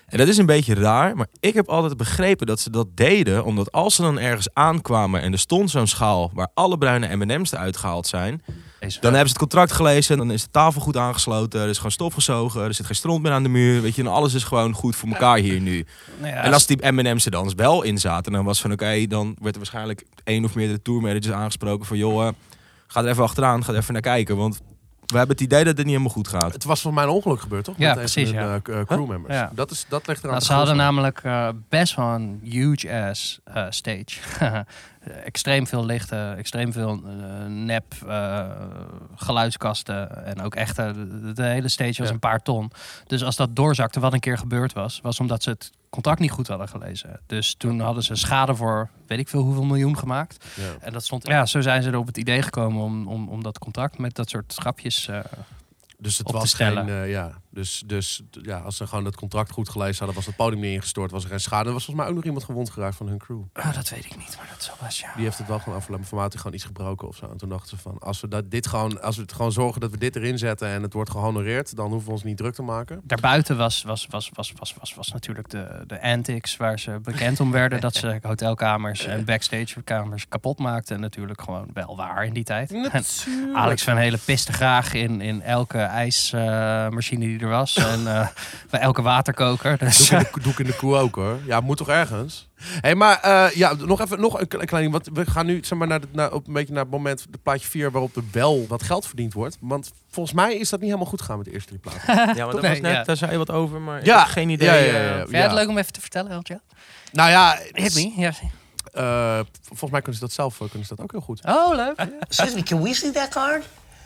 [SPEAKER 3] En dat is een beetje raar, maar ik heb altijd begrepen dat ze dat deden, omdat als ze dan ergens aankwamen en er stond zo'n schaal waar alle bruine M&M's eruit gehaald zijn,
[SPEAKER 1] Deze-
[SPEAKER 3] dan hebben ze het contract gelezen, dan is de tafel goed aangesloten, er is gewoon stof gezogen, er zit geen stront meer aan de muur, weet je, en alles is gewoon goed voor elkaar hier nu.
[SPEAKER 1] Nou ja,
[SPEAKER 3] En als die M&M's er dan wel in zaten, dan was van oké, dan werd er waarschijnlijk één of meerdere tourmanagers aangesproken van joh, eh, ga er even achteraan, ga er even naar kijken, want we hebben het idee dat het niet helemaal goed gaat.
[SPEAKER 2] Het was voor mij een ongeluk gebeurd, toch?
[SPEAKER 1] Ja,
[SPEAKER 2] Met een
[SPEAKER 1] precies,
[SPEAKER 2] van hun,
[SPEAKER 1] ja.
[SPEAKER 2] eh, k- eh, crewmembers.
[SPEAKER 1] Ja.
[SPEAKER 2] Dat, is, dat ligt eraan.
[SPEAKER 1] Nou,
[SPEAKER 2] te
[SPEAKER 1] ze hadden
[SPEAKER 2] grond.
[SPEAKER 1] namelijk eh, best wel een huge ass eh, stage. extreem veel lichten, extreem veel eh, nep eh, geluidskasten en ook echte. De, de hele stage was
[SPEAKER 2] Ja.
[SPEAKER 1] een paar ton. Dus als dat doorzakte, wat een keer gebeurd was, was omdat ze het contract niet goed hadden gelezen. Dus toen hadden ze schade voor weet ik veel hoeveel miljoen gemaakt.
[SPEAKER 2] Ja.
[SPEAKER 1] En dat stond, ja, zo zijn ze er op het idee gekomen om, om, om dat contract met dat soort grapjes. eh,
[SPEAKER 2] Dus het
[SPEAKER 1] op te
[SPEAKER 2] was
[SPEAKER 1] stellen.
[SPEAKER 2] geen, eh, ja. Dus, dus t- ja, als ze gewoon dat contract goed gelezen hadden, was het podium niet ingestort, was er geen schade. Er was volgens mij ook nog iemand gewond geraakt van hun crew.
[SPEAKER 1] ah, dat weet ik niet, maar dat zo was ja.
[SPEAKER 2] Die heeft het wel gewoon afgelopen formatie gewoon iets gebroken of zo. En toen dachten ze van, als we, dat, dit gewoon, als we het gewoon zorgen dat we dit erin zetten en het wordt gehonoreerd, dan hoeven we ons niet druk te maken.
[SPEAKER 1] Daarbuiten was, was, was, was, was, was, was natuurlijk de, de antics waar ze bekend om werden. dat ze hotelkamers en backstagekamers kapot maakten. En natuurlijk gewoon wel waar in die tijd. En Alex van Hele piste graag in, in elke ijsmachine die er was. En eh, bij elke waterkoker.
[SPEAKER 2] Doe
[SPEAKER 1] Dus,
[SPEAKER 2] ik, in de, doe ik in de koe ook hoor. Ja, moet toch ergens? hey, maar eh, ja, nog even nog een kle- klein ding. Want we gaan nu zeg maar, naar, de, naar, op een beetje naar het moment, de plaatje 4, waarop er wel wat geld verdiend wordt. Want volgens mij is dat niet helemaal goed gegaan met de eerste drie platen.
[SPEAKER 3] Ja, maar dat
[SPEAKER 1] Nee,
[SPEAKER 3] was net,
[SPEAKER 1] ja.
[SPEAKER 3] daar zei je wat over, maar
[SPEAKER 2] Ja,
[SPEAKER 3] ik heb geen idee.
[SPEAKER 2] ja, ja, ja,
[SPEAKER 3] eh,
[SPEAKER 2] ja.
[SPEAKER 1] Vind jij het leuk om even te vertellen, Eltje?
[SPEAKER 2] Nou ja,
[SPEAKER 1] Hit me. Ja.
[SPEAKER 2] eh, volgens mij kunnen ze dat zelf eh, kunnen ze dat ook heel goed.
[SPEAKER 1] Oh, leuk.
[SPEAKER 9] Excuse me, can we see that card?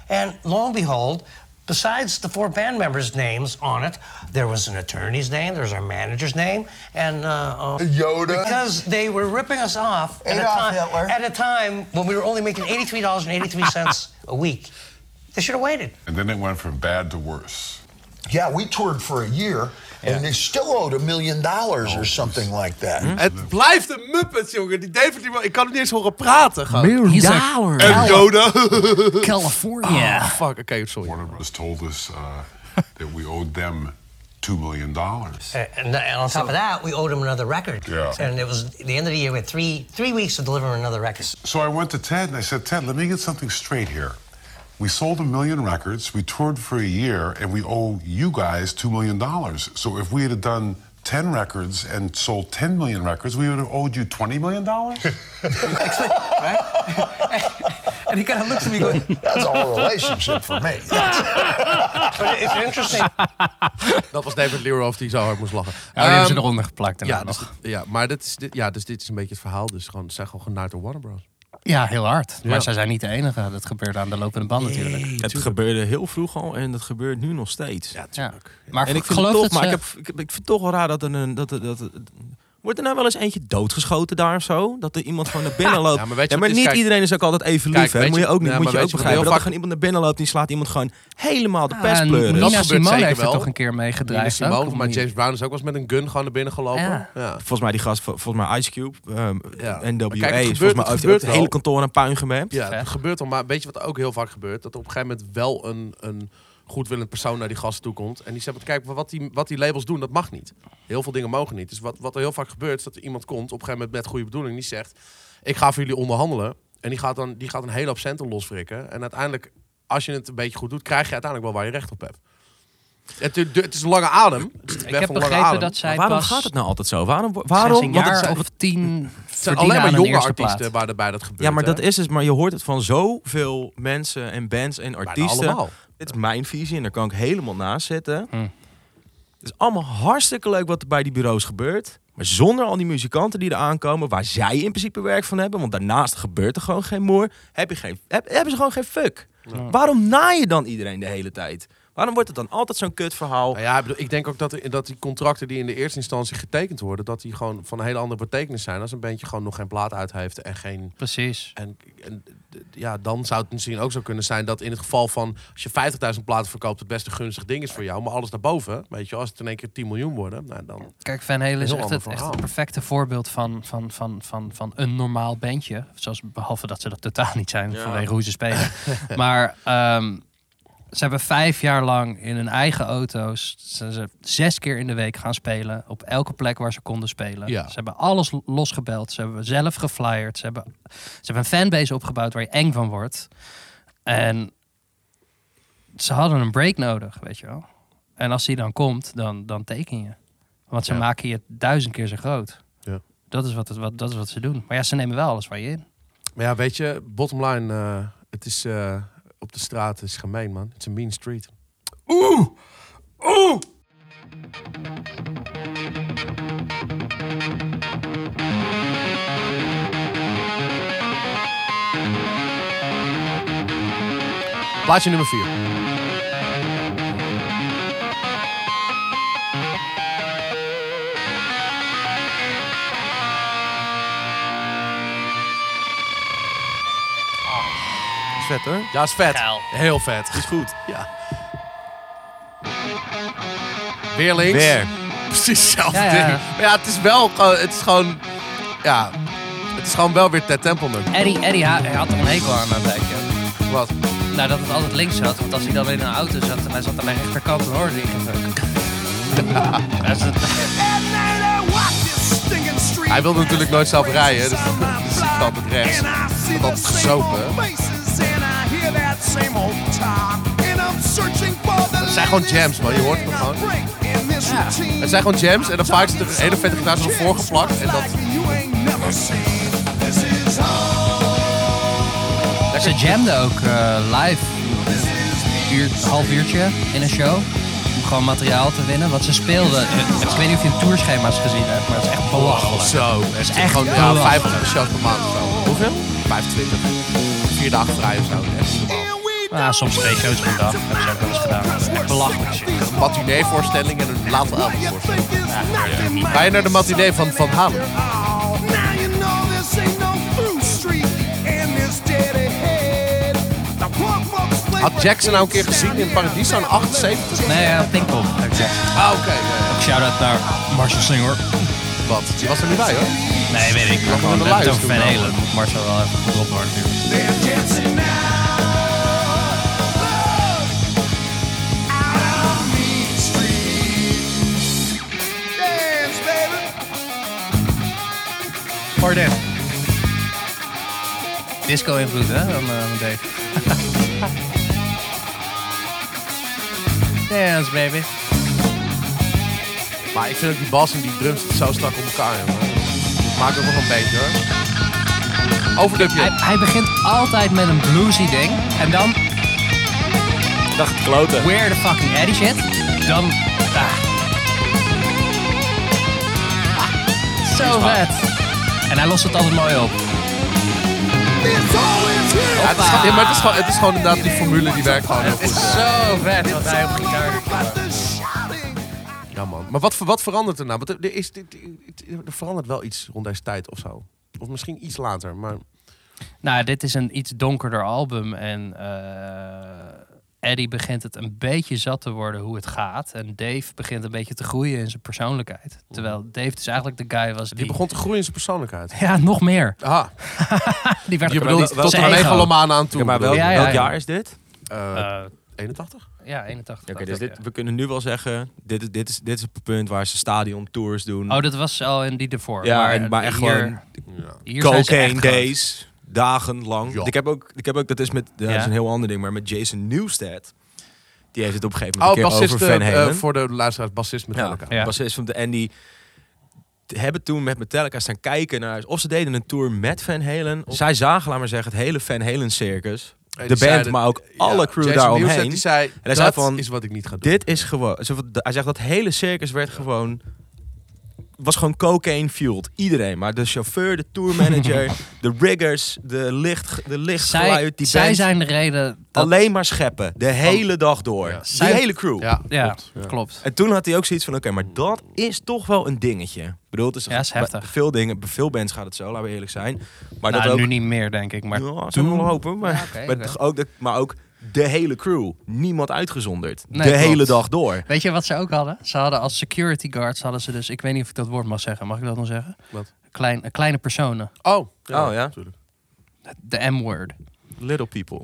[SPEAKER 9] And lo and behold, besides the four band members' names on it, there was an attorney's name, there was our manager's name, and uh, uh,
[SPEAKER 4] Yoda.
[SPEAKER 9] Because they were ripping us off at a,
[SPEAKER 4] Adolf
[SPEAKER 9] time,
[SPEAKER 4] Hitler.
[SPEAKER 9] at a time when we were only making $83.83 a week. They should have waited.
[SPEAKER 10] And then it went from bad to worse.
[SPEAKER 4] Yeah, we toured for a year, and they still owed a million dollars or something like that.
[SPEAKER 2] Het blijft een muppet, jongen. Die David, die, ik kan hem niet eens horen praten. Gewoon.
[SPEAKER 1] He's a
[SPEAKER 2] En Yoda.
[SPEAKER 1] California.
[SPEAKER 2] Fuck, oké, sorry.
[SPEAKER 10] Warner Brothers told us uh, that we owed them $2 million.
[SPEAKER 9] Uh, And, and on top of that, we owed them another record.
[SPEAKER 10] Yeah.
[SPEAKER 9] And it was the end of the year. We had three three weeks to deliver another record.
[SPEAKER 10] So I went to Ted and I said, Ted, let me get something straight here. We sold a million records, we toured for a year, and we owe you guys $2 million. So if we had done 10 records and sold 10 million records, we would have owed you $20 million?
[SPEAKER 7] And he kind of looks at me going,
[SPEAKER 4] That's all relationship for me.
[SPEAKER 9] But it's interesting.
[SPEAKER 2] Dat was David Leroy of die zo hard moest lachen.
[SPEAKER 1] Ja, die hebben ze
[SPEAKER 2] Ehm,
[SPEAKER 1] eronder geplakt. daarna
[SPEAKER 2] ja, dus,
[SPEAKER 1] nog.
[SPEAKER 2] dit- ja, maar dit is, dit, ja, dus dit is een beetje het verhaal. Dus gewoon, ze zijn gewoon genaaid door Warner Bros.
[SPEAKER 1] ja, heel hard.
[SPEAKER 2] Ja.
[SPEAKER 1] Maar zij zijn niet de enige. Dat gebeurde aan de lopende band natuurlijk.
[SPEAKER 3] Het gebeurde heel vroeg al en dat gebeurt nu nog steeds. Ja,
[SPEAKER 1] Ja. Maar
[SPEAKER 3] en ik vind
[SPEAKER 1] geloof
[SPEAKER 3] het
[SPEAKER 1] dat
[SPEAKER 3] toch, maar
[SPEAKER 1] ze-
[SPEAKER 3] ik, heb, ik, heb- ik vind het toch wel raar dat er een. Dat, er- dat, er- wordt er nou wel eens eentje doodgeschoten daar of zo? Dat er iemand gewoon naar binnen loopt.
[SPEAKER 2] Ja, maar weet je wat het is?
[SPEAKER 3] niet
[SPEAKER 2] Kijk-
[SPEAKER 3] iedereen is ook altijd even
[SPEAKER 2] Kijk,
[SPEAKER 3] lief. hè?
[SPEAKER 2] weet
[SPEAKER 3] Moet
[SPEAKER 2] je-
[SPEAKER 3] je ook, niet,
[SPEAKER 2] Ja,
[SPEAKER 3] moet
[SPEAKER 2] maar
[SPEAKER 3] je ook
[SPEAKER 2] weet je wat heel
[SPEAKER 3] begrijpen. Dat er
[SPEAKER 2] vaak- Ah,
[SPEAKER 3] gewoon iemand naar binnen loopt en die slaat iemand gewoon helemaal de pest
[SPEAKER 1] En
[SPEAKER 3] pleuren.
[SPEAKER 1] Nina
[SPEAKER 2] Dat gebeurt
[SPEAKER 1] Simone
[SPEAKER 2] zeker
[SPEAKER 1] heeft er
[SPEAKER 2] wel.
[SPEAKER 1] toch een keer mee
[SPEAKER 2] Nina
[SPEAKER 1] gedreigd. ook,
[SPEAKER 2] Simone,
[SPEAKER 1] of
[SPEAKER 2] maar
[SPEAKER 1] niet?
[SPEAKER 2] James Brown is ook wel eens met een gun gewoon naar binnen gelopen. Ja.
[SPEAKER 1] Ja.
[SPEAKER 3] Volgens mij die gast, vol- volgens mij Ice Cube, ehm
[SPEAKER 2] Ja.
[SPEAKER 3] NWA,
[SPEAKER 2] Maar kijk, het
[SPEAKER 3] is
[SPEAKER 2] gebeurt-
[SPEAKER 3] volgens mij
[SPEAKER 2] het
[SPEAKER 3] heeft
[SPEAKER 2] gebeurt
[SPEAKER 3] het hele
[SPEAKER 2] wel.
[SPEAKER 3] kantoor een puin gemapt.
[SPEAKER 2] Ja,
[SPEAKER 1] Vet.
[SPEAKER 2] het gebeurt al. Maar weet je wat ook heel vaak gebeurt? Dat er op een gegeven moment wel een, een goedwillend persoon naar die gast toe komt. En die zegt, "Want kijk, wat die, wat die labels doen, dat mag niet. Heel veel dingen mogen niet. Dus wat, wat er heel vaak gebeurt, is dat er iemand komt, op een gegeven moment met goede bedoeling, die zegt, ik ga voor jullie onderhandelen. En die gaat dan die gaat een hele hoop centen loswrikken. En uiteindelijk, als je het een beetje goed doet, krijg je uiteindelijk wel waar je recht op hebt. Het, het is een lange adem. Het is een
[SPEAKER 1] Ik
[SPEAKER 2] weg
[SPEAKER 1] heb
[SPEAKER 2] van lange
[SPEAKER 1] begrepen
[SPEAKER 2] adem.
[SPEAKER 1] dat zij
[SPEAKER 3] Maar waarom
[SPEAKER 1] pas...
[SPEAKER 3] gaat het nou altijd zo? Waarom?
[SPEAKER 1] sinds
[SPEAKER 3] waarom?
[SPEAKER 1] een
[SPEAKER 3] Want het
[SPEAKER 1] jaar
[SPEAKER 3] zijn-
[SPEAKER 1] of tien
[SPEAKER 2] Het zijn
[SPEAKER 1] verdienen
[SPEAKER 2] alleen maar
[SPEAKER 1] aan een
[SPEAKER 2] jonge
[SPEAKER 1] eerste
[SPEAKER 2] artiesten
[SPEAKER 1] plaats.
[SPEAKER 2] waar waarbij dat gebeurt.
[SPEAKER 3] Ja, maar
[SPEAKER 2] hè?
[SPEAKER 3] dat is dus, maar je hoort het van zoveel mensen en bands en artiesten.
[SPEAKER 2] allemaal.
[SPEAKER 3] Dit is mijn visie en daar kan ik helemaal naast zitten.
[SPEAKER 1] Hm.
[SPEAKER 3] Het is allemaal hartstikke leuk wat er bij die bureaus gebeurt. Maar zonder al die muzikanten die er aankomen, waar zij in principe werk van hebben, want daarnaast gebeurt er gewoon geen moer, heb je geen, heb, hebben ze gewoon geen fuck. Waarom naai je dan iedereen de hele tijd? Waarom wordt het dan altijd zo'n kut verhaal?
[SPEAKER 2] Nou ja, ik bedoel, ik denk ook dat, er- dat die contracten die in de eerste instantie getekend worden, dat die gewoon van een hele andere betekenis zijn als een bandje gewoon nog geen plaat uit heeft en geen.
[SPEAKER 1] Precies.
[SPEAKER 2] En, en d- ja, dan zou het misschien ook zo kunnen zijn dat in het geval van als je 50.000 platen verkoopt, het best een gunstig ding is voor jou, maar alles daarboven, weet je, als het in één keer 10 miljoen worden, nou, dan.
[SPEAKER 1] Kijk, Van Halen is
[SPEAKER 2] Heel
[SPEAKER 1] echt
[SPEAKER 2] ander
[SPEAKER 1] het, echt het
[SPEAKER 2] verhaal.
[SPEAKER 1] perfecte voorbeeld van, van, van, van, van een normaal bandje. Zoals, behalve dat ze dat totaal niet zijn vanwege hoe ze spelen. maar ehm, ze hebben vijf jaar lang in hun eigen auto's... Zijn ze zes keer in de week gaan spelen. Op elke plek waar ze konden spelen.
[SPEAKER 2] Ja.
[SPEAKER 1] Ze hebben alles lo- losgebeld. Ze hebben zelf geflyerd. Ze hebben, ze hebben een fanbase opgebouwd waar je eng van wordt. En ze hadden een break nodig, weet je wel. En als die dan komt, dan, dan teken je. Want ze
[SPEAKER 2] Ja.
[SPEAKER 1] maken je duizend keer zo groot.
[SPEAKER 2] Ja.
[SPEAKER 1] Dat, is wat, het- wat, dat is wat ze doen. Maar ja, ze nemen wel alles van je in.
[SPEAKER 2] Maar ja, weet je, bottom line, eh, het is eh, op de straat is gemeen, man. Het is een mean street. Plaatje nummer 4. Is vet hoor. Ja, is vet. Heel vet. Is goed. Ja. Weer links.
[SPEAKER 3] Weer.
[SPEAKER 2] Precies hetzelfde
[SPEAKER 1] Ja, ja.
[SPEAKER 2] ding. Maar ja, het is wel gewoon- het is gewoon, ja, het is gewoon wel weer Ted Templeman.
[SPEAKER 1] Eddie, Eddie ha- hij had toch een hekel aan dat wijkje?
[SPEAKER 2] Wat?
[SPEAKER 1] Nou, dat het altijd links zat. Want als hij dan in een auto zat en hij zat aan de rechterkant, dan hoorde hij geen fuck. Dat is het.
[SPEAKER 2] Hij wilde natuurlijk nooit zelf rijden, dus hij zit altijd rechts. Hij had altijd gezopen. Het zijn gewoon jams, man. Je hoort het gewoon. Het zijn gewoon jams en dan vaak zit er een hele vette gitaar zo voorgeplakt. En dat...
[SPEAKER 1] Ze jamden ook eh, live, uur, half uurtje in een show. Om gewoon materiaal te winnen. Wat ze speelden, eh, ik weet niet of je een tourschema's gezien hebt, maar het is echt belachelijk.
[SPEAKER 2] Zo, het is echt gewoon ja,
[SPEAKER 1] belachelijk.
[SPEAKER 2] 25 shows per maand of zo. Hoeveel? 25. Vier dagen vrij of zo. Echt niet normaal.
[SPEAKER 1] Nou, soms twee shows per dag. Heb ze ook wel eens gedaan. Dat is echt belachelijk shit.
[SPEAKER 2] Een matineevoorstelling en een late avondvoorstelling. Oh, Ga je naar de matinee van Van Halen? Had Jackson nou een keer gezien in Paradiso in 78?
[SPEAKER 1] Nee, ja, Pinkpop.
[SPEAKER 2] Ah, oké. ja, ja.
[SPEAKER 1] Shout-out naar Marcel Singer.
[SPEAKER 2] Wat? Die was er niet bij, hoor.
[SPEAKER 1] Nee, weet ik. Maar gewoon,
[SPEAKER 2] de
[SPEAKER 1] we hebben het over
[SPEAKER 2] luis
[SPEAKER 1] Van
[SPEAKER 2] doen
[SPEAKER 1] Halen. Moet Marcel wel even gedropt worden natuurlijk. Pardon. Disco-invloed, hè, van eh, van Dave. Dance, baby.
[SPEAKER 2] Maar ik vind ook die bas en die drums zo strak op elkaar, jongen. Maakt ook nog een beetje, hoor.
[SPEAKER 1] Hij,
[SPEAKER 2] Overdubje.
[SPEAKER 1] hij begint altijd met een bluesy ding. En dan
[SPEAKER 3] Dacht kloten.
[SPEAKER 1] where the fucking Eddie shit. Dan. Ah. Ah, Zo vet. En hij lost het altijd mooi op.
[SPEAKER 2] Ja, het is, gewoon- ja, maar het is, gewoon, het is gewoon inderdaad die formule die werkt gewoon heel
[SPEAKER 1] Het
[SPEAKER 2] goed.
[SPEAKER 1] is zo vet wat hij op gitaar
[SPEAKER 2] Ja, man. Maar wat, wat verandert er nou? Want er, er is, dit- dit- er verandert wel iets rond deze tijd of zo. Of misschien iets later, maar...
[SPEAKER 1] Nou, dit is een iets donkerder album. En eh Eddie begint het een beetje zat te worden hoe het gaat. En Dave begint een beetje te groeien in zijn persoonlijkheid. Terwijl Dave dus eigenlijk de guy was die...
[SPEAKER 2] Die begon te groeien in zijn persoonlijkheid.
[SPEAKER 1] Ja, nog meer.
[SPEAKER 2] Aha,
[SPEAKER 1] Die werd
[SPEAKER 2] je
[SPEAKER 1] gewoon-
[SPEAKER 2] bedoelt tot
[SPEAKER 1] zijn
[SPEAKER 2] een
[SPEAKER 1] ego.
[SPEAKER 2] megalomaan aan toe.
[SPEAKER 3] maar
[SPEAKER 2] bedoel
[SPEAKER 3] welk,
[SPEAKER 2] je?
[SPEAKER 1] Ja, ja,
[SPEAKER 3] welk
[SPEAKER 1] ja.
[SPEAKER 3] jaar is dit?
[SPEAKER 2] Eh,
[SPEAKER 1] Eh,
[SPEAKER 2] 81?
[SPEAKER 1] ja, 81.
[SPEAKER 3] Oké,
[SPEAKER 1] dacht
[SPEAKER 3] dus
[SPEAKER 1] ik,
[SPEAKER 3] dit,
[SPEAKER 1] ja.
[SPEAKER 3] we kunnen nu wel zeggen, dit, is- dit, is, dit is het punt waar ze stadion tours doen.
[SPEAKER 1] Oh, dat was al in die ervoor.
[SPEAKER 3] ja, maar, en, maar echt
[SPEAKER 1] hier-
[SPEAKER 3] gewoon
[SPEAKER 2] Ja.
[SPEAKER 1] hier zijn ze echt
[SPEAKER 3] cocaine
[SPEAKER 1] groot.
[SPEAKER 3] days, dagenlang.
[SPEAKER 2] Ja.
[SPEAKER 3] Ik, heb ook, ik heb ook, dat is met, dat
[SPEAKER 1] Ja.
[SPEAKER 3] is een heel ander ding, maar met Jason Newsted. Die heeft het op een gegeven
[SPEAKER 2] Oh,
[SPEAKER 3] moment een keer
[SPEAKER 2] bassist,
[SPEAKER 3] over Van
[SPEAKER 2] eh,
[SPEAKER 3] Halen.
[SPEAKER 2] voor de luisteraars, bassist Metallica.
[SPEAKER 1] Ja.
[SPEAKER 3] bassist van de Andy. Hebben toen met Metallica staan kijken naar of ze deden een tour met Van Halen. Zij zagen, laat maar zeggen, het hele Van Halen circus.
[SPEAKER 2] En
[SPEAKER 3] de
[SPEAKER 2] die
[SPEAKER 3] band,
[SPEAKER 2] zeiden-
[SPEAKER 3] maar ook alle crew
[SPEAKER 2] Jason
[SPEAKER 3] daaromheen.
[SPEAKER 2] Newsted, die zei, en
[SPEAKER 3] hij
[SPEAKER 2] dat
[SPEAKER 3] zei van,
[SPEAKER 2] is wat ik niet ga doen.
[SPEAKER 3] Dit is gewoon. zo van- Hij zegt dat hele circus werd gewoon. Was gewoon cocaine fueled. Iedereen. Maar de chauffeur, de tourmanager, de riggers, de licht, de
[SPEAKER 1] Zij,
[SPEAKER 3] lichtgeluid, die
[SPEAKER 1] zij
[SPEAKER 3] band.
[SPEAKER 1] zijn de reden dat...
[SPEAKER 3] Alleen maar scheppen. De hele dag door.
[SPEAKER 2] Ja.
[SPEAKER 3] Die
[SPEAKER 1] Zij-
[SPEAKER 3] hele crew.
[SPEAKER 2] Ja,
[SPEAKER 1] ja,
[SPEAKER 2] klopt. Ja.
[SPEAKER 1] klopt.
[SPEAKER 3] En toen had hij ook zoiets van, oké, maar dat is toch wel een dingetje. Ik bedoel, het is,
[SPEAKER 1] Ja, is
[SPEAKER 3] bij
[SPEAKER 1] heftig.
[SPEAKER 3] Veel dingen, bij veel bands gaat het zo, laten we eerlijk zijn. Maar
[SPEAKER 1] Nou,
[SPEAKER 3] dat ook,
[SPEAKER 1] nu niet meer, denk ik. Maar
[SPEAKER 3] Ja, zijn we
[SPEAKER 1] toen...
[SPEAKER 3] wel hopen. Maar,
[SPEAKER 1] Ja, oké,
[SPEAKER 3] maar,
[SPEAKER 1] oké.
[SPEAKER 3] toch ook de, maar ook de hele crew. Niemand uitgezonderd.
[SPEAKER 1] Nee,
[SPEAKER 3] de
[SPEAKER 1] klopt.
[SPEAKER 3] hele dag door.
[SPEAKER 1] Weet je wat ze ook hadden? Ze hadden als security guards, hadden ze dus... Ik weet niet of ik dat woord mag zeggen. Mag ik dat nog zeggen?
[SPEAKER 2] Wat?
[SPEAKER 1] Klein, kleine personen.
[SPEAKER 2] Oh,
[SPEAKER 3] Oh, ja?
[SPEAKER 2] natuurlijk.
[SPEAKER 1] De M-word.
[SPEAKER 3] Little people.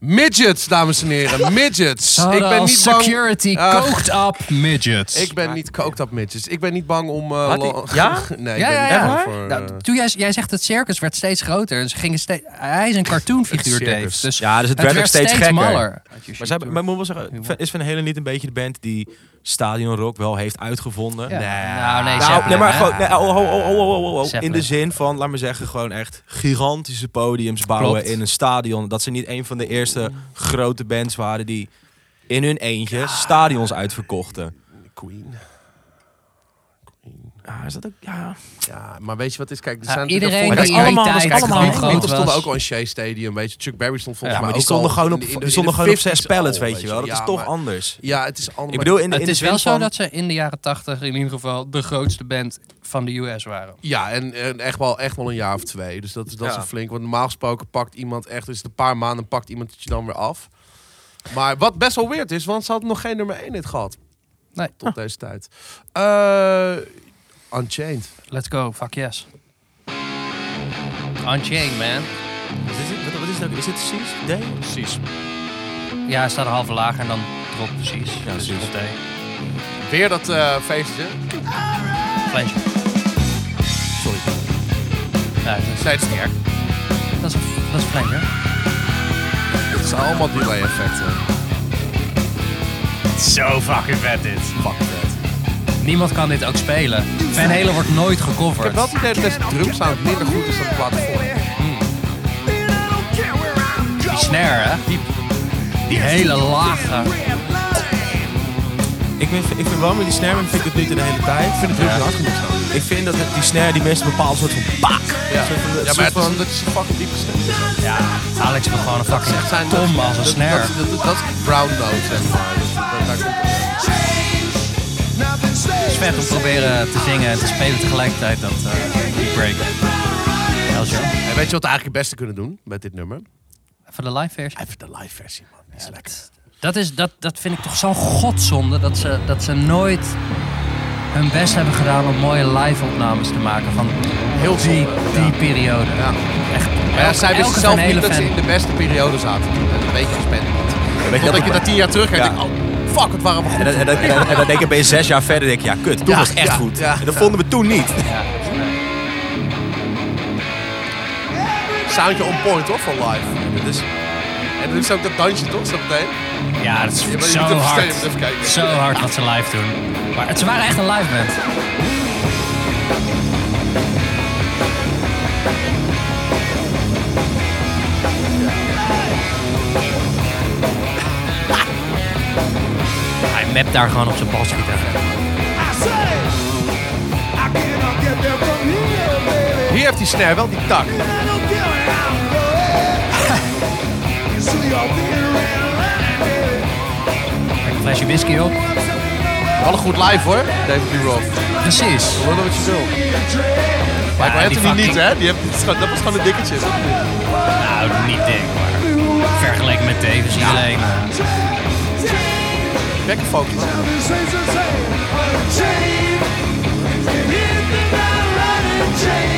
[SPEAKER 2] Midgets, dames en heren. Midgets.
[SPEAKER 1] Ze
[SPEAKER 2] ik
[SPEAKER 1] hadden
[SPEAKER 2] ben
[SPEAKER 1] als
[SPEAKER 2] niet
[SPEAKER 1] security
[SPEAKER 3] Ah.
[SPEAKER 2] bang. Ach,
[SPEAKER 1] cooked up midgets.
[SPEAKER 2] ik ben niet cooked up midgets. Ik ben niet bang om... eh,
[SPEAKER 3] Had hij-
[SPEAKER 2] lo-
[SPEAKER 3] ja?
[SPEAKER 2] Nee,
[SPEAKER 1] ja,
[SPEAKER 2] ik ben
[SPEAKER 1] ja,
[SPEAKER 2] niet
[SPEAKER 1] ja.
[SPEAKER 2] bang voor...
[SPEAKER 1] Nou,
[SPEAKER 2] eh,
[SPEAKER 1] toen jij, jij zegt het circus werd steeds groter. En ze gingen steeds, hij is een cartoonfiguur,
[SPEAKER 2] Het circus.
[SPEAKER 1] Dave. Dus
[SPEAKER 3] Ja, dus het,
[SPEAKER 1] het
[SPEAKER 3] werd ook
[SPEAKER 1] werd
[SPEAKER 3] steeds,
[SPEAKER 1] steeds
[SPEAKER 3] gekker.
[SPEAKER 1] maller.
[SPEAKER 3] Maar, zij, maar ik moet wel zeggen, Van- is Van Halen niet een beetje de band die stadionrock wel heeft uitgevonden?
[SPEAKER 1] Ja. Nou, nee,
[SPEAKER 3] Nou,
[SPEAKER 1] Zeppelin,
[SPEAKER 3] nee, maar
[SPEAKER 1] hè?
[SPEAKER 3] gewoon, nee, oh, oh, oh, oh, oh, oh, oh. in
[SPEAKER 1] Zeppelin.
[SPEAKER 3] de zin van, laat maar zeggen, gewoon echt gigantische podiums bouwen
[SPEAKER 1] Klopt.
[SPEAKER 3] in een stadion. Dat ze niet een van de eerste grote bands waren die in hun eentje stadions uitverkochten.
[SPEAKER 2] Queen. Queen.
[SPEAKER 3] Ja, is dat ook... Ja.
[SPEAKER 2] ja, maar weet je wat het is? Kijk, er
[SPEAKER 3] Ja,
[SPEAKER 2] zijn
[SPEAKER 3] iedereen
[SPEAKER 2] natuurlijk
[SPEAKER 3] die in die
[SPEAKER 2] allemaal,
[SPEAKER 3] tijd
[SPEAKER 2] allemaal
[SPEAKER 3] gewoon
[SPEAKER 2] groot
[SPEAKER 3] groot
[SPEAKER 2] stonden
[SPEAKER 3] was.
[SPEAKER 2] ook al in Shea Stadium, weet je. Chuck Berry stond volgens
[SPEAKER 3] Ja,
[SPEAKER 2] mij
[SPEAKER 3] maar die
[SPEAKER 2] ook al
[SPEAKER 3] stonden gewoon
[SPEAKER 2] in
[SPEAKER 3] op,
[SPEAKER 2] de- in de-
[SPEAKER 3] die
[SPEAKER 2] in
[SPEAKER 3] stonden
[SPEAKER 2] de
[SPEAKER 3] gewoon op
[SPEAKER 2] 50s
[SPEAKER 3] zes pallets,
[SPEAKER 2] al,
[SPEAKER 3] weet je wel. Dat
[SPEAKER 2] Ja,
[SPEAKER 3] is toch
[SPEAKER 2] maar-
[SPEAKER 3] anders.
[SPEAKER 2] Ja, het is anders.
[SPEAKER 3] Ik bedoel, in de, in
[SPEAKER 1] het
[SPEAKER 3] de
[SPEAKER 1] is wel
[SPEAKER 3] zin
[SPEAKER 1] zo
[SPEAKER 3] van-
[SPEAKER 1] dat ze in de jaren tachtig in ieder geval de grootste band van de US waren.
[SPEAKER 2] Ja, en, en echt, wel, echt wel een jaar of twee. Dus dat, is- dat is
[SPEAKER 1] Ja.
[SPEAKER 2] een flink. Want normaal gesproken pakt iemand echt... Is het een paar maanden pakt iemand het je dan weer af. Maar wat best wel weird is, want ze hadden nog geen nummer 1 hit gehad.
[SPEAKER 1] Nee.
[SPEAKER 2] Tot
[SPEAKER 3] Ah.
[SPEAKER 2] deze tijd. Eh, Unchained.
[SPEAKER 1] Let's go, fuck yes. Unchained, man.
[SPEAKER 3] Wat is dit, wat, wat is dit ook? Is dit precies? D? Precies.
[SPEAKER 1] Ja, hij staat een halve lager en dan drop precies. Ja, precies.
[SPEAKER 2] Weer dat eh, feestje.
[SPEAKER 1] Flesje.
[SPEAKER 3] Sorry.
[SPEAKER 1] Ja, dat is,
[SPEAKER 2] Nee, het is niet erg.
[SPEAKER 1] dat is, een- dat is flesje.
[SPEAKER 2] Het zijn allemaal delay-effecten.
[SPEAKER 1] Zo fucking vet dit. Fucking vet. Niemand kan dit ook spelen. Van Halen wordt nooit
[SPEAKER 2] Ik heb
[SPEAKER 1] gecoverd.
[SPEAKER 2] wel het idee dat deze drumsound minder goed is dan het platform. Hmm.
[SPEAKER 1] Die snare, hè? Die, die hele lage.
[SPEAKER 3] Ik vind, ik vind wel met die snare, maar ik vind het niet de hele tijd. Ik vind het
[SPEAKER 2] druk hard genoeg
[SPEAKER 3] Ik vind dat het- die snare die mensen een bepaald soort van pak.
[SPEAKER 2] Ja, ja maar het
[SPEAKER 3] van,
[SPEAKER 2] is, dat is een fucking diepe stem.
[SPEAKER 1] Ja, Alex wil gewoon een
[SPEAKER 2] Dat zijn-
[SPEAKER 1] fucking tom als een
[SPEAKER 2] dat-
[SPEAKER 1] snare.
[SPEAKER 2] Dat, dat, dat is brown note, zeg maar. Dat, dat, daar komt het.
[SPEAKER 1] Het is vet om te proberen te zingen en te spelen tegelijkertijd dat eh, die break. Eljo.
[SPEAKER 2] En weet je wat we eigenlijk het beste kunnen doen met dit nummer?
[SPEAKER 1] Even de live versie.
[SPEAKER 2] Even de live versie, man. Die is lekker.
[SPEAKER 1] Dat, is, dat, dat vind ik toch zo'n godzonde dat ze, dat ze nooit hun best hebben gedaan om mooie live opnames te maken van
[SPEAKER 2] Heel
[SPEAKER 1] die,
[SPEAKER 2] zonde,
[SPEAKER 1] die
[SPEAKER 2] ja.
[SPEAKER 1] periode. Echt.
[SPEAKER 2] Maar ja,
[SPEAKER 1] elke-
[SPEAKER 2] zij
[SPEAKER 1] elke
[SPEAKER 2] wisten zelf
[SPEAKER 1] Van Halen
[SPEAKER 2] niet dat ze
[SPEAKER 1] fan-
[SPEAKER 2] in de beste periode zaten. toen. En Dat weet je als band niet.
[SPEAKER 3] weet je
[SPEAKER 2] Totdat
[SPEAKER 3] dat-
[SPEAKER 2] je dat tien jaar terug hebt.
[SPEAKER 3] Ja.
[SPEAKER 2] denk ik, Oh, fuck, het waren we goed.
[SPEAKER 3] En dan, en, dan, en, dan, en dan denk ik ben je zes jaar verder denk ik, ja kut, toen
[SPEAKER 2] Ja,
[SPEAKER 3] was het echt
[SPEAKER 2] ja,
[SPEAKER 3] goed.
[SPEAKER 2] ja.
[SPEAKER 3] en dat vonden we toen niet.
[SPEAKER 1] Ja,
[SPEAKER 2] Soundje on point, hoor, van live.
[SPEAKER 3] Dat is,
[SPEAKER 2] En dan is ook dat dansje, toch, zo meteen?
[SPEAKER 1] ja, dat
[SPEAKER 2] Je moet
[SPEAKER 1] is
[SPEAKER 2] even
[SPEAKER 1] zo
[SPEAKER 2] stemmen,
[SPEAKER 1] hard.
[SPEAKER 2] even kijken.
[SPEAKER 1] Zo hard wat ze live doen. Maar ze waren echt een live band. Hij mapt daar gewoon op zijn basgitaar.
[SPEAKER 2] Hier heeft die snare wel die tak.
[SPEAKER 1] Een flesje whisky op.
[SPEAKER 2] Wel een goed live, hoor, David Lee Roth.
[SPEAKER 1] Precies.
[SPEAKER 2] Lullen wat je wil. Maar
[SPEAKER 1] Ja,
[SPEAKER 2] ik
[SPEAKER 1] die
[SPEAKER 2] weet het niet,
[SPEAKER 1] fucking-
[SPEAKER 2] hè? Die heeft, dat is gewoon- dat was gewoon een dikketje.
[SPEAKER 1] Nou, niet dik, maar vergeleken met Davis iedereen. eh,
[SPEAKER 2] Lekker focus.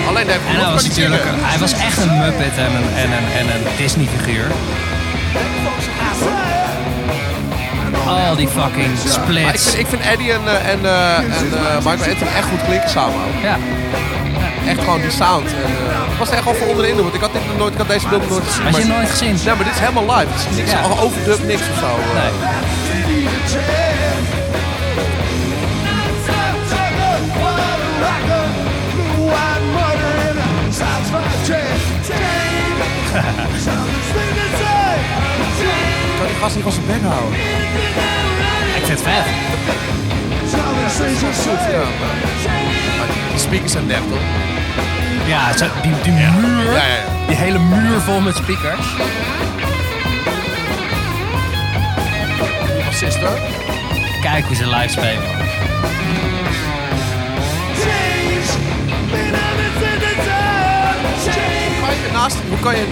[SPEAKER 2] Alleen David
[SPEAKER 1] En
[SPEAKER 2] Lee
[SPEAKER 1] hij
[SPEAKER 2] Roth
[SPEAKER 1] was
[SPEAKER 2] kan niet
[SPEAKER 1] natuurlijk,
[SPEAKER 2] zingen.
[SPEAKER 1] hij was echt een Muppet en een, en een, en een Disney-figuur. Al die fucking
[SPEAKER 2] Maar ik, vind,
[SPEAKER 1] splits.
[SPEAKER 2] ik vind Eddie en, eh, en, eh, en eh, Michael Anthony echt goed klinken samen. ook.
[SPEAKER 1] Ja,
[SPEAKER 2] Echt gewoon die sound. En, eh, ik was er echt over onder de indruk, want ik had, dit nog nooit, ik had deze film nog nooit gezien.
[SPEAKER 1] had je
[SPEAKER 2] maar-
[SPEAKER 1] nooit gezien?
[SPEAKER 2] Nee, maar dit is helemaal live. Het is niks
[SPEAKER 1] Ja.
[SPEAKER 2] al overdub, niks of zo. eh.
[SPEAKER 1] Nee.
[SPEAKER 2] Kan die gast niet van zijn bek houden?
[SPEAKER 1] Ik vind het vet.
[SPEAKER 2] Ja, maar die speakers zijn nep, toch?
[SPEAKER 1] Ja, zo- die, die muur.
[SPEAKER 2] Ja, ja, ja.
[SPEAKER 1] Die hele muur vol met speakers.
[SPEAKER 2] Die bassist, hoor.
[SPEAKER 1] Kijk hoe ze live spelen.
[SPEAKER 2] Hoe kan je naast, hoe kan je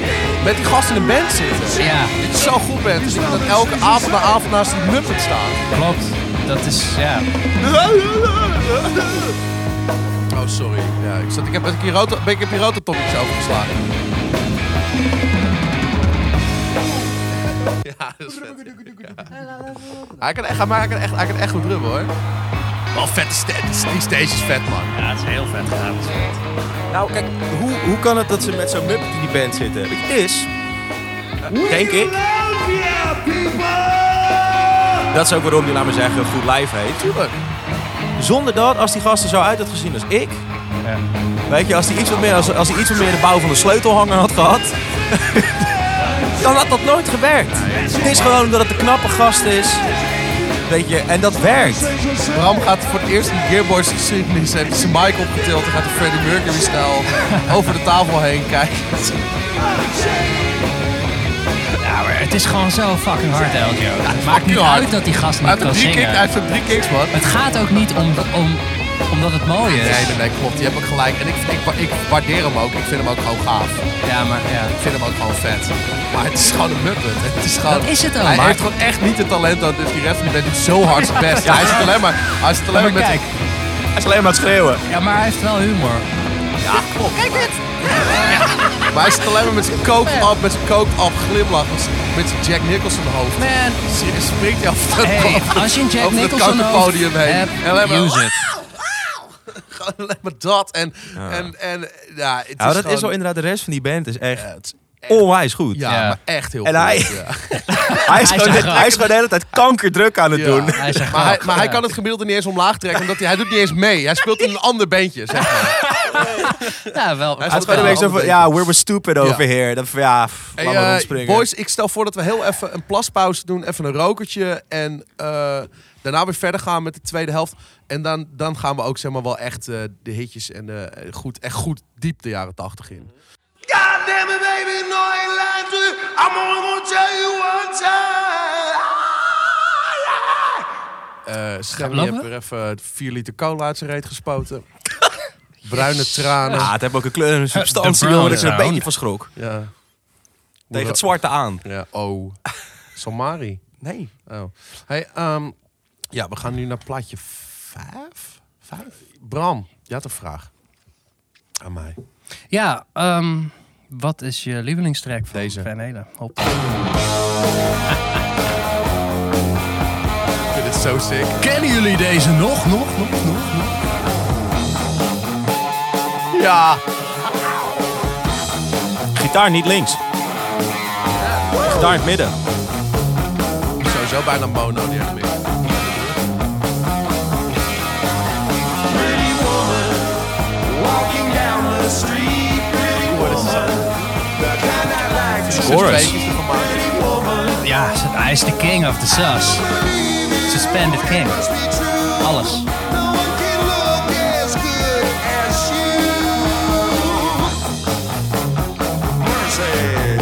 [SPEAKER 2] met die gast in een band zitten?
[SPEAKER 1] Ja,
[SPEAKER 2] Dat je zo goed bent, dat je dan elke avond na avond naast die muppet staat.
[SPEAKER 1] klopt. Dat is, ja.
[SPEAKER 2] Oh, sorry. Ja, ik, zat, ik heb een keer rood, ben ik heb hier rototopics overgeslagen. Ja, dat is vet. Ja. Hij kan echt, maar hij kan echt, hij kan echt goed drummen, hoor. Wel vet, die stage is vet, man.
[SPEAKER 1] Ja, het is heel vet gedaan.
[SPEAKER 3] nou kijk, hoe, hoe kan het dat ze met zo'n Muppet in die band zitten? Weet je, Het is, denk ik, dat is ook waarom die, laat maar zeggen, goed live heet.
[SPEAKER 2] Tuurlijk.
[SPEAKER 3] Zonder dat, als die gasten zo uit had gezien als ik. Weet je, als hij iets, wat meer- als, als hij iets wat meer de bouw van een sleutelhanger had gehad. dan had dat nooit gewerkt. Het is gewoon omdat het een knappe gast is.
[SPEAKER 11] Dat je, en dat werkt.
[SPEAKER 2] Bram gaat voor het eerst in Gearboys geschiedenis. Heeft zijn mic opgetild en gaat de Freddie Mercury-stijl over de tafel heen kijken.
[SPEAKER 1] Ja, maar het is gewoon zo fucking hard, Eljo. het maakt
[SPEAKER 2] fucking
[SPEAKER 1] niet
[SPEAKER 2] hard.
[SPEAKER 1] uit dat die gast
[SPEAKER 2] Hij
[SPEAKER 1] niet
[SPEAKER 2] heeft
[SPEAKER 1] kan
[SPEAKER 2] drie
[SPEAKER 1] zingen.
[SPEAKER 2] kick- hij heeft drie kicks, man.
[SPEAKER 1] Het gaat ook niet om, om, omdat het mooi is.
[SPEAKER 2] Nee, nee, nee, klopt. Je hebt ook gelijk. En ik, ik, ik waardeer hem ook. Ik vind hem ook gewoon gaaf.
[SPEAKER 1] Ja, maar ja.
[SPEAKER 2] Ik vind hem ook gewoon vet. Maar het is gewoon een muppet. Het is gewoon...
[SPEAKER 1] Dat is het ook,
[SPEAKER 2] Hij
[SPEAKER 1] maar-
[SPEAKER 2] heeft gewoon echt niet het talent dat dus die rest van de band doet zo hard zijn best. Hij zit alleen maar... Hij zit alleen maar, met...
[SPEAKER 1] kijk.
[SPEAKER 11] Hij is alleen maar aan het schreeuwen.
[SPEAKER 1] Ja, maar hij heeft wel humor.
[SPEAKER 2] Ja, klopt. Kijk dit! Maar hij zit alleen maar met zijn coke op, met zijn coke op glimlach. Met zijn, met zijn Jack Nicholson hoofd.
[SPEAKER 1] Man.
[SPEAKER 2] Springt hij af dat
[SPEAKER 1] Hey, als je een Jack
[SPEAKER 2] over dat
[SPEAKER 1] Nicholson
[SPEAKER 2] kankerpodium
[SPEAKER 1] hoofd
[SPEAKER 2] heen.
[SPEAKER 1] hebt,
[SPEAKER 2] En alleen maar-
[SPEAKER 1] use it.
[SPEAKER 2] Gewoon alleen maar dat. En, en, en ja, het
[SPEAKER 3] Nou,
[SPEAKER 2] is
[SPEAKER 3] dat
[SPEAKER 2] gewoon-
[SPEAKER 3] is wel inderdaad, de rest van die band is echt, onwijs goed.
[SPEAKER 2] Ja, maar echt heel
[SPEAKER 3] En
[SPEAKER 2] goed,
[SPEAKER 3] hij,
[SPEAKER 2] ja.
[SPEAKER 3] hij, is gewoon, de- hij is gewoon de hele tijd kankerdruk aan het
[SPEAKER 2] Ja.
[SPEAKER 3] doen.
[SPEAKER 2] maar hij, maar hij kan het gemiddelde niet eens omlaag trekken, omdat hij, hij doet niet eens mee. Hij speelt in een ander bandje, zeg maar.
[SPEAKER 1] Ja, wel.
[SPEAKER 2] Hij
[SPEAKER 3] Hij is
[SPEAKER 2] speelt
[SPEAKER 3] gewoon
[SPEAKER 2] in een
[SPEAKER 3] een beetje zo
[SPEAKER 2] ander
[SPEAKER 3] van,
[SPEAKER 2] bandje.
[SPEAKER 3] ja, we were stupid over
[SPEAKER 2] Ja.
[SPEAKER 3] here. Dat, van, ja, pff,
[SPEAKER 2] Hey,
[SPEAKER 3] laat maar
[SPEAKER 2] eh,
[SPEAKER 3] rondspringen.
[SPEAKER 2] boys, ik stel voor dat we heel even een plaspauze doen, even een rokertje en eh, daarna weer verder gaan met de tweede helft. En dan, dan gaan we ook zeg maar wel echt eh, de hitjes en eh, goed, echt goed diep de jaren tachtig in.
[SPEAKER 5] God damn it, baby, no, I ain't lying to you. I'm only gonna tell you one time.
[SPEAKER 2] Eh
[SPEAKER 1] we
[SPEAKER 2] Scherm,
[SPEAKER 1] lopen?
[SPEAKER 2] heeft weer even 4 liter cola uit zijn reet gespoten. Bruine tranen.
[SPEAKER 3] Ja, Ah, het heeft ook een kleur en een substantie,
[SPEAKER 1] brown
[SPEAKER 3] jongen, dat ik er een
[SPEAKER 1] sound.
[SPEAKER 3] beetje van schrok.
[SPEAKER 2] Ja.
[SPEAKER 3] Tegen het zwarte aan.
[SPEAKER 2] Ja, oh. Somari.
[SPEAKER 3] Nee.
[SPEAKER 2] Oh. Hey, ehm, ja, we gaan nu naar plaatje 5. Bram, je had een vraag aan mij.
[SPEAKER 1] Ja, ehm, wat is je lievelingstrack van Deze. Van Halen? Hop.
[SPEAKER 2] Ik vind het zo sick.
[SPEAKER 1] Kennen jullie deze nog, nog, nog, nog, nog?
[SPEAKER 2] Ja.
[SPEAKER 3] Gitaar niet links. Gitaar in het midden.
[SPEAKER 2] Sowieso bijna mono die hele mix.
[SPEAKER 5] Pretty woman walking down the street. Pretty woman, the kind I like to
[SPEAKER 3] Chorus.
[SPEAKER 2] Pretty
[SPEAKER 5] woman,
[SPEAKER 1] Ja, hij is de king of the sus. Suspended king. Alles.
[SPEAKER 5] no one can look as good as you. Mercy.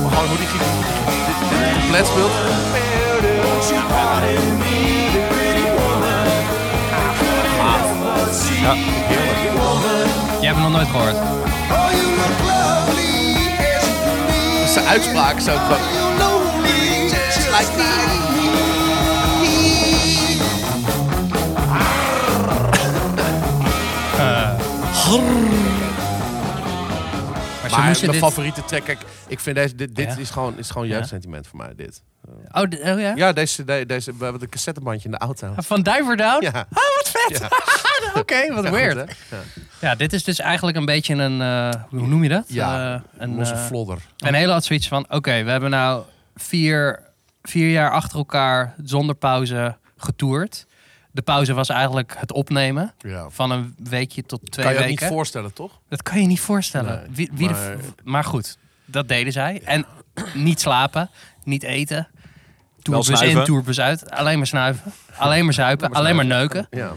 [SPEAKER 2] Maar gewoon hoe die gitaar compleet speelt.
[SPEAKER 3] Ja.
[SPEAKER 1] Jij hebt hem nog nooit gehoord.
[SPEAKER 5] Oh,
[SPEAKER 2] Zijn uitspraak is ook gewoon...
[SPEAKER 1] Maar, zo
[SPEAKER 2] Maar
[SPEAKER 1] moest je
[SPEAKER 2] mijn
[SPEAKER 1] dit...
[SPEAKER 2] favoriete track, kijk, ik vind deze, dit, dit
[SPEAKER 1] Ja?
[SPEAKER 2] is gewoon, is gewoon
[SPEAKER 1] Ja.
[SPEAKER 2] jeugdsentiment voor mij, dit.
[SPEAKER 1] Oh, d- oh ja?
[SPEAKER 2] Ja, deze, de- deze, we hebben een cassettebandje in de auto.
[SPEAKER 1] Van Diver Down?
[SPEAKER 2] Ja.
[SPEAKER 1] Oh, wat vet.
[SPEAKER 2] Ja.
[SPEAKER 1] Oké, wat
[SPEAKER 2] Ja,
[SPEAKER 1] weird.
[SPEAKER 2] goed, hè? Ja.
[SPEAKER 1] ja, dit is dus eigenlijk een beetje een... eh, hoe noem je dat?
[SPEAKER 2] Ja,
[SPEAKER 1] Eh, een,
[SPEAKER 2] Losse
[SPEAKER 1] eh,
[SPEAKER 2] flodder.
[SPEAKER 1] En heel had zoiets van: oké, we hebben nou vier, vier jaar achter elkaar zonder pauze getoerd. De pauze was eigenlijk het opnemen
[SPEAKER 2] Ja.
[SPEAKER 1] van een weekje tot twee
[SPEAKER 2] Kan je ook
[SPEAKER 1] weken.
[SPEAKER 2] niet voorstellen, toch?
[SPEAKER 1] dat kan je niet voorstellen.
[SPEAKER 2] Nee,
[SPEAKER 1] wie, wie de
[SPEAKER 2] maar-
[SPEAKER 1] f- maar goed, dat deden zij. En niet slapen, niet eten. Tourbus in,
[SPEAKER 3] snuiven.
[SPEAKER 1] tourbus uit. Alleen maar snuiven. Alleen maar zuipen. alleen maar neuken.
[SPEAKER 2] Ja.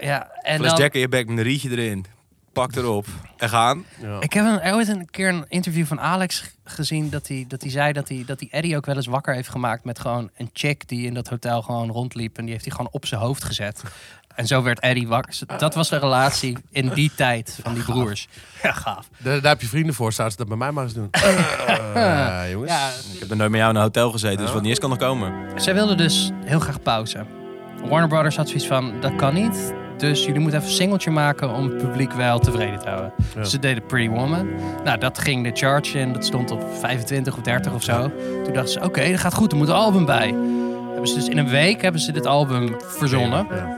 [SPEAKER 1] Ja, en
[SPEAKER 3] Plus
[SPEAKER 1] dan,
[SPEAKER 3] Jack in je bek met een rietje erin. Pak erop. En gaan.
[SPEAKER 1] Ik heb een, ooit een keer een interview van Alex g- gezien dat hij, dat hij zei dat hij, dat hij Eddie ook wel eens wakker heeft gemaakt met gewoon een chick die in dat hotel gewoon rondliep en die heeft hij gewoon op zijn hoofd gezet. En zo werd Eddie wakker. Dat was de relatie in die tijd van die broers. Ja, gaaf.
[SPEAKER 2] Daar, daar heb je vrienden voor, zouden ze dat bij mij maar eens doen. Eh, jongens.
[SPEAKER 1] Ja,
[SPEAKER 3] Ik heb er nooit met jou in een hotel gezeten, dus wat niet is kan nog komen.
[SPEAKER 1] zij wilden dus heel graag pauze. Warner Brothers had zoiets van, dat kan niet. Dus jullie moeten even een singeltje maken om het publiek wel tevreden te houden. Dus ze deden Pretty Woman. Nou, dat ging de charge in. Dat stond op 25 of 30 of zo. Toen dachten ze, oké, dat gaat goed. Er moet een album bij. Hebben ze dus in een week hebben ze dit album verzonnen.
[SPEAKER 2] Ja.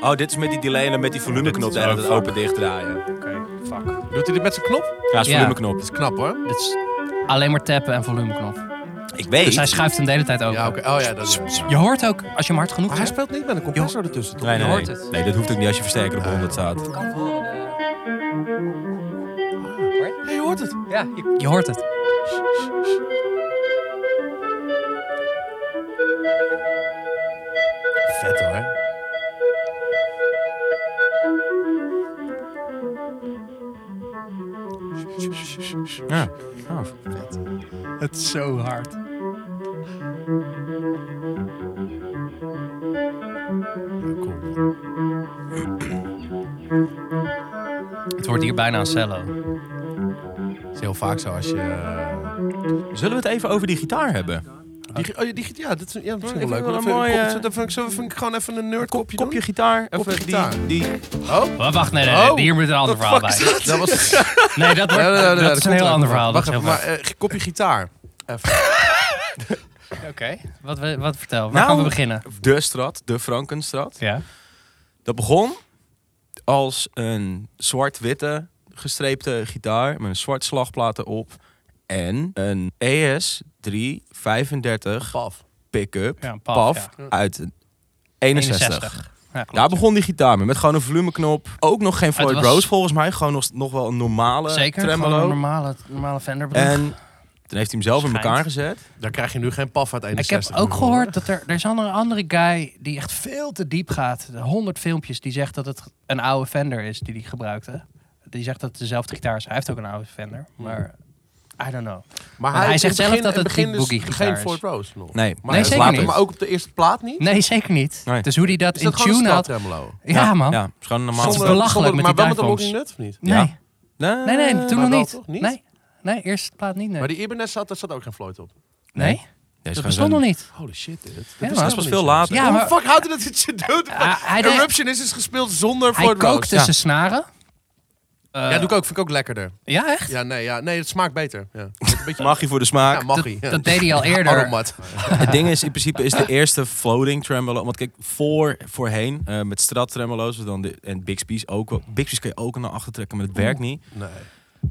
[SPEAKER 3] Oh, dit is met die delay en dan met die volumeknop en het open dicht draaien.
[SPEAKER 1] Oké, fuck.
[SPEAKER 2] Doet hij dit met zijn knop?
[SPEAKER 3] Ja, dat is
[SPEAKER 1] Ja.
[SPEAKER 3] volumeknop.
[SPEAKER 2] Dat is knap hoor.
[SPEAKER 1] Dit is alleen maar tappen en volumeknop.
[SPEAKER 3] Ik
[SPEAKER 1] Dus hij
[SPEAKER 3] weet.
[SPEAKER 1] schuift hem de hele tijd open.
[SPEAKER 2] Ja, oké. Oh ja, dat is...
[SPEAKER 1] Je hoort ook, als je hem hard genoeg
[SPEAKER 2] Maar hij
[SPEAKER 1] hebt.
[SPEAKER 2] speelt niet met een compressor ertussen, toch?
[SPEAKER 3] Nee, nee,
[SPEAKER 1] Je
[SPEAKER 3] nee.
[SPEAKER 1] hoort het.
[SPEAKER 3] Nee, dat hoeft ook niet als je versterker op 100 staat.
[SPEAKER 2] Ja, je hoort het.
[SPEAKER 1] Ja, je, je hoort het.
[SPEAKER 12] Ja. Oh, vet.
[SPEAKER 1] Het is zo hard. Het wordt hier bijna een cello.
[SPEAKER 2] Het is heel vaak zo als je... eh,
[SPEAKER 3] Zullen we het even over die gitaar hebben?
[SPEAKER 2] die, oh, ja, die, ja, dat is, ja, dat is wel
[SPEAKER 3] Ik
[SPEAKER 2] leuk. Een
[SPEAKER 3] vind wel een
[SPEAKER 2] mooie, kop,
[SPEAKER 3] mooie-
[SPEAKER 2] zullen we- zullen we gewoon even een nerd kopje
[SPEAKER 3] Kopje gitaar.
[SPEAKER 2] Kopje
[SPEAKER 3] even
[SPEAKER 2] gitaar.
[SPEAKER 3] Die, die...
[SPEAKER 2] Oh,
[SPEAKER 1] Maar wacht, nee, nee, nee, hier moet een ander verhaal bij.
[SPEAKER 2] Dat was...
[SPEAKER 1] Nee, dat, wordt,
[SPEAKER 2] Nee, nee, nee,
[SPEAKER 1] dat
[SPEAKER 2] nee,
[SPEAKER 1] is
[SPEAKER 2] komt
[SPEAKER 1] een heel
[SPEAKER 2] wel.
[SPEAKER 1] ander verhaal.
[SPEAKER 2] Wacht
[SPEAKER 1] dat is
[SPEAKER 2] even,
[SPEAKER 1] heel
[SPEAKER 2] maar eh, kopje gitaar. Even. eh,
[SPEAKER 1] Oké, wat, we- wat vertel.
[SPEAKER 2] Nou,
[SPEAKER 1] Waar
[SPEAKER 3] Nou,
[SPEAKER 1] gaan we beginnen?
[SPEAKER 3] De strat, de Frankenstrat.
[SPEAKER 1] Ja.
[SPEAKER 3] Dat begon als een zwart-witte gestreepte gitaar met een zwart slagplaten op en een E ES335 pick-up
[SPEAKER 1] Ja, een PAF,
[SPEAKER 3] PAF
[SPEAKER 1] ja.
[SPEAKER 3] uit 61.
[SPEAKER 1] 61. Ja, klopt.
[SPEAKER 3] Daar begon die gitaar mee, met gewoon een volumeknop. Ook nog geen
[SPEAKER 1] Ah, Het
[SPEAKER 3] Floyd
[SPEAKER 1] was-
[SPEAKER 3] Rose volgens mij, gewoon nog, nog wel een normale
[SPEAKER 2] eh,
[SPEAKER 1] Zeker,
[SPEAKER 3] tremolo.
[SPEAKER 1] gewoon een normale, normale Fender.
[SPEAKER 3] En toen heeft hij hem zelf in
[SPEAKER 1] Schijnt.
[SPEAKER 3] elkaar gezet.
[SPEAKER 2] Daar krijg je nu geen paf uit
[SPEAKER 1] Ik heb
[SPEAKER 2] 61.
[SPEAKER 1] ook gehoord dat er, er is een andere- andere guy die echt veel te diep gaat. 100 filmpjes die zegt dat het een oude Fender is die hij gebruikte. Die zegt dat het dezelfde gitaar is. Hij heeft ook een oude Fender, maar I don't know.
[SPEAKER 2] Maar hij,
[SPEAKER 1] zegt
[SPEAKER 2] in
[SPEAKER 1] zelf
[SPEAKER 2] begin-
[SPEAKER 1] dat het
[SPEAKER 2] in
[SPEAKER 1] die
[SPEAKER 2] begin
[SPEAKER 1] boogie
[SPEAKER 2] dus
[SPEAKER 1] gitaar
[SPEAKER 2] geen
[SPEAKER 1] is.
[SPEAKER 2] Fort Rose nog.
[SPEAKER 3] Nee,
[SPEAKER 2] Maar,
[SPEAKER 1] nee,
[SPEAKER 2] dat
[SPEAKER 1] zeker
[SPEAKER 2] later,
[SPEAKER 1] niet.
[SPEAKER 2] maar ook op de eerste plaat niet.
[SPEAKER 1] Nee, zeker niet.
[SPEAKER 3] Nee.
[SPEAKER 1] Dus hoe die dat
[SPEAKER 2] Is
[SPEAKER 1] in
[SPEAKER 2] dat gewoon
[SPEAKER 1] tune
[SPEAKER 2] een
[SPEAKER 1] had.
[SPEAKER 2] stratremolo?
[SPEAKER 1] Ja, man.
[SPEAKER 3] Ja, het is gewoon een
[SPEAKER 1] Het is
[SPEAKER 3] normale.
[SPEAKER 1] belachelijk
[SPEAKER 2] zonder-
[SPEAKER 1] met
[SPEAKER 2] maar
[SPEAKER 1] die
[SPEAKER 2] wel met de
[SPEAKER 1] diveforms.
[SPEAKER 2] Walking Nut of niet?
[SPEAKER 1] Nee.
[SPEAKER 3] Ja.
[SPEAKER 1] nee, nee, toen nog
[SPEAKER 2] Maar wel
[SPEAKER 1] niet.
[SPEAKER 2] toch? Niet?
[SPEAKER 1] Nee, nee eerste plaat niet. Nee,
[SPEAKER 2] Maar die Ibanez zat, daar zat ook geen Floyd op.
[SPEAKER 1] nee?
[SPEAKER 3] Nee,
[SPEAKER 1] dat
[SPEAKER 3] het is
[SPEAKER 1] bestond
[SPEAKER 3] gewoon
[SPEAKER 1] nog niet.
[SPEAKER 2] Holy shit, dit.
[SPEAKER 1] Ja,
[SPEAKER 2] Dat
[SPEAKER 1] man.
[SPEAKER 3] Dat was veel later.
[SPEAKER 1] Ja,
[SPEAKER 2] Hoe
[SPEAKER 1] maar
[SPEAKER 2] fuck houdt het dat je doet?
[SPEAKER 1] hij deed-
[SPEAKER 2] Eruption is dus gespeeld zonder
[SPEAKER 1] hij
[SPEAKER 2] Floyd
[SPEAKER 1] kookte
[SPEAKER 2] Rose.
[SPEAKER 1] zijn snaren.
[SPEAKER 2] Ja,
[SPEAKER 1] Eh.
[SPEAKER 2] doe ik ook. Vind ik ook lekkerder.
[SPEAKER 1] Ja, echt?
[SPEAKER 2] Ja, nee, ja, nee het smaakt beter. Ja. Een beetje...
[SPEAKER 3] Mag je voor de smaak.
[SPEAKER 2] Ja, mag je.
[SPEAKER 1] Dat deed hij al eerder.
[SPEAKER 2] Aromat.
[SPEAKER 3] Het ding is, in principe is de eerste floating tremolo. Want kijk, voor, voorheen eh, met strat tremolo's was dan de, en Bixby's ook. wel. Bixby's kun je ook naar achter trekken, maar dat werkt niet.
[SPEAKER 2] Mm. Nee.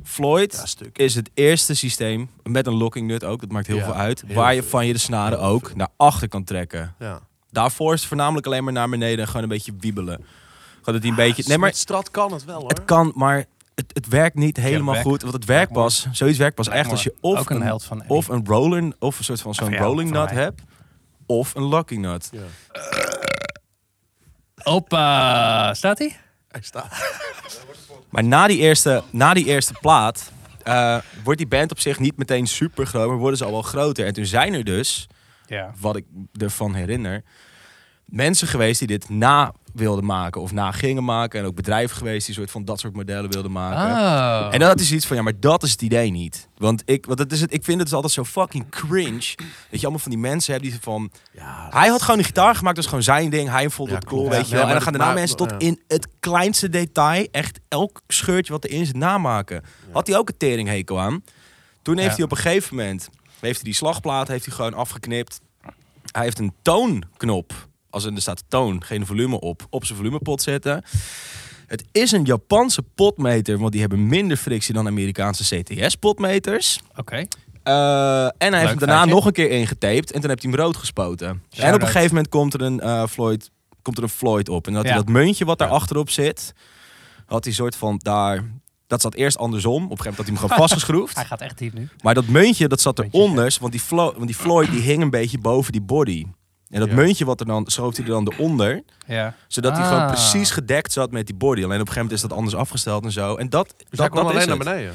[SPEAKER 3] Floyd
[SPEAKER 2] stuk.
[SPEAKER 3] is het eerste systeem, met een locking nut ook, dat maakt heel
[SPEAKER 2] Ja,
[SPEAKER 3] veel uit.
[SPEAKER 2] heel
[SPEAKER 3] waar je
[SPEAKER 2] veel.
[SPEAKER 3] van je de snaren ook naar achter kan trekken.
[SPEAKER 2] Ja.
[SPEAKER 3] Daarvoor is het voornamelijk alleen maar naar beneden en gewoon een beetje wiebelen. Gewoon dat die een beetje... Nee,
[SPEAKER 2] Nee,
[SPEAKER 3] maar
[SPEAKER 2] Strat kan het wel hoor.
[SPEAKER 3] het kan, maar het, het werkt niet helemaal
[SPEAKER 1] werkt.
[SPEAKER 3] goed. Want het werkt pas, zoiets werkt pas echt
[SPEAKER 1] me
[SPEAKER 3] als je of
[SPEAKER 1] ook een held van Eddie.
[SPEAKER 3] of een roller, of een soort van zo'n
[SPEAKER 1] Van jou,
[SPEAKER 3] rolling
[SPEAKER 1] van
[SPEAKER 3] nut
[SPEAKER 1] mij.
[SPEAKER 3] hebt, of een lucky nut.
[SPEAKER 2] Ja.
[SPEAKER 1] Opa, eh, staat hij?
[SPEAKER 2] Hij
[SPEAKER 3] Dus
[SPEAKER 2] staat.
[SPEAKER 3] Maar na die eerste, na die eerste plaat eh, wordt die band op zich niet meteen super groot, maar worden ze al wel groter. En toen zijn er dus,
[SPEAKER 1] Ja.
[SPEAKER 3] wat ik ervan herinner, mensen geweest die dit na wilden maken of na gingen maken. En ook bedrijven geweest die soort van dat soort modellen wilden maken.
[SPEAKER 1] Oh.
[SPEAKER 3] En dat is iets van, ja, maar dat is het idee niet. Want ik, want dat is het, ik vind het altijd zo fucking cringe. Dat je allemaal van die mensen hebt die van... hij had gewoon een gitaar gemaakt, dat is gewoon zijn ding. Hij vond het cool,
[SPEAKER 2] klopt.
[SPEAKER 3] weet
[SPEAKER 2] Ja,
[SPEAKER 3] je
[SPEAKER 2] ja,
[SPEAKER 3] wel. en dan
[SPEAKER 2] maar
[SPEAKER 3] gaan
[SPEAKER 2] dat-
[SPEAKER 3] daarna
[SPEAKER 2] maar-
[SPEAKER 3] mensen tot
[SPEAKER 2] ja.
[SPEAKER 3] in het kleinste detail... echt elk scheurtje wat erin zit namaken. Had hij ook een teringhekel aan. Toen heeft
[SPEAKER 1] Ja.
[SPEAKER 3] hij op een gegeven moment... heeft hij die slagplaat heeft hij gewoon afgeknipt. Hij heeft een toonknop. Als in, er staat toon, geen volume op. Op zijn volumepot zetten. Het is een Japanse potmeter, want die hebben minder frictie dan Amerikaanse CTS-potmeters.
[SPEAKER 1] Oké.
[SPEAKER 3] Eh, en hij heeft hem daarna
[SPEAKER 1] feitje.
[SPEAKER 3] nog een keer ingetaped en toen heeft hij hem rood gespoten. en op een gegeven moment komt er een, eh, Floyd, komt er een Floyd op. En dat hij
[SPEAKER 1] Ja.
[SPEAKER 3] dat muntje wat daar achterop zit, had hij soort van daar... Dat zat eerst andersom. Op een gegeven moment had hij hem gewoon vastgeschroefd.
[SPEAKER 1] Hij gaat echt diep nu.
[SPEAKER 3] Maar dat muntje, dat zat
[SPEAKER 1] Muntje,
[SPEAKER 3] eronder. Want die, Flo- want die Floyd die hing een beetje boven die body. En dat
[SPEAKER 2] Ja.
[SPEAKER 3] muntje wat er dan, schoof hij er dan eronder
[SPEAKER 1] Ja.
[SPEAKER 3] zodat hij gewoon
[SPEAKER 1] Ah.
[SPEAKER 3] precies gedekt zat met die body. Alleen op een gegeven moment is dat anders afgesteld en zo. En dat,
[SPEAKER 2] Dus hij
[SPEAKER 3] dat,
[SPEAKER 2] kwam
[SPEAKER 3] dat is
[SPEAKER 2] alleen naar
[SPEAKER 3] het.
[SPEAKER 2] beneden.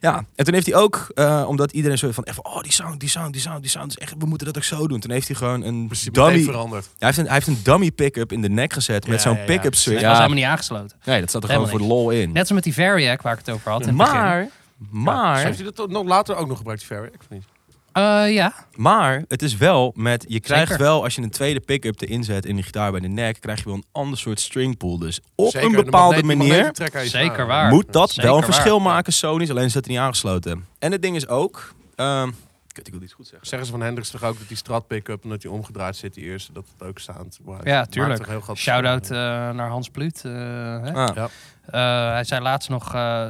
[SPEAKER 3] Ja, en toen heeft hij ook, eh, omdat iedereen zo van, echt van, oh die sound, die sound, die sound, die sound, is echt, we moeten dat ook zo doen. Toen heeft hij gewoon een
[SPEAKER 2] Dummy.
[SPEAKER 3] dummy, hij
[SPEAKER 2] veranderd.
[SPEAKER 3] heeft een, hij heeft een dummy pick-up in de nek gezet met
[SPEAKER 2] Ja,
[SPEAKER 3] zo'n
[SPEAKER 2] ja, ja.
[SPEAKER 3] pick-up
[SPEAKER 1] Het
[SPEAKER 3] switch.
[SPEAKER 1] was helemaal niet aangesloten.
[SPEAKER 3] Nee, dat zat er gewoon
[SPEAKER 1] Helemaal
[SPEAKER 3] voor de lol in.
[SPEAKER 1] Net als met die Variac waar ik het over had. In het begin.
[SPEAKER 3] maar, maar,
[SPEAKER 2] Heeft hij dat toch nog later ook nog gebruikt, Ferry? Ik niet.
[SPEAKER 1] Eh, ja.
[SPEAKER 3] maar, het is wel met, je krijgt
[SPEAKER 1] Zeker.
[SPEAKER 3] wel, als je een tweede pick-up erin zet in de gitaar bij de nek, krijg je wel een ander soort string pull. Dus op
[SPEAKER 2] Zeker,
[SPEAKER 3] een
[SPEAKER 2] de
[SPEAKER 3] bepaalde
[SPEAKER 2] magneet- die
[SPEAKER 3] manier,
[SPEAKER 2] magnetentrek aan je
[SPEAKER 1] Zeker
[SPEAKER 2] snaren.
[SPEAKER 1] waar.
[SPEAKER 3] Moet dat
[SPEAKER 1] Zeker
[SPEAKER 3] wel een
[SPEAKER 1] waar.
[SPEAKER 3] verschil maken? Sony is alleen zit er niet aangesloten. En het ding is ook. ehm, kut, ik wil iets goed zeggen.
[SPEAKER 2] Zeggen ze van Hendricks toch ook dat die strat pick-up en dat die omgedraaid zit, die eerste, dat het ook staand wordt.
[SPEAKER 1] Ja,
[SPEAKER 2] Maakt toch
[SPEAKER 1] tuurlijk.
[SPEAKER 2] heel groot
[SPEAKER 1] Shout-out
[SPEAKER 2] verschil.
[SPEAKER 1] eh, naar Hans Pluut. eh, hè?
[SPEAKER 3] Ah,
[SPEAKER 2] Ja.
[SPEAKER 1] Eh, hij zei laatst nog, eh,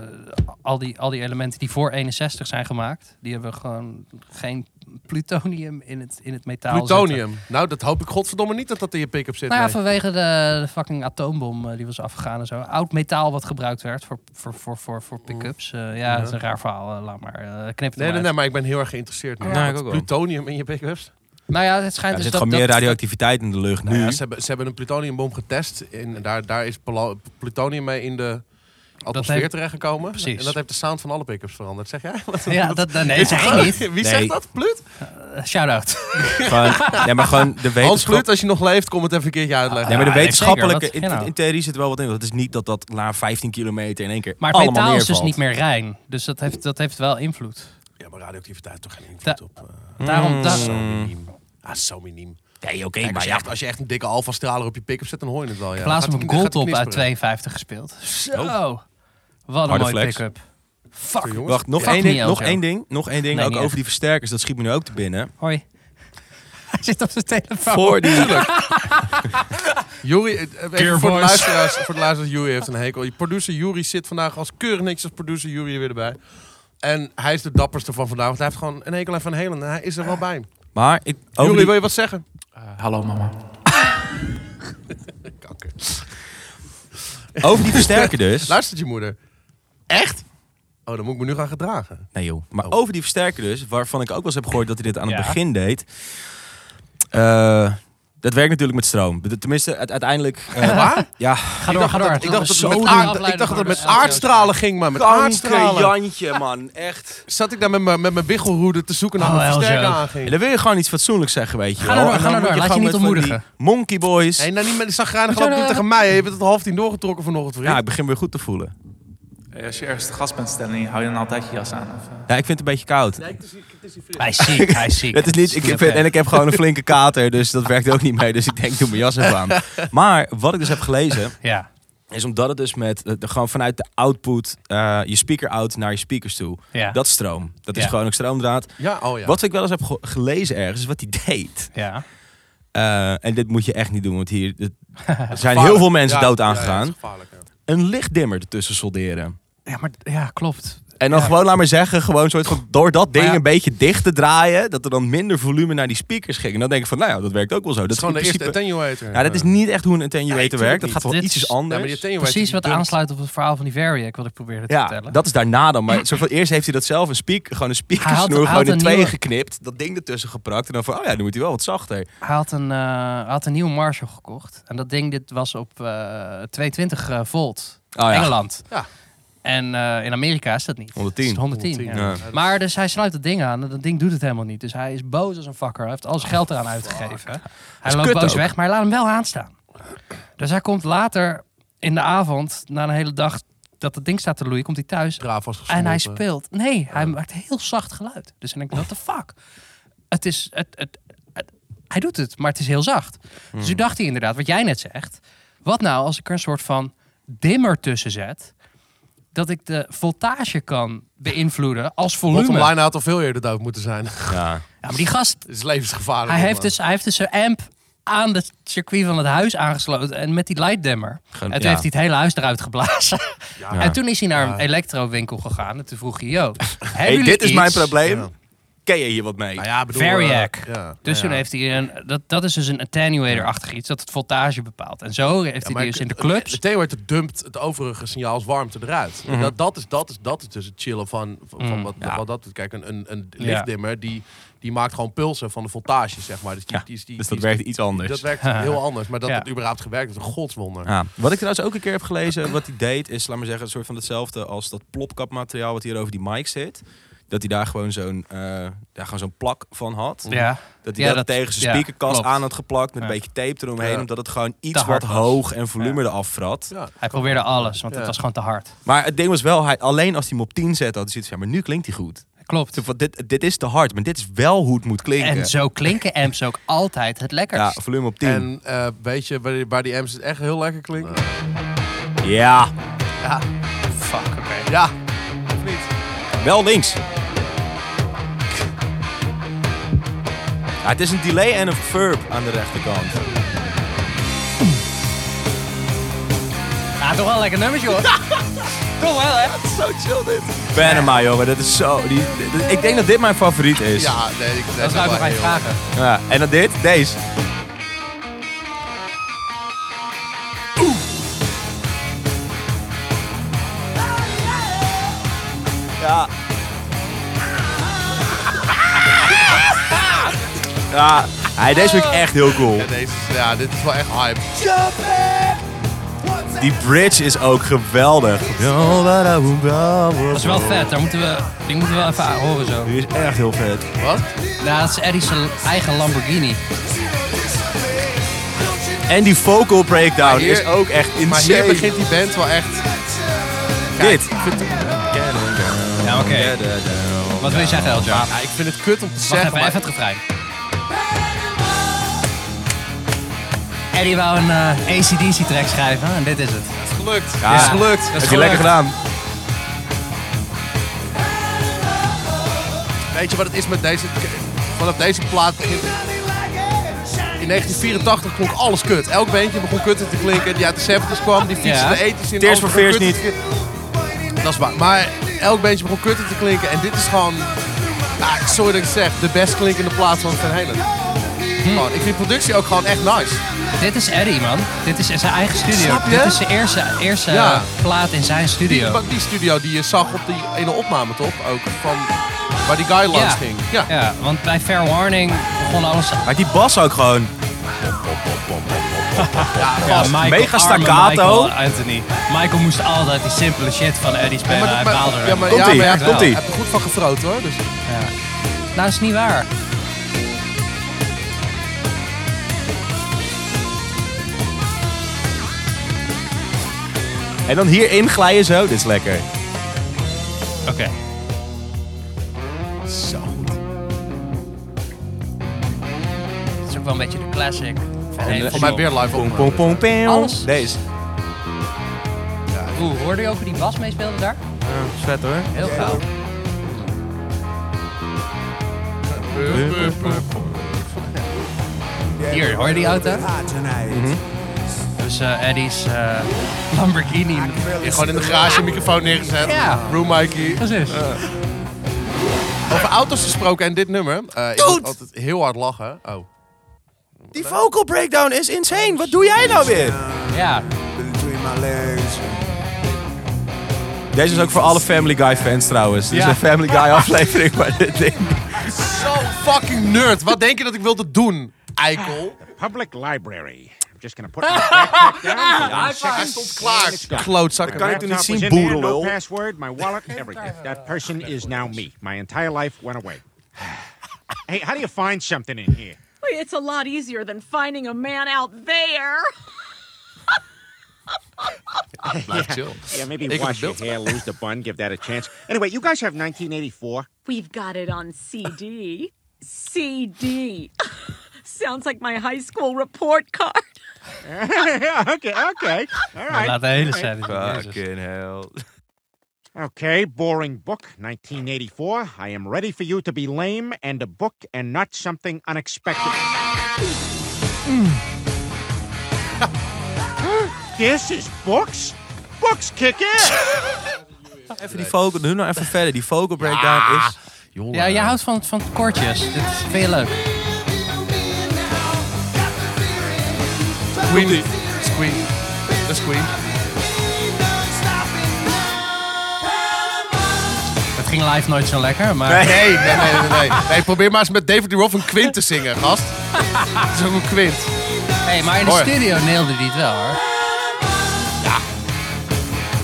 [SPEAKER 1] al, die, al die elementen die voor 61 zijn gemaakt, die hebben gewoon geen plutonium in het, in het metaal zitten.
[SPEAKER 2] Plutonium. Nou, dat hoop ik godverdomme niet dat dat in je pick-up zit.
[SPEAKER 1] Nou ja,
[SPEAKER 2] nee.
[SPEAKER 1] vanwege de, de fucking atoombom eh, die was afgegaan en zo. Oud metaal wat gebruikt werd voor, voor, voor, voor, voor pick-ups. Eh, ja, dat is een raar verhaal. eh, laat maar. eh knip het maar
[SPEAKER 2] Nee, nee,
[SPEAKER 1] uit.
[SPEAKER 2] nee, maar ik ben heel erg geïnteresseerd. nu.
[SPEAKER 3] Ja, ik
[SPEAKER 2] Want
[SPEAKER 3] ook wel.
[SPEAKER 2] plutonium in je pick-ups?
[SPEAKER 1] Nou ja, het schijnt dus
[SPEAKER 3] er zit
[SPEAKER 1] dat...
[SPEAKER 3] gewoon meer
[SPEAKER 1] dat-
[SPEAKER 3] radioactiviteit in de lucht
[SPEAKER 2] Nou
[SPEAKER 3] nu.
[SPEAKER 2] ja, ze, hebben, ze hebben een plutoniumbom getest en daar, daar is pla- plutonium mee in de, atmosfeer
[SPEAKER 1] heeft-
[SPEAKER 2] terechtgekomen.
[SPEAKER 1] Precies.
[SPEAKER 2] En dat heeft de sound van alle pick-ups veranderd, zeg jij? Wat-
[SPEAKER 1] Ja,
[SPEAKER 2] wat-
[SPEAKER 1] dat, dat- nee,
[SPEAKER 2] Is
[SPEAKER 1] zeg
[SPEAKER 2] het
[SPEAKER 1] ik
[SPEAKER 2] zo?
[SPEAKER 1] niet.
[SPEAKER 2] Wie zegt dat? Plut?
[SPEAKER 1] Eh, Shout-out.
[SPEAKER 3] Gewoon- ja, maar gewoon de wetenschap-
[SPEAKER 2] Hans Plut, als je nog leeft, kom het even een keertje uitleggen. Ah,
[SPEAKER 3] Nee, maar de
[SPEAKER 2] Ja,
[SPEAKER 3] wetenschappelijke,
[SPEAKER 2] zeker,
[SPEAKER 3] in,
[SPEAKER 2] wat-
[SPEAKER 3] in, in theorie zit wel wat in. Dat is niet dat dat na 15 kilometer in één keer
[SPEAKER 1] Maar het
[SPEAKER 3] allemaal
[SPEAKER 1] metaal is dus
[SPEAKER 3] neervalt.
[SPEAKER 1] niet meer rein. Dus dat heeft, dat heeft wel invloed.
[SPEAKER 2] Ja, maar radioactiviteit heeft toch geen invloed
[SPEAKER 1] Da-
[SPEAKER 2] op... eh,
[SPEAKER 1] daarom... da-
[SPEAKER 2] Zo miniem. Ah, zo miniem.
[SPEAKER 3] Nee, oké,
[SPEAKER 2] Kijk,
[SPEAKER 3] maar
[SPEAKER 2] als, je
[SPEAKER 3] ja.
[SPEAKER 2] echt- als je echt een dikke alfa-straler op je pick-up zet, dan hoor je het wel. Ja.
[SPEAKER 1] Ik heb laatst
[SPEAKER 2] Gaat
[SPEAKER 1] hem op
[SPEAKER 2] die- gaat die
[SPEAKER 1] Goldtop uit
[SPEAKER 2] knisperen.
[SPEAKER 1] 52 gespeeld. Zo. Wat een
[SPEAKER 3] Harde
[SPEAKER 1] mooie
[SPEAKER 3] flex.
[SPEAKER 1] pick-up. Fuck.
[SPEAKER 2] jongens.
[SPEAKER 3] Wacht, nog,
[SPEAKER 1] Fuck
[SPEAKER 3] één, ding,
[SPEAKER 1] Niels,
[SPEAKER 3] nog
[SPEAKER 1] joh.
[SPEAKER 3] één ding. Nog één ding.
[SPEAKER 1] Nee,
[SPEAKER 3] ook
[SPEAKER 1] niet
[SPEAKER 3] over
[SPEAKER 1] echt.
[SPEAKER 3] die versterkers. Dat schiet me nu ook te binnen.
[SPEAKER 1] Hoi. Hij zit op zijn telefoon.
[SPEAKER 3] Voor die...
[SPEAKER 2] Juri, eh, even
[SPEAKER 1] Dear
[SPEAKER 2] voor de
[SPEAKER 1] boys.
[SPEAKER 2] luisteraars, voor de luisteraars, Juri heeft een hekel. Je Producer Juri zit vandaag als keurig niks als producer Juri er weer erbij. En hij is de dapperste van vandaag, want hij heeft gewoon een hekel aan Van Helen. En hij is er wel bij.
[SPEAKER 3] Maar... Ik, over
[SPEAKER 2] Juri,
[SPEAKER 3] die-
[SPEAKER 2] wil je wat zeggen?
[SPEAKER 12] Hallo mama.
[SPEAKER 3] Over die versterker dus.
[SPEAKER 2] Luistert je moeder? Echt? Oh, dan moet ik me nu gaan gedragen.
[SPEAKER 3] Nee joh. Maar over die versterker dus, waarvan ik ook wel eens heb gehoord dat hij dit aan het
[SPEAKER 2] Ja.
[SPEAKER 3] begin deed. Eh, dat werkt natuurlijk met stroom. De- Tenminste, u- uiteindelijk... eh,
[SPEAKER 2] Waar?
[SPEAKER 3] Ja.
[SPEAKER 1] Ga door, ga door.
[SPEAKER 2] Ik dacht dat
[SPEAKER 1] Zo
[SPEAKER 2] het met,
[SPEAKER 1] door
[SPEAKER 2] aard-
[SPEAKER 1] afleiden
[SPEAKER 2] ik dacht dat
[SPEAKER 1] door
[SPEAKER 2] het met
[SPEAKER 1] de LTO's.
[SPEAKER 2] aardstralen ging, maar met aardstralen.
[SPEAKER 3] Jantje, man. Echt.
[SPEAKER 2] Zat ik daar met mijn met mijn biggelroede te zoeken naar
[SPEAKER 1] Oh,
[SPEAKER 2] een
[SPEAKER 1] Elzo.
[SPEAKER 2] versterker
[SPEAKER 3] Ja,
[SPEAKER 2] aanging.
[SPEAKER 3] dan wil je gewoon iets fatsoenlijks zeggen, weet je
[SPEAKER 1] Ga
[SPEAKER 3] wel.
[SPEAKER 1] door,
[SPEAKER 3] En
[SPEAKER 1] ga
[SPEAKER 3] dan
[SPEAKER 1] door.
[SPEAKER 3] moet
[SPEAKER 1] Laat je
[SPEAKER 3] gewoon
[SPEAKER 1] niet
[SPEAKER 3] met van die
[SPEAKER 1] ontmoedigen.
[SPEAKER 3] Monkey boys.
[SPEAKER 2] Hé, nou niet met die zagrijnige
[SPEAKER 1] Moet je
[SPEAKER 2] grap
[SPEAKER 1] nou-
[SPEAKER 2] tegen mij. Je bent het half tien doorgetrokken vanochtend, vriend.
[SPEAKER 3] Ja, ik begin weer goed te voelen.
[SPEAKER 12] Als je ergens te gast bent, Stanley, hou je dan altijd je jas aan? Of,
[SPEAKER 3] Ja, ik vind het een beetje koud.
[SPEAKER 1] Hij is ziek, hij is ziek.
[SPEAKER 3] Het is niet, ik
[SPEAKER 1] oké.
[SPEAKER 3] vind, en ik heb gewoon een flinke kater, dus dat werkt ook niet mee. Dus ik denk, doe mijn jas even aan. Maar wat ik dus heb gelezen,
[SPEAKER 1] Ja,
[SPEAKER 3] is omdat het dus met eh, de- gewoon vanuit de output, eh, je speaker out naar je speakers toe.
[SPEAKER 1] Ja.
[SPEAKER 3] Dat is stroom. Dat is
[SPEAKER 1] Ja.
[SPEAKER 3] gewoon ook stroomdraad.
[SPEAKER 2] Ja, oh ja.
[SPEAKER 3] Wat ik wel eens heb ge- gelezen ergens, is wat hij deed.
[SPEAKER 1] ja.
[SPEAKER 3] Eh, en dit moet je echt niet doen, want hier dit- er zijn
[SPEAKER 2] Gevaarlijk.
[SPEAKER 3] heel veel mensen
[SPEAKER 2] Ja,
[SPEAKER 3] dood
[SPEAKER 2] ja, ja, dat is
[SPEAKER 3] aangegaan.
[SPEAKER 2] gevaarlijk, ja.
[SPEAKER 3] een lichtdimmer ertussen solderen.
[SPEAKER 1] Ja, maar ja, klopt.
[SPEAKER 3] En dan gewoon, laat maar zeggen, gewoon soort van door dat ding
[SPEAKER 1] Maar ja.
[SPEAKER 3] een beetje dicht te draaien, dat er dan minder volume naar die speakers ging. En dan denk ik van, nou ja, dat werkt ook wel zo. Dat
[SPEAKER 2] Het is gewoon de
[SPEAKER 3] in
[SPEAKER 2] eerste
[SPEAKER 3] principe-
[SPEAKER 2] attenuator.
[SPEAKER 3] Ja, dat is niet echt hoe een attenuator
[SPEAKER 2] tuurlijk
[SPEAKER 3] werkt. Dat
[SPEAKER 2] niet.
[SPEAKER 3] gaat wel
[SPEAKER 1] Dit
[SPEAKER 3] iets
[SPEAKER 1] is-
[SPEAKER 2] Ja, maar die
[SPEAKER 3] anders.
[SPEAKER 2] attenuator
[SPEAKER 1] Precies
[SPEAKER 2] die
[SPEAKER 1] wat
[SPEAKER 2] dumpt-
[SPEAKER 1] aansluit op het verhaal van die Variac, wat ik probeerde te
[SPEAKER 3] Ja,
[SPEAKER 1] vertellen.
[SPEAKER 3] dat is daarna dan. Maar soort van, eerst heeft hij dat zelf een speak, gewoon een
[SPEAKER 1] Hij had-
[SPEAKER 3] speakersnoer
[SPEAKER 1] hij
[SPEAKER 3] gewoon
[SPEAKER 1] had
[SPEAKER 3] in
[SPEAKER 1] een
[SPEAKER 3] tweeën
[SPEAKER 1] nieuwe-
[SPEAKER 3] geknipt. Dat ding ertussen geprakt. En dan van, oh ja, nu moet hij wel wat zachter.
[SPEAKER 1] Hij had een, eh, hij had een nieuwe Marshall gekocht. En dat ding dit was op eh 220 eh, volt.
[SPEAKER 3] Oh ja.
[SPEAKER 1] Engeland.
[SPEAKER 2] Ja.
[SPEAKER 1] En eh, in Amerika is dat niet.
[SPEAKER 3] 110.
[SPEAKER 1] Is het 110,
[SPEAKER 2] 110,
[SPEAKER 1] ja.
[SPEAKER 3] ja.
[SPEAKER 1] Ja. Maar dus hij sluit dat ding aan en dat ding doet het helemaal niet. Dus hij is boos als een vakker. Hij heeft al zijn geld eraan uitgegeven. Hij
[SPEAKER 3] is
[SPEAKER 1] loopt
[SPEAKER 3] kut
[SPEAKER 1] boos
[SPEAKER 3] ook.
[SPEAKER 1] weg, maar hij laat hem wel aanstaan. Dus hij komt later in de avond, na een hele dag dat het ding staat te loeien, komt hij thuis.
[SPEAKER 2] Draaf was
[SPEAKER 1] En hij
[SPEAKER 2] gesmolten.
[SPEAKER 1] speelt. Nee, hij maakt heel zacht geluid. Dus dan denk ik, what the fuck? Het is. Het, het, het- hij doet het, maar het is heel zacht. Dus
[SPEAKER 3] Hmm.
[SPEAKER 1] toen dacht hij inderdaad, wat jij net zegt. Wat nou als ik er een soort van dimmer tussen zet. Dat ik de voltage kan beïnvloeden als
[SPEAKER 2] Bottom
[SPEAKER 1] volume. Ja,
[SPEAKER 2] line had al veel eerder dood moeten zijn. Het
[SPEAKER 3] Ja.
[SPEAKER 1] maar die gast,
[SPEAKER 2] is levensgevaarlijk. eh,
[SPEAKER 1] hij
[SPEAKER 2] man.
[SPEAKER 1] heeft, dus, hij heeft dus zijn amp aan het circuit van het huis aangesloten. En met die lightdimmer.
[SPEAKER 3] Gewoon-
[SPEAKER 1] en toen
[SPEAKER 3] ja.
[SPEAKER 1] heeft hij het hele huis eruit geblazen.
[SPEAKER 2] Ja.
[SPEAKER 1] En toen is hij naar een elektrowinkel gegaan. En toen vroeg hij, yo,
[SPEAKER 3] Hey,
[SPEAKER 1] hey,
[SPEAKER 3] dit is mijn probleem.
[SPEAKER 2] Ja.
[SPEAKER 3] Ken je hier wat mee?
[SPEAKER 2] Nou ja, ik bedoel,
[SPEAKER 1] Variac.
[SPEAKER 2] eh, ja.
[SPEAKER 1] Dus
[SPEAKER 2] Ja,
[SPEAKER 1] toen
[SPEAKER 2] ja.
[SPEAKER 1] heeft hij een. Dat, dat is dus een attenuator-achtig iets dat het voltage bepaalt. En zo heeft hij
[SPEAKER 2] maar
[SPEAKER 1] die dus in de
[SPEAKER 2] ik-
[SPEAKER 1] clubs. Mhm.
[SPEAKER 2] De attenuator dumpt het overige signaal als warmte eruit. En dat, dat, is, dat, is, dat is dus het chillen van, van, van wat, wat dat... Kijk, een, een, een
[SPEAKER 1] Mm, Ja.
[SPEAKER 2] lichtdimmer die, die maakt gewoon pulsen van de voltage, zeg maar. Dus, die,
[SPEAKER 3] Ja,
[SPEAKER 2] die, is- die,
[SPEAKER 3] dus
[SPEAKER 2] die
[SPEAKER 3] dat
[SPEAKER 2] is-
[SPEAKER 3] werkt iets anders.
[SPEAKER 2] Dat werkt heel anders. Maar dat
[SPEAKER 1] dus. Ja.
[SPEAKER 2] het überhaupt gewerkt is, een godswonder.
[SPEAKER 3] Ja. Wat ik trouwens ook een keer heb gelezen, wat hij deed, is, laat maar zeggen, een soort van hetzelfde als dat plopkapmateriaal wat hier over die mic zit. Dat hij daar gewoon zo'n eh, daar gewoon zo'n plak van had.
[SPEAKER 1] ja.
[SPEAKER 3] Dat hij
[SPEAKER 1] Ja,
[SPEAKER 3] dat,
[SPEAKER 1] dat-
[SPEAKER 3] tegen zijn
[SPEAKER 1] ja,
[SPEAKER 3] speakerkast
[SPEAKER 1] klopt.
[SPEAKER 3] aan had geplakt met een
[SPEAKER 1] Ja.
[SPEAKER 3] beetje tape eromheen.
[SPEAKER 2] Ja.
[SPEAKER 3] Omdat het gewoon iets
[SPEAKER 1] hard
[SPEAKER 3] wat
[SPEAKER 1] was.
[SPEAKER 3] hoog en volume eraf vrat.
[SPEAKER 2] Ja.
[SPEAKER 1] Hij probeerde alles, want
[SPEAKER 2] Ja.
[SPEAKER 1] het was gewoon te hard.
[SPEAKER 3] Maar het ding was wel, hij, alleen als hij hem op 10 zet, had hij zoiets van, ja, maar nu klinkt hij goed.
[SPEAKER 1] Klopt.
[SPEAKER 3] Zo van, Dit, dit is te hard, maar dit is wel hoe het moet klinken.
[SPEAKER 1] En zo klinken amps ook altijd het
[SPEAKER 3] ja,
[SPEAKER 1] lekkerst.
[SPEAKER 3] volume op 10.
[SPEAKER 2] En eh, weet je waar die, waar die M's het echt heel lekker klinken?
[SPEAKER 3] Ja,
[SPEAKER 1] Fuck, oké.
[SPEAKER 2] Ja.
[SPEAKER 3] wel links. Ja, het is een delay en een verb aan de rechterkant.
[SPEAKER 1] Ja, Ah, toch wel een lekker nummertje hoor. toch wel, hè?
[SPEAKER 3] Zo chill dit. Panama, jongen, dat is zo. Die, dit- dit- ik denk dat dit mijn favoriet is. Ja.
[SPEAKER 2] Ja, nee, ik,
[SPEAKER 1] Dat zou ik nog
[SPEAKER 2] wel
[SPEAKER 1] even
[SPEAKER 2] heel-
[SPEAKER 1] vragen.
[SPEAKER 3] En dan dit, deze. Ja. Ja, hey, deze vind ik echt heel cool.
[SPEAKER 2] Ja, deze, is- ja, dit is wel echt hype.
[SPEAKER 5] Jumping! What's
[SPEAKER 3] Die bridge is ook geweldig.
[SPEAKER 1] Dat is wel vet, daar moeten we, die moeten we wel even horen zo.
[SPEAKER 3] Die is echt heel vet.
[SPEAKER 1] Wat? Nou, dat is Eddie's eigen Lamborghini.
[SPEAKER 3] En die vocal breakdown
[SPEAKER 2] Maar hier-
[SPEAKER 3] is ook echt insane.
[SPEAKER 2] Maar hier begint die band wel echt...
[SPEAKER 3] Dit.
[SPEAKER 1] Ja, oké. Wat wil je zeggen, Elja?
[SPEAKER 2] Ja, ik vind het kut om te
[SPEAKER 1] Wacht
[SPEAKER 2] zeggen,
[SPEAKER 1] even,
[SPEAKER 2] maar-
[SPEAKER 1] even het refrein. Eddie wou een eh ACDC-track schrijven en dit is het. Dat is
[SPEAKER 2] gelukt.
[SPEAKER 1] Ja.
[SPEAKER 3] Ja, Heb je lekker gedaan.
[SPEAKER 2] Weet je wat het is met deze... Vanaf deze plaat begint... In 1984 klonk alles kut. Elk bandje begon kutter te klinken. Die uit de 70's kwam, die fietsen
[SPEAKER 3] Ja.
[SPEAKER 2] de 80's in.
[SPEAKER 3] Tears for
[SPEAKER 2] alles begon
[SPEAKER 3] Fears
[SPEAKER 2] kutter te klinken. Dat is waar. Maar elk bandje begon kutter te klinken. En dit is gewoon... Nou, sorry dat ik het zeg. De best klinkende plaat van Van Halen.
[SPEAKER 1] Hm.
[SPEAKER 2] Gewoon, ik vind de productie ook gewoon echt nice.
[SPEAKER 1] Dit is Eddie, man. Dit is zijn eigen studio.
[SPEAKER 2] Snap je?
[SPEAKER 1] Dit is zijn eerste, eerste
[SPEAKER 2] Ja.
[SPEAKER 1] plaat in zijn
[SPEAKER 2] Die,
[SPEAKER 1] studio.
[SPEAKER 2] die studio die je zag op die ene opname, toch? Ook van waar die guy langs ging.
[SPEAKER 1] Ja. ja, want bij Fair Warning begon alles...
[SPEAKER 3] Maar die bas ook gewoon.
[SPEAKER 1] Ja,
[SPEAKER 3] gast,
[SPEAKER 1] Michael,
[SPEAKER 3] mega
[SPEAKER 1] arme
[SPEAKER 3] staccato.
[SPEAKER 1] Michael Anthony. Michael moest altijd die simpele shit van Eddie spelen.
[SPEAKER 2] maar-
[SPEAKER 1] Hij
[SPEAKER 2] maar-
[SPEAKER 1] baalde er.
[SPEAKER 2] ja, maar- ja, Komt-ie, maar hij heeft- komt-ie. hij heeft er goed van gefroot hoor. Dus.
[SPEAKER 1] Ja. Nou, dat is niet waar.
[SPEAKER 3] En dan hier inglijden zo. Oh, Dit is lekker.
[SPEAKER 1] Oké.
[SPEAKER 2] Zo.
[SPEAKER 1] Het is ook wel een beetje de classic. van
[SPEAKER 3] En,
[SPEAKER 1] Eddie
[SPEAKER 3] eh,
[SPEAKER 1] Van
[SPEAKER 3] pom,
[SPEAKER 1] Halen.
[SPEAKER 3] Pom, pom, pom, pom.
[SPEAKER 1] Alles.
[SPEAKER 3] Deze.
[SPEAKER 1] Oeh, hoorde je ook hoe die bas meespeelde daar?
[SPEAKER 3] Ja, vet hoor.
[SPEAKER 1] Heel gauw. Hier, hoor je die auto? Dus eh, Eddie's eh, Lamborghini.
[SPEAKER 2] Ja, gewoon in de garage een microfoon neergezet.
[SPEAKER 1] Ja.
[SPEAKER 2] Room Mikey.
[SPEAKER 1] Precies.
[SPEAKER 2] Over auto's gesproken en dit nummer. Eh ik moet altijd heel hard lachen. Oh.
[SPEAKER 3] Die vocal breakdown is insane. Wat doe jij nou weer?
[SPEAKER 1] Ja.
[SPEAKER 3] Deze is ook voor alle Family Guy fans trouwens. Dit
[SPEAKER 2] Ja.
[SPEAKER 3] is een Family Guy aflevering, maar dit ding.
[SPEAKER 2] Zo fucking nerd. Wat denk je dat ik wilde doen, eikel?
[SPEAKER 8] Public library. I'm just gonna put my backpack down. for
[SPEAKER 2] Ja,
[SPEAKER 8] one
[SPEAKER 2] hij
[SPEAKER 8] second.
[SPEAKER 2] stond klaar.
[SPEAKER 8] And it's gone.
[SPEAKER 2] Klootzak.
[SPEAKER 8] The
[SPEAKER 2] Dat kan ik toen niet
[SPEAKER 8] laptop
[SPEAKER 2] zien,
[SPEAKER 8] was in there,
[SPEAKER 2] boerenlul.
[SPEAKER 8] No password, my wallet, everything. That person is now me. My entire life went away. Hey, how do you find something in here?
[SPEAKER 5] Wait, it's a lot easier than finding a man out there.
[SPEAKER 2] Ah,
[SPEAKER 8] yeah. Yeah, maybe wash your hair, lose the bun, give that a chance. Anyway, you guys have 1984.
[SPEAKER 5] We've got it on CD. CD. Sounds like my high school report card.
[SPEAKER 8] okay, okay. All right.
[SPEAKER 1] Laat de hele
[SPEAKER 8] all right.
[SPEAKER 1] scène zien. Jezus.
[SPEAKER 8] Okay, boring book, 1984. I am ready for you to be lame and a book and not something unexpected. this is books? Books kick ass!
[SPEAKER 3] Even die vocal, nu nou even verder. Die vocal breakdown is...
[SPEAKER 1] Ja, jij houdt van, van kortjes. Dit is- vind je leuk.
[SPEAKER 2] Queen. Dat is Queen. Dat is Queen.
[SPEAKER 1] Het ging live nooit zo lekker, maar...
[SPEAKER 2] Nee, nee, nee, nee. nee, nee. Probeer maar eens met David Lee Roth een Quint te zingen, gast. Dat is ook een Quint.
[SPEAKER 1] Hey, maar in de studio neelde die het wel, hoor.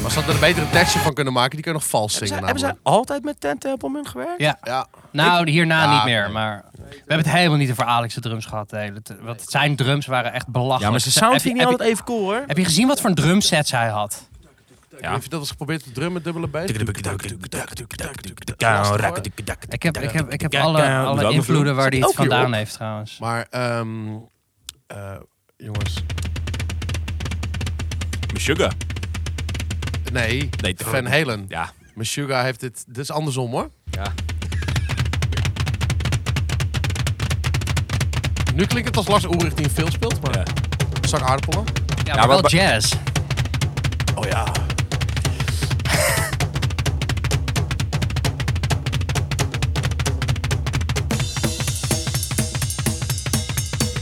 [SPEAKER 2] Maar ze hadden er een betere tekstje van kunnen maken. Die kunnen nog vals zingen
[SPEAKER 1] Hebben zij-
[SPEAKER 2] namelijk.
[SPEAKER 3] Altijd met Ten Templeman gewerkt?
[SPEAKER 1] Ja.
[SPEAKER 2] Ja.
[SPEAKER 1] Nou, hierna
[SPEAKER 2] Ja,
[SPEAKER 1] niet meer,
[SPEAKER 2] nee.
[SPEAKER 1] maar... We hebben het helemaal niet over Alex's drums gehad. de hele tijd. Want zijn drums waren echt belachelijk.
[SPEAKER 3] Ja, maar zijn
[SPEAKER 1] Ze-
[SPEAKER 3] sound
[SPEAKER 1] heb
[SPEAKER 3] vind ik
[SPEAKER 1] je-
[SPEAKER 3] niet
[SPEAKER 1] heb
[SPEAKER 3] altijd even cool hoor.
[SPEAKER 1] je- Heb je gezien wat voor een drumsets hij had?
[SPEAKER 2] Heb je dat eens geprobeerd te drummen, dubbele bass?
[SPEAKER 1] Ik heb, ik heb, ik heb alle, alle invloeden waar hij het vandaan heeft, trouwens.
[SPEAKER 2] Maar, ehm eh, jongens.
[SPEAKER 3] Meshuggah.
[SPEAKER 2] Nee,
[SPEAKER 3] Nee, te
[SPEAKER 2] Van
[SPEAKER 3] groot.
[SPEAKER 2] Halen.
[SPEAKER 3] Ja.
[SPEAKER 2] Meshuggah heeft dit... Dit is andersom, hoor.
[SPEAKER 3] Ja.
[SPEAKER 2] Nu klinkt het als Lars Ulrich die een film speelt, maar... Zak aardappelen.
[SPEAKER 1] Ja, maar wel jazz.
[SPEAKER 2] Oh ja.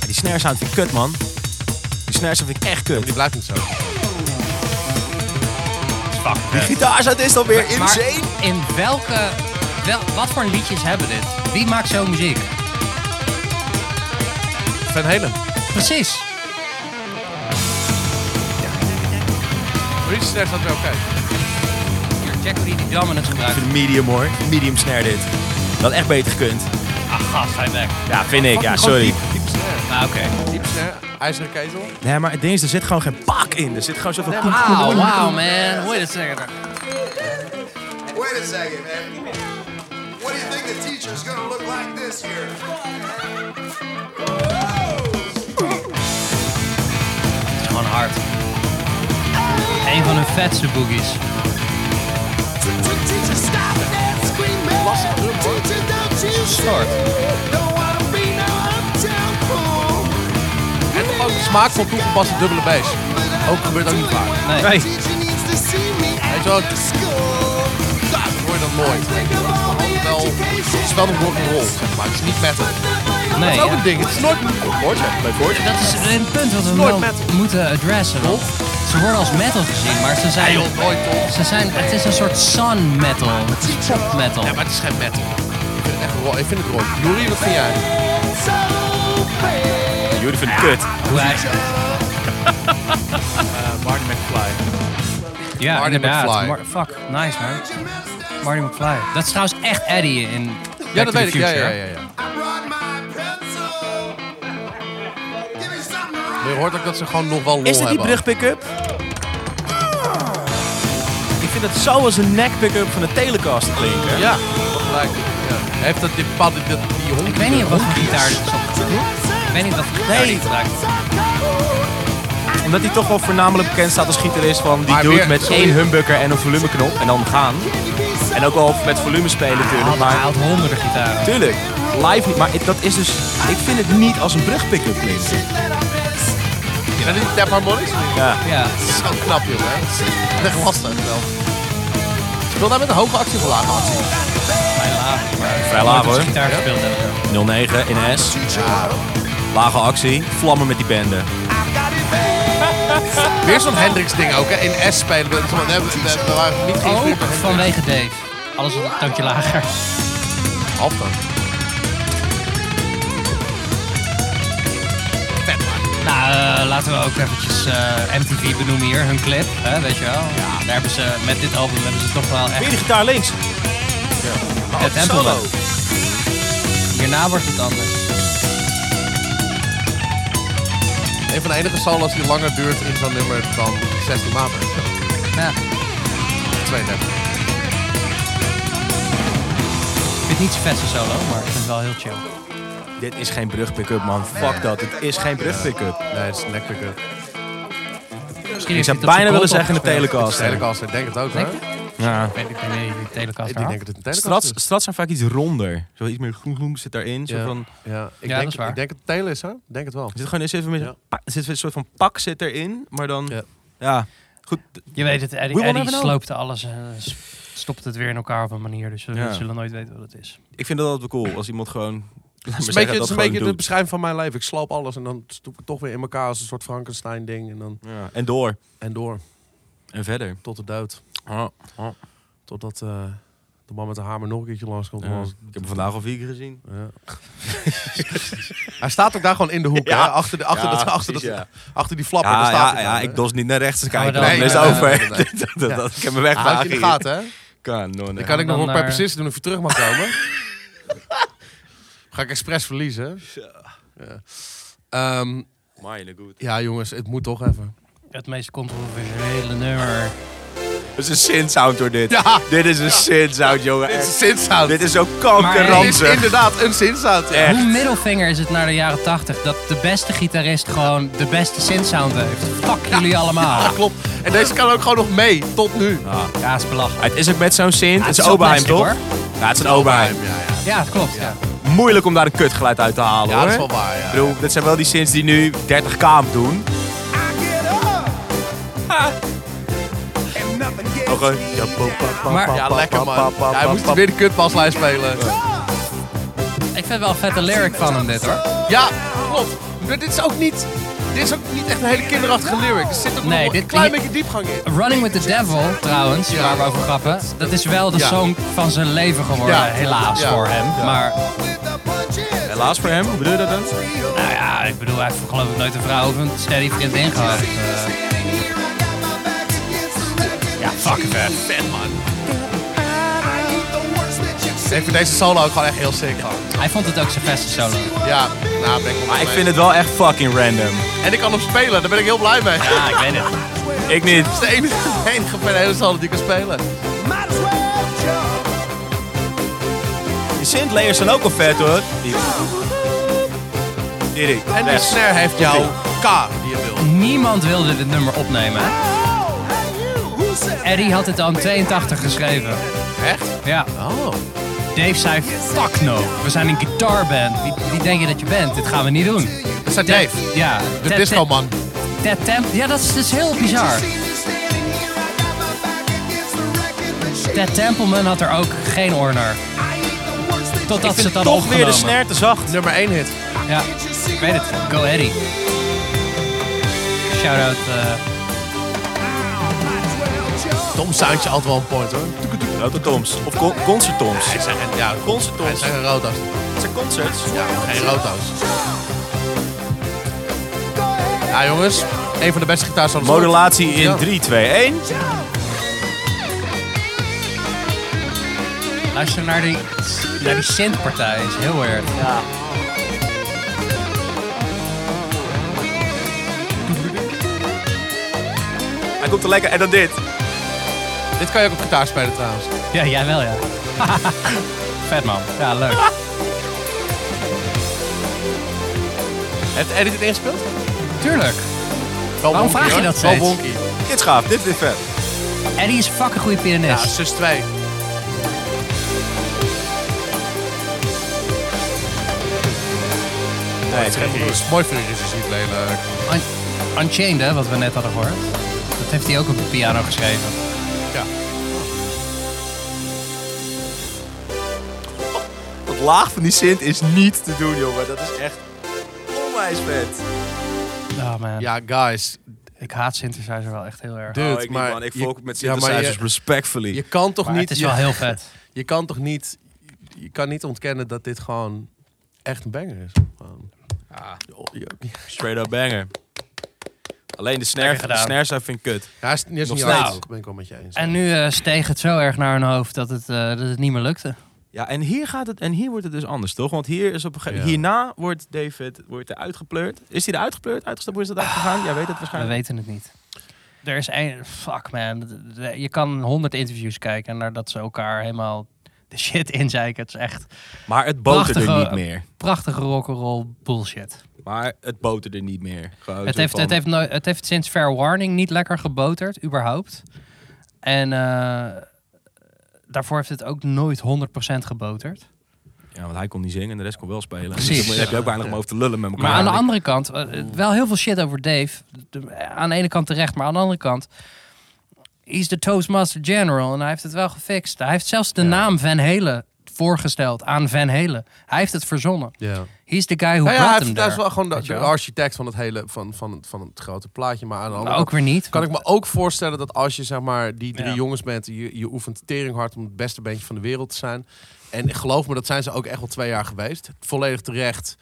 [SPEAKER 3] Ja, Die snare sound vind ik kut, man. Die snare sound vind ik echt kut. Die
[SPEAKER 2] blijft niet zo.
[SPEAKER 3] Die gitaar sound is dan weer
[SPEAKER 1] Maar
[SPEAKER 3] insane.
[SPEAKER 1] in welke... Wel, wat voor liedjes hebben dit? Wie maakt zo'n muziek?
[SPEAKER 2] Van Halen.
[SPEAKER 1] Precies.
[SPEAKER 2] Free snare gaat wel oké.
[SPEAKER 1] Hier, check hoe die die dominance
[SPEAKER 3] Ik
[SPEAKER 1] gebruikt.
[SPEAKER 3] vind medium hoor. Ik vind Medium snare dit. Dat had echt beter gekund.
[SPEAKER 2] Ah,
[SPEAKER 1] Ach, gast, hij weg.
[SPEAKER 3] Ja, vind ik. Ja,
[SPEAKER 2] Fucking
[SPEAKER 3] sorry.
[SPEAKER 2] gewoon Diep, diep snare.
[SPEAKER 1] Ah, oké.
[SPEAKER 2] Diep snare, ijzeren ketel.
[SPEAKER 3] Nee, maar het ding is, er zit gewoon geen pak in. Er zit gewoon zoveel...
[SPEAKER 1] Wow, wow, man. Wait a second.
[SPEAKER 5] Wait a second, man. What do you think the teacher's gonna look like this year?
[SPEAKER 1] Het is gewoon hard. Een van hun vetste boogies.
[SPEAKER 5] Teacher, stop that screaming. Teacher, don't you
[SPEAKER 1] Snort.
[SPEAKER 5] Don't wanna be no uptown fool.
[SPEAKER 2] En gewoon de smaak van toegepaste dubbele bass. Ook gebeurt ook niet vaak.
[SPEAKER 1] Nee.
[SPEAKER 5] Teacher needs to see me
[SPEAKER 2] Weet je wel,
[SPEAKER 5] after school.
[SPEAKER 2] ik hoor dat nooit. Weet je wel. Het is altijd wel, het is wel een rock'n'roll, zeg maar. Het is niet metal.
[SPEAKER 1] Nee,
[SPEAKER 2] dat is ook
[SPEAKER 1] ja.
[SPEAKER 2] een ding. Het is nooit metal. Hoortje, leuk hoortje.
[SPEAKER 1] Dat is een punt wat we
[SPEAKER 2] Nooit
[SPEAKER 1] wel
[SPEAKER 2] metal.
[SPEAKER 1] moeten addressen. want Ze worden als metal gezien, maar ze zijn...
[SPEAKER 2] Nee, joh, nooit, toch?
[SPEAKER 1] Ze zijn... Het is een soort sun metal. Het is pop metal.
[SPEAKER 2] Ja, maar het is geen metal. Ik vind het echt rock. Ik vind het rock. Juri, wat vind jij?
[SPEAKER 3] Jullie vinden het kut.
[SPEAKER 1] Hoe hij...
[SPEAKER 13] Marty McFly.
[SPEAKER 1] Ja,
[SPEAKER 2] Marty
[SPEAKER 1] inderdaad.
[SPEAKER 2] McFly.
[SPEAKER 1] Mar- fuck, nice man. Marty McFly. Dat is trouwens echt Eddie in Back
[SPEAKER 2] Ja,
[SPEAKER 1] to
[SPEAKER 2] dat
[SPEAKER 1] the
[SPEAKER 2] weet ik. Ja,
[SPEAKER 1] Future.
[SPEAKER 2] ja,
[SPEAKER 1] hè?
[SPEAKER 2] ja. ja. Maar je hoort ook dat ze gewoon nog wel lol
[SPEAKER 3] Is dit die
[SPEAKER 2] hebben.
[SPEAKER 3] brug pick-up? Ik vind het zo als een neck pick-up van de Telecaster klinken.
[SPEAKER 2] Ja, gelijk. Ja. Heeft dat die pad, die, die hond?
[SPEAKER 1] Ik weet niet wat voor gitaar dit is opgezet. Ik weet niet wat voor gitaar
[SPEAKER 3] Nee.
[SPEAKER 1] dit gebruikt.
[SPEAKER 3] Omdat hij toch wel voornamelijk bekend staat als gitarist van die
[SPEAKER 2] Maar
[SPEAKER 3] dude
[SPEAKER 2] weer-
[SPEAKER 3] met
[SPEAKER 2] sorry.
[SPEAKER 3] één humbucker en een volumeknop en dan gaan. En ook al met volume spelen
[SPEAKER 2] Ah.
[SPEAKER 3] natuurlijk,
[SPEAKER 1] Hij
[SPEAKER 3] maar
[SPEAKER 1] haalt honderden gitaren.
[SPEAKER 3] tuurlijk, live niet. Maar ik- dat is dus, ik vind het niet als een brug pick-up klinken.
[SPEAKER 2] Zijn dit die tap harmonics?
[SPEAKER 3] Ja.
[SPEAKER 1] Ja.
[SPEAKER 2] Dat is wel knap, joh. Hè? Echt lastig wel. Speel daar met een hoge actie of een lage actie?
[SPEAKER 1] Vrij laag. maar
[SPEAKER 3] Vrij
[SPEAKER 1] nooit
[SPEAKER 3] laag
[SPEAKER 1] op zijn
[SPEAKER 3] hoor.
[SPEAKER 1] dus gitaar gespeeld hebben.
[SPEAKER 3] 09 in S. Lage actie, vlammen met die bende.
[SPEAKER 2] Weer zo'n Hendrix-ding ook, hè? In S spelen. we- we- we- we- we- we waren niet geïnspireerd
[SPEAKER 1] Ook
[SPEAKER 2] door Hendrix.
[SPEAKER 1] vanwege Dave. Alles een toontje lager.
[SPEAKER 2] Half dan. Vet, man.
[SPEAKER 1] Nou, eh, laten we ook eventjes eh, MTV benoemen hier. Hun clip, hè, weet je wel. Ja. Daar hebben ze, met dit album hebben ze toch wel
[SPEAKER 3] Weer
[SPEAKER 1] echt
[SPEAKER 3] die gitaar links.
[SPEAKER 1] het tempo.
[SPEAKER 3] Solo.
[SPEAKER 1] Hierna wordt het anders.
[SPEAKER 2] Een van de enige solos die langer duurt in zo'n nummer dan 16 maanden.
[SPEAKER 1] Ja.
[SPEAKER 2] 32.
[SPEAKER 1] Ik vind het niet zijn vetste solo, maar ik vind het wel heel chill.
[SPEAKER 3] Dit is geen brug pick-up man, fuck dat. Het is geen brug pick-up.
[SPEAKER 2] Nee, het is een lekker kut.
[SPEAKER 1] Misschien heeft
[SPEAKER 3] Ik zou
[SPEAKER 1] hij dat
[SPEAKER 3] bijna willen
[SPEAKER 1] verkocht
[SPEAKER 3] zeggen de
[SPEAKER 1] opgespeeld.
[SPEAKER 3] Telecaster.
[SPEAKER 2] Telecaster, denk het ook, hè?
[SPEAKER 1] Denk je?
[SPEAKER 3] Ja.
[SPEAKER 1] Ik weet niet wanneer die Telecaster
[SPEAKER 2] Ik
[SPEAKER 1] had.
[SPEAKER 2] denk dat het een Telecaster
[SPEAKER 3] Strats,
[SPEAKER 2] is.
[SPEAKER 3] strats zijn vaak iets ronder. Zo iets meer groen groen zit daarin. Zo
[SPEAKER 2] Ja.
[SPEAKER 3] van,
[SPEAKER 2] Ja, ik,
[SPEAKER 1] Ja, dat
[SPEAKER 2] denk,
[SPEAKER 1] is waar.
[SPEAKER 2] ik denk dat het Taylor is, hè? Ik denk het wel.
[SPEAKER 3] er zit gewoon er zit even met
[SPEAKER 2] Ja.
[SPEAKER 3] pa- er zit een soort van pak zit erin, maar dan
[SPEAKER 2] Ja.
[SPEAKER 3] ja. Goed,
[SPEAKER 1] Je weet het,
[SPEAKER 3] We
[SPEAKER 1] Eddie,
[SPEAKER 3] will
[SPEAKER 1] Eddie
[SPEAKER 3] never know.
[SPEAKER 1] sloopte alles en s- stopte het weer in elkaar op een manier. Dus we
[SPEAKER 3] Ja.
[SPEAKER 1] zullen nooit weten wat het is.
[SPEAKER 3] ik vind dat altijd wel cool als iemand gewoon laat
[SPEAKER 2] Het is
[SPEAKER 3] maar
[SPEAKER 2] een
[SPEAKER 3] zeggen,
[SPEAKER 2] beetje, het
[SPEAKER 3] dat
[SPEAKER 2] is een
[SPEAKER 3] gewoon
[SPEAKER 2] beetje de
[SPEAKER 3] doet.
[SPEAKER 2] beschrijving van mijn leven. Ik sloop alles en dan stoep ik het toch weer in elkaar als een soort Frankenstein-ding. En dan
[SPEAKER 3] Ja. En door
[SPEAKER 2] en door,
[SPEAKER 3] en verder.
[SPEAKER 2] tot de dood.
[SPEAKER 3] Ah, ah.
[SPEAKER 2] Totdat eh, de man met de hamer nog een keertje langskomt.
[SPEAKER 3] Ja.
[SPEAKER 2] Ja.
[SPEAKER 3] Ik heb hem vandaag al vier keer gezien.
[SPEAKER 2] Ja. Hij staat ook daar gewoon in de hoek,
[SPEAKER 3] Ja.
[SPEAKER 2] hè? Achter, de, achter,
[SPEAKER 3] Ja,
[SPEAKER 2] dat, achter,
[SPEAKER 3] precies,
[SPEAKER 2] dat-
[SPEAKER 3] ja.
[SPEAKER 2] achter die flap. daar
[SPEAKER 3] Ja,
[SPEAKER 2] staat
[SPEAKER 3] Ah, ja,
[SPEAKER 2] hij
[SPEAKER 3] ja,
[SPEAKER 2] dan, hè?
[SPEAKER 3] ik dos niet naar rechts kijken.
[SPEAKER 1] Gaan we
[SPEAKER 3] Nee,
[SPEAKER 1] dan,
[SPEAKER 3] is
[SPEAKER 1] eh,
[SPEAKER 3] over.
[SPEAKER 2] nee, nee.
[SPEAKER 3] Dat- dat-
[SPEAKER 2] Ja.
[SPEAKER 3] dat- Ik heb me
[SPEAKER 2] Houd
[SPEAKER 3] weggehaald.
[SPEAKER 2] je in de gaten, hè?
[SPEAKER 3] Kan, no, nee.
[SPEAKER 2] Dan kan ik
[SPEAKER 1] dan
[SPEAKER 2] nog
[SPEAKER 1] eh,
[SPEAKER 2] een paar
[SPEAKER 1] naar-
[SPEAKER 2] precies doen of je terug mag komen. Ga ik expres verliezen. Ja. Ehm,
[SPEAKER 3] Mine, goed.
[SPEAKER 2] ja, jongens, het moet toch even.
[SPEAKER 1] Het meest controversiële nummer.
[SPEAKER 3] Het is een synth-sound hoor, dit.
[SPEAKER 2] Ja.
[SPEAKER 3] Dit is een synth-sound, jongen.
[SPEAKER 2] Dit is een
[SPEAKER 3] echt.
[SPEAKER 2] synthsound.
[SPEAKER 3] Dit is zo
[SPEAKER 1] Maar
[SPEAKER 2] Dit is
[SPEAKER 3] kankerranzig.
[SPEAKER 2] inderdaad een synthsound. Ja.
[SPEAKER 3] Echt.
[SPEAKER 1] Hoe middelvinger is het naar de jaren 80 dat de beste gitarist gewoon de beste synthsound heeft? Fuck jullie allemaal.
[SPEAKER 2] Ja, Ah, klopt. En deze kan ook gewoon nog mee, tot nu.
[SPEAKER 1] Ja, is belachelijk.
[SPEAKER 3] Het is ook met zo'n synth. het is
[SPEAKER 1] het is
[SPEAKER 3] Oberheim,
[SPEAKER 1] wel
[SPEAKER 3] toch?
[SPEAKER 1] plastic,
[SPEAKER 3] Ja, het is een Oberheim.
[SPEAKER 1] Ja, dat klopt. Ja.
[SPEAKER 3] Moeilijk om daar een kutgeluid uit te halen,
[SPEAKER 2] Ja,
[SPEAKER 3] hoor.
[SPEAKER 2] dat is wel waar, ja.
[SPEAKER 3] Ik bedoel, dat zijn wel die synths die nu 30 kaam doen. Ook gewoon... Ja, pa, pa, pa,
[SPEAKER 1] Maar-
[SPEAKER 3] pa,
[SPEAKER 2] Ja,
[SPEAKER 3] pa,
[SPEAKER 2] lekker
[SPEAKER 3] pa,
[SPEAKER 2] man.
[SPEAKER 3] pa, pa,
[SPEAKER 2] Ja, hij
[SPEAKER 3] pa,
[SPEAKER 2] moest
[SPEAKER 3] pa.
[SPEAKER 2] weer de kutpaslijn spelen.
[SPEAKER 1] Ik vind het wel een vette lyric van hem dit hoor.
[SPEAKER 2] Ja, klopt. Maar dit is ook niet... Dit is ook niet echt een hele kinderachtige lyric. Er zit ook
[SPEAKER 1] Nee,
[SPEAKER 2] nog
[SPEAKER 1] dit-
[SPEAKER 2] een klein
[SPEAKER 1] hier-
[SPEAKER 2] beetje diepgang in.
[SPEAKER 1] Running with the Devil trouwens,
[SPEAKER 2] Ja.
[SPEAKER 1] waar we over grappen. Dat is wel de
[SPEAKER 2] Ja.
[SPEAKER 1] song van zijn leven geworden,
[SPEAKER 2] Ja.
[SPEAKER 1] helaas
[SPEAKER 2] Ja.
[SPEAKER 1] voor hem.
[SPEAKER 2] Ja.
[SPEAKER 1] Maar
[SPEAKER 3] Helaas voor hem. Hoe bedoel je dat dan?
[SPEAKER 1] nou ja, ik bedoel, hij heeft geloof ik nooit een vrouw of een steady vriendin gehad. Eh,
[SPEAKER 3] Fuck vet. Vet man.
[SPEAKER 2] Ik vind deze solo ook gewoon echt heel sick.
[SPEAKER 1] Hij vond het ook zijn beste solo.
[SPEAKER 2] Ja, nou ben ik
[SPEAKER 3] Maar ik vind het wel echt fucking random.
[SPEAKER 2] En ik kan hem spelen, daar ben ik heel blij mee.
[SPEAKER 3] Ja, ik weet het. Ik niet.
[SPEAKER 2] Dat is de enige, de enige van de hele solo die ik kan spelen.
[SPEAKER 3] Die synthlayers zijn ook al vet hoor. Die. Die, die.
[SPEAKER 2] En die
[SPEAKER 3] Rechts.
[SPEAKER 2] snare heeft jouw K die je wil.
[SPEAKER 1] Niemand wilde dit nummer opnemen. Eddie had het al in 82 geschreven.
[SPEAKER 2] Echt?
[SPEAKER 1] Ja.
[SPEAKER 2] Oh.
[SPEAKER 1] Dave zei, fuck no, we zijn een guitarband. Wie, wie denk je dat je bent? Dit gaan we niet doen.
[SPEAKER 2] Dat zei Dave.
[SPEAKER 1] Ja.
[SPEAKER 2] De
[SPEAKER 1] Ted-
[SPEAKER 2] disco man.
[SPEAKER 1] Ted Temp, ja dat is dus heel bizar. Ted Templeman had er ook geen oor naar. Totdat ze het dan opgenomen.
[SPEAKER 3] te zacht.
[SPEAKER 2] Nummer 1 hit.
[SPEAKER 1] Ja, ik weet het. Go Eddie. Shout-out. eh,
[SPEAKER 2] Tom soundje altijd wel een point hoor.
[SPEAKER 3] Autotoms. Of con concertoms.
[SPEAKER 2] Hij zijn geen, ja, concerttoms. Hij zijn geen roto's.
[SPEAKER 3] Het zijn concerts.
[SPEAKER 2] Ja, geen roto's. Ja jongens, een van de beste gitaars van
[SPEAKER 3] Modulatie in 3, 2, 1.
[SPEAKER 1] Luister naar die, naar die synthpartij, is heel erg. Ja.
[SPEAKER 3] Hij komt er lekker. En dan dit.
[SPEAKER 2] Dit kan je ook op gitaar spelen trouwens.
[SPEAKER 1] Ja, jij wel ja. Vet man. Ja, leuk.
[SPEAKER 2] Heeft Eddie dit ingespeeld?
[SPEAKER 1] Tuurlijk. Waarom
[SPEAKER 2] wonky,
[SPEAKER 1] vraag je
[SPEAKER 2] hoor.
[SPEAKER 1] dat
[SPEAKER 2] Wel
[SPEAKER 1] steeds?
[SPEAKER 2] wonky.
[SPEAKER 3] Dit is gaaf. Dit is weer vet.
[SPEAKER 1] Eddie is een fucking goede pianist.
[SPEAKER 2] Ja, zus 2.
[SPEAKER 3] Nee,
[SPEAKER 2] het is mooi voor je niet lelijk.
[SPEAKER 1] Un- Unchained, hè, wat we net hadden gehoord. Dat heeft hij ook op de piano geschreven.
[SPEAKER 2] Ja.
[SPEAKER 3] Dat laag van die synth is niet te doen, jongen. Dat is echt onwijs vet.
[SPEAKER 1] Oh man.
[SPEAKER 2] Ja, guys.
[SPEAKER 1] Ik haat synthesizer wel echt heel erg.
[SPEAKER 2] Dude,
[SPEAKER 3] Oh, ik niet,
[SPEAKER 2] maar
[SPEAKER 3] man. Ik
[SPEAKER 2] je-
[SPEAKER 3] volk met
[SPEAKER 2] ja, maar je-
[SPEAKER 3] synthesizers respectfully.
[SPEAKER 2] Je kan toch
[SPEAKER 1] Maar
[SPEAKER 2] niet...
[SPEAKER 1] het is
[SPEAKER 2] je-
[SPEAKER 1] wel heel vet.
[SPEAKER 2] Je kan toch niet... Je kan niet ontkennen dat dit gewoon echt een banger is. Gewoon. Joh, joh.
[SPEAKER 3] Straight up banger. Alleen de snare,
[SPEAKER 1] Lekker
[SPEAKER 3] de
[SPEAKER 1] gedaan.
[SPEAKER 3] snare vind ik kut.
[SPEAKER 2] Ja, hij is, hij is
[SPEAKER 3] Nog
[SPEAKER 2] niet
[SPEAKER 3] steeds.
[SPEAKER 2] oud. ben ik wel met je eens.
[SPEAKER 1] En nu eh, steeg het zo erg naar hun hoofd dat het, eh, dat het niet meer lukte.
[SPEAKER 3] Ja, en hier, gaat het, en hier wordt het dus anders, toch? Want hier is op een gege-
[SPEAKER 1] Ja.
[SPEAKER 3] hierna wordt David wordt er uitgepleurd. Is hij er uitgepleurd? Uitgestapt? Hoe is dat uitgegaan? Jij weet het
[SPEAKER 1] We
[SPEAKER 3] waarschijnlijk.
[SPEAKER 1] weten het niet. Er is één... Fuck, man. De- de- Je kan honderd interviews kijken naar dat ze elkaar helemaal de shit inzeiken. Het is echt...
[SPEAKER 3] Maar het boterde
[SPEAKER 1] prachtige-
[SPEAKER 3] niet meer.
[SPEAKER 1] Prachtige rock'n'roll bullshit.
[SPEAKER 3] Maar het boterde niet meer. Gewoon
[SPEAKER 1] Het
[SPEAKER 3] zo
[SPEAKER 1] heeft,
[SPEAKER 3] van-
[SPEAKER 1] het, heeft nooit- het heeft sinds Fair Warning niet lekker geboterd, überhaupt. En eh, daarvoor heeft het ook nooit 100% geboterd.
[SPEAKER 3] Ja, want hij kon niet zingen en de rest kon wel spelen.
[SPEAKER 1] Precies.
[SPEAKER 3] Dus dan heb je ook weinig om over te lullen met elkaar.
[SPEAKER 1] Maar aan de
[SPEAKER 3] eigenlijk.
[SPEAKER 1] andere kant, eh, wel heel veel shit over Dave. De- aan de ene kant terecht, maar aan de andere kant... He's de Toastmaster General en hij heeft het wel gefixt. Hij heeft zelfs de naam Van Helen voorgesteld aan Van Helen. Hij heeft het verzonnen.
[SPEAKER 2] Ja.
[SPEAKER 1] He's the guy who
[SPEAKER 2] Nou ja, hij
[SPEAKER 1] brought
[SPEAKER 2] is-
[SPEAKER 1] him
[SPEAKER 2] hij is
[SPEAKER 1] there.
[SPEAKER 2] wel gewoon de,
[SPEAKER 1] Weet je
[SPEAKER 2] de
[SPEAKER 1] wel?
[SPEAKER 2] architect van het hele van, van, het- van het grote plaatje. Maar aan de andere
[SPEAKER 1] ook
[SPEAKER 2] kant
[SPEAKER 1] weer niet.
[SPEAKER 2] Kan ik me ook voorstellen dat als je zeg maar die drie
[SPEAKER 1] Ja.
[SPEAKER 2] jongens bent, je, je oefent tering hard om het beste bandje van de wereld te zijn. En geloof me, dat zijn ze ook echt wel twee jaar geweest. Volledig terecht.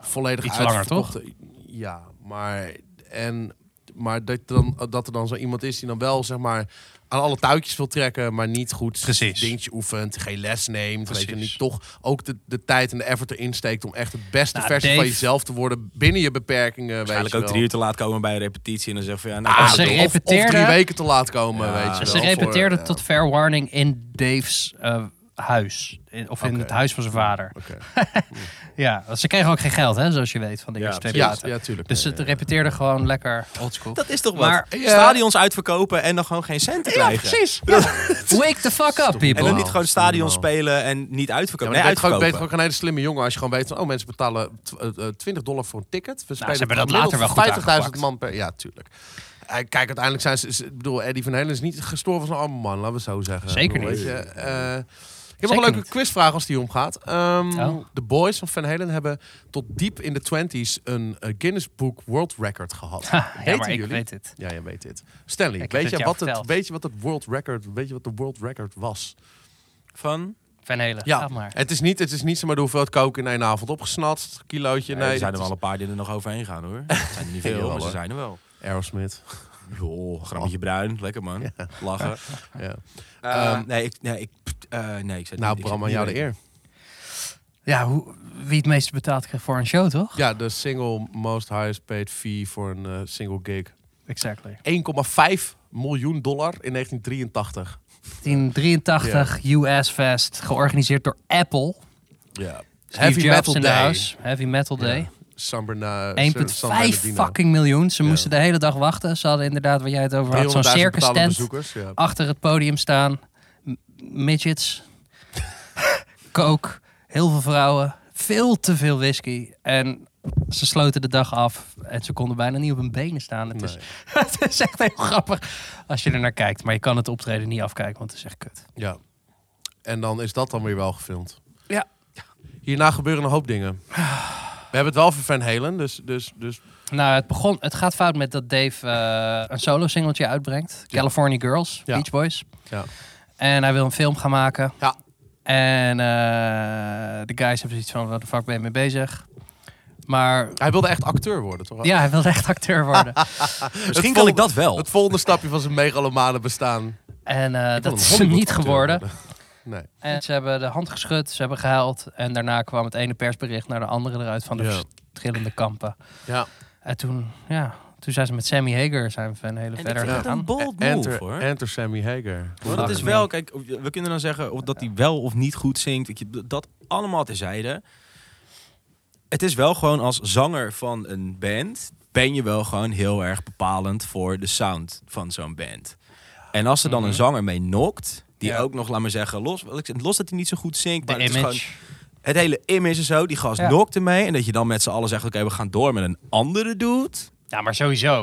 [SPEAKER 2] Volledig
[SPEAKER 1] Iets langer,
[SPEAKER 2] uitverkocht. Ja, maar en maar dat, dan, dat er dan zo iemand is die dan wel zeg maar aan alle touwtjes wil trekken, maar niet goed
[SPEAKER 1] Precies.
[SPEAKER 2] dingetje oefent, geen les neemt, weet je
[SPEAKER 1] Precies.
[SPEAKER 2] niet toch ook de, de tijd en de effort erin steekt om echt het beste
[SPEAKER 1] Nou,
[SPEAKER 2] versie van
[SPEAKER 1] Dave-
[SPEAKER 2] jezelf te worden binnen je beperkingen.
[SPEAKER 3] Waarschijnlijk
[SPEAKER 2] weet
[SPEAKER 3] ook
[SPEAKER 2] je
[SPEAKER 3] drie
[SPEAKER 2] wel.
[SPEAKER 3] uur te laat komen bij een repetitie. En dan zeg je van ja, nou,
[SPEAKER 1] Ah,
[SPEAKER 3] kom
[SPEAKER 1] ze
[SPEAKER 3] maar door.
[SPEAKER 2] Of- Of,
[SPEAKER 1] repeteerden.
[SPEAKER 2] drie weken te laat komen, weet je
[SPEAKER 1] Ze
[SPEAKER 2] wel, voor-
[SPEAKER 1] repeteerden
[SPEAKER 2] ja.
[SPEAKER 1] tot Fair Warning in Dave's eh, huis. In- of in
[SPEAKER 2] Oké.
[SPEAKER 1] het huis van zijn vader.
[SPEAKER 2] Oké.
[SPEAKER 1] ja, want ze kregen ook geen geld, hè, zoals je weet, van de
[SPEAKER 2] Ja,
[SPEAKER 1] eerste twee
[SPEAKER 2] precies.
[SPEAKER 1] platen.
[SPEAKER 2] Ja, tuurlijk.
[SPEAKER 1] Dus ze repeteerden gewoon lekker oldschool.
[SPEAKER 3] Dat is toch wat?
[SPEAKER 1] Maar- Ja.
[SPEAKER 3] Stadions uitverkopen en dan gewoon geen centen
[SPEAKER 1] Ja,
[SPEAKER 3] krijgen.
[SPEAKER 1] precies. Ja. Wake the fuck up, people.
[SPEAKER 3] En dan niet gewoon stadions spelen en niet
[SPEAKER 2] Ja,
[SPEAKER 3] uitverkopen.
[SPEAKER 2] maar
[SPEAKER 3] nee,
[SPEAKER 2] dan ben je gewoon- ben je
[SPEAKER 3] uitverkopen.
[SPEAKER 2] gewoon een hele slimme jongen als je gewoon weet van... oh, mensen betalen tw- eh, eh, 20 dollar voor een ticket. We spelen
[SPEAKER 1] Nou, ze hebben dat
[SPEAKER 2] gemiddeld
[SPEAKER 1] later wel goed
[SPEAKER 2] 50.000
[SPEAKER 1] aangepakt.
[SPEAKER 2] man per... Ja, tuurlijk. Eh, Kijk, uiteindelijk zijn ze... ze- Ik bedoel, Eddie van Helen is niet gestorven als een arme man. Laten we het zo zeggen.
[SPEAKER 1] Zeker
[SPEAKER 2] Ik bedoel,
[SPEAKER 1] niet.
[SPEAKER 2] weet je, eh, ik heb nog
[SPEAKER 1] Zeker
[SPEAKER 2] een leuke
[SPEAKER 1] niet.
[SPEAKER 2] quizvraag als die omgaat. Ehm,
[SPEAKER 1] Oh.
[SPEAKER 2] De boys van Van Helen hebben tot diep in de 20s een eh, Guinness Book World Record gehad.
[SPEAKER 1] ja,
[SPEAKER 2] Weten
[SPEAKER 1] maar ik
[SPEAKER 2] jullie?
[SPEAKER 1] weet het.
[SPEAKER 2] Ja, jij weet dit. Stanley,
[SPEAKER 1] Ik heb
[SPEAKER 2] weet
[SPEAKER 1] het
[SPEAKER 2] je,
[SPEAKER 1] jou
[SPEAKER 2] wat het,
[SPEAKER 1] verteld.
[SPEAKER 2] weet je wat het World Record, weet je wat de World Record was?
[SPEAKER 3] Van?
[SPEAKER 1] Van Helen,
[SPEAKER 2] Ja,
[SPEAKER 1] laat maar.
[SPEAKER 2] het is niet, het is niet zomaar de hoeveelheid kook in één avond opgesnatst. Kilootje, nee.
[SPEAKER 3] Nee, er zijn
[SPEAKER 2] het
[SPEAKER 3] er wel
[SPEAKER 2] is-
[SPEAKER 3] een paar die er nog overheen gaan hoor. Het zijn er niet
[SPEAKER 2] Ja,
[SPEAKER 3] veel,
[SPEAKER 2] wel,
[SPEAKER 3] maar ze
[SPEAKER 2] hoor.
[SPEAKER 3] zijn er wel.
[SPEAKER 2] Aerosmith.
[SPEAKER 3] Joh, grammetje bruin. Lekker man. Lachen.
[SPEAKER 2] ja.
[SPEAKER 3] Ehm, nee, ik, nee, ik, eh, nee, ik zei
[SPEAKER 2] Nou,
[SPEAKER 3] ik-
[SPEAKER 2] Bram,
[SPEAKER 3] ik-
[SPEAKER 2] aan jou de eer.
[SPEAKER 1] Ja, hoe, wie het meeste betaalt krijgt voor een show, toch?
[SPEAKER 2] Ja, de single most highest paid fee voor een eh, single gig.
[SPEAKER 1] Exactly.
[SPEAKER 2] 1,5 miljoen dollar in 1983.
[SPEAKER 1] 1983 US Fest, georganiseerd door Apple.
[SPEAKER 2] Ja.
[SPEAKER 1] Steve Jobs in de house. Heavy Metal Day.
[SPEAKER 2] Ja. San Berna- San
[SPEAKER 1] 1,5
[SPEAKER 2] Bernardino.
[SPEAKER 1] fucking miljoen. Ze moesten de hele dag wachten. Ze hadden inderdaad, wat jij het over had, zo'n
[SPEAKER 2] 300.000
[SPEAKER 1] circus
[SPEAKER 2] betalende
[SPEAKER 1] tent.
[SPEAKER 2] bezoekers, ja.
[SPEAKER 1] Achter het podium staan. M- Midgets. Coke. Heel veel vrouwen. Veel te veel whisky. En ze sloten de dag af. En ze konden bijna niet op hun benen staan. Het, is, het is echt heel grappig als je er naar kijkt. Maar je kan het optreden niet afkijken, want het is echt kut.
[SPEAKER 2] Ja. En dan is dat dan weer wel gefilmd.
[SPEAKER 1] Ja.
[SPEAKER 2] Hierna gebeuren een hoop dingen. We hebben het wel voor Van Halen, dus... dus, dus
[SPEAKER 1] Nou, het, begon, het gaat fout met dat Dave eh, een solo singeltje uitbrengt. California Girls, Beach Boys.
[SPEAKER 2] Ja.
[SPEAKER 1] En hij wil een film gaan maken. Ja. En eh, de guys hebben zoiets van, wat de fuck ben je mee bezig? Maar...
[SPEAKER 2] Hij wilde echt acteur worden, toch?
[SPEAKER 1] Ja, hij wilde echt acteur worden.
[SPEAKER 2] Het
[SPEAKER 1] kan ik
[SPEAKER 2] volgende-
[SPEAKER 1] dat wel.
[SPEAKER 2] Het volgende stapje van zijn megalomane bestaan.
[SPEAKER 1] En eh, dat
[SPEAKER 2] een
[SPEAKER 1] is hem
[SPEAKER 2] Hollywood
[SPEAKER 1] niet
[SPEAKER 2] acteur
[SPEAKER 1] geworden.
[SPEAKER 2] worden. Nee.
[SPEAKER 1] En ze hebben de hand geschud, ze hebben gehuild. En daarna kwam het ene persbericht naar de andere eruit van de
[SPEAKER 2] Ja.
[SPEAKER 1] verschillende kampen.
[SPEAKER 2] Ja.
[SPEAKER 1] En toen, ja, toen zijn ze met Sammy Hager zijn we een hele verder gegaan.
[SPEAKER 2] enter, Enter Sammy Hager.
[SPEAKER 3] Maar dat is wel, kijk, we kunnen dan zeggen of dat hij wel of niet goed zingt. weet je, Dat allemaal terzijde. Het is wel gewoon als zanger van een band... ben je wel gewoon heel erg bepalend voor de sound van zo'n band. En als er dan
[SPEAKER 1] Mhm.
[SPEAKER 3] een zanger mee nokt... die ook nog, laat maar zeggen, los, wat ik zeg, los dat hij niet zo goed zingt... maar het is
[SPEAKER 1] image.
[SPEAKER 3] gewoon... Het hele image en zo, die gast
[SPEAKER 1] Ja.
[SPEAKER 3] nokte mee. En dat je dan met z'n allen zegt, oké, we gaan door met een andere dude.
[SPEAKER 1] Ja, maar sowieso.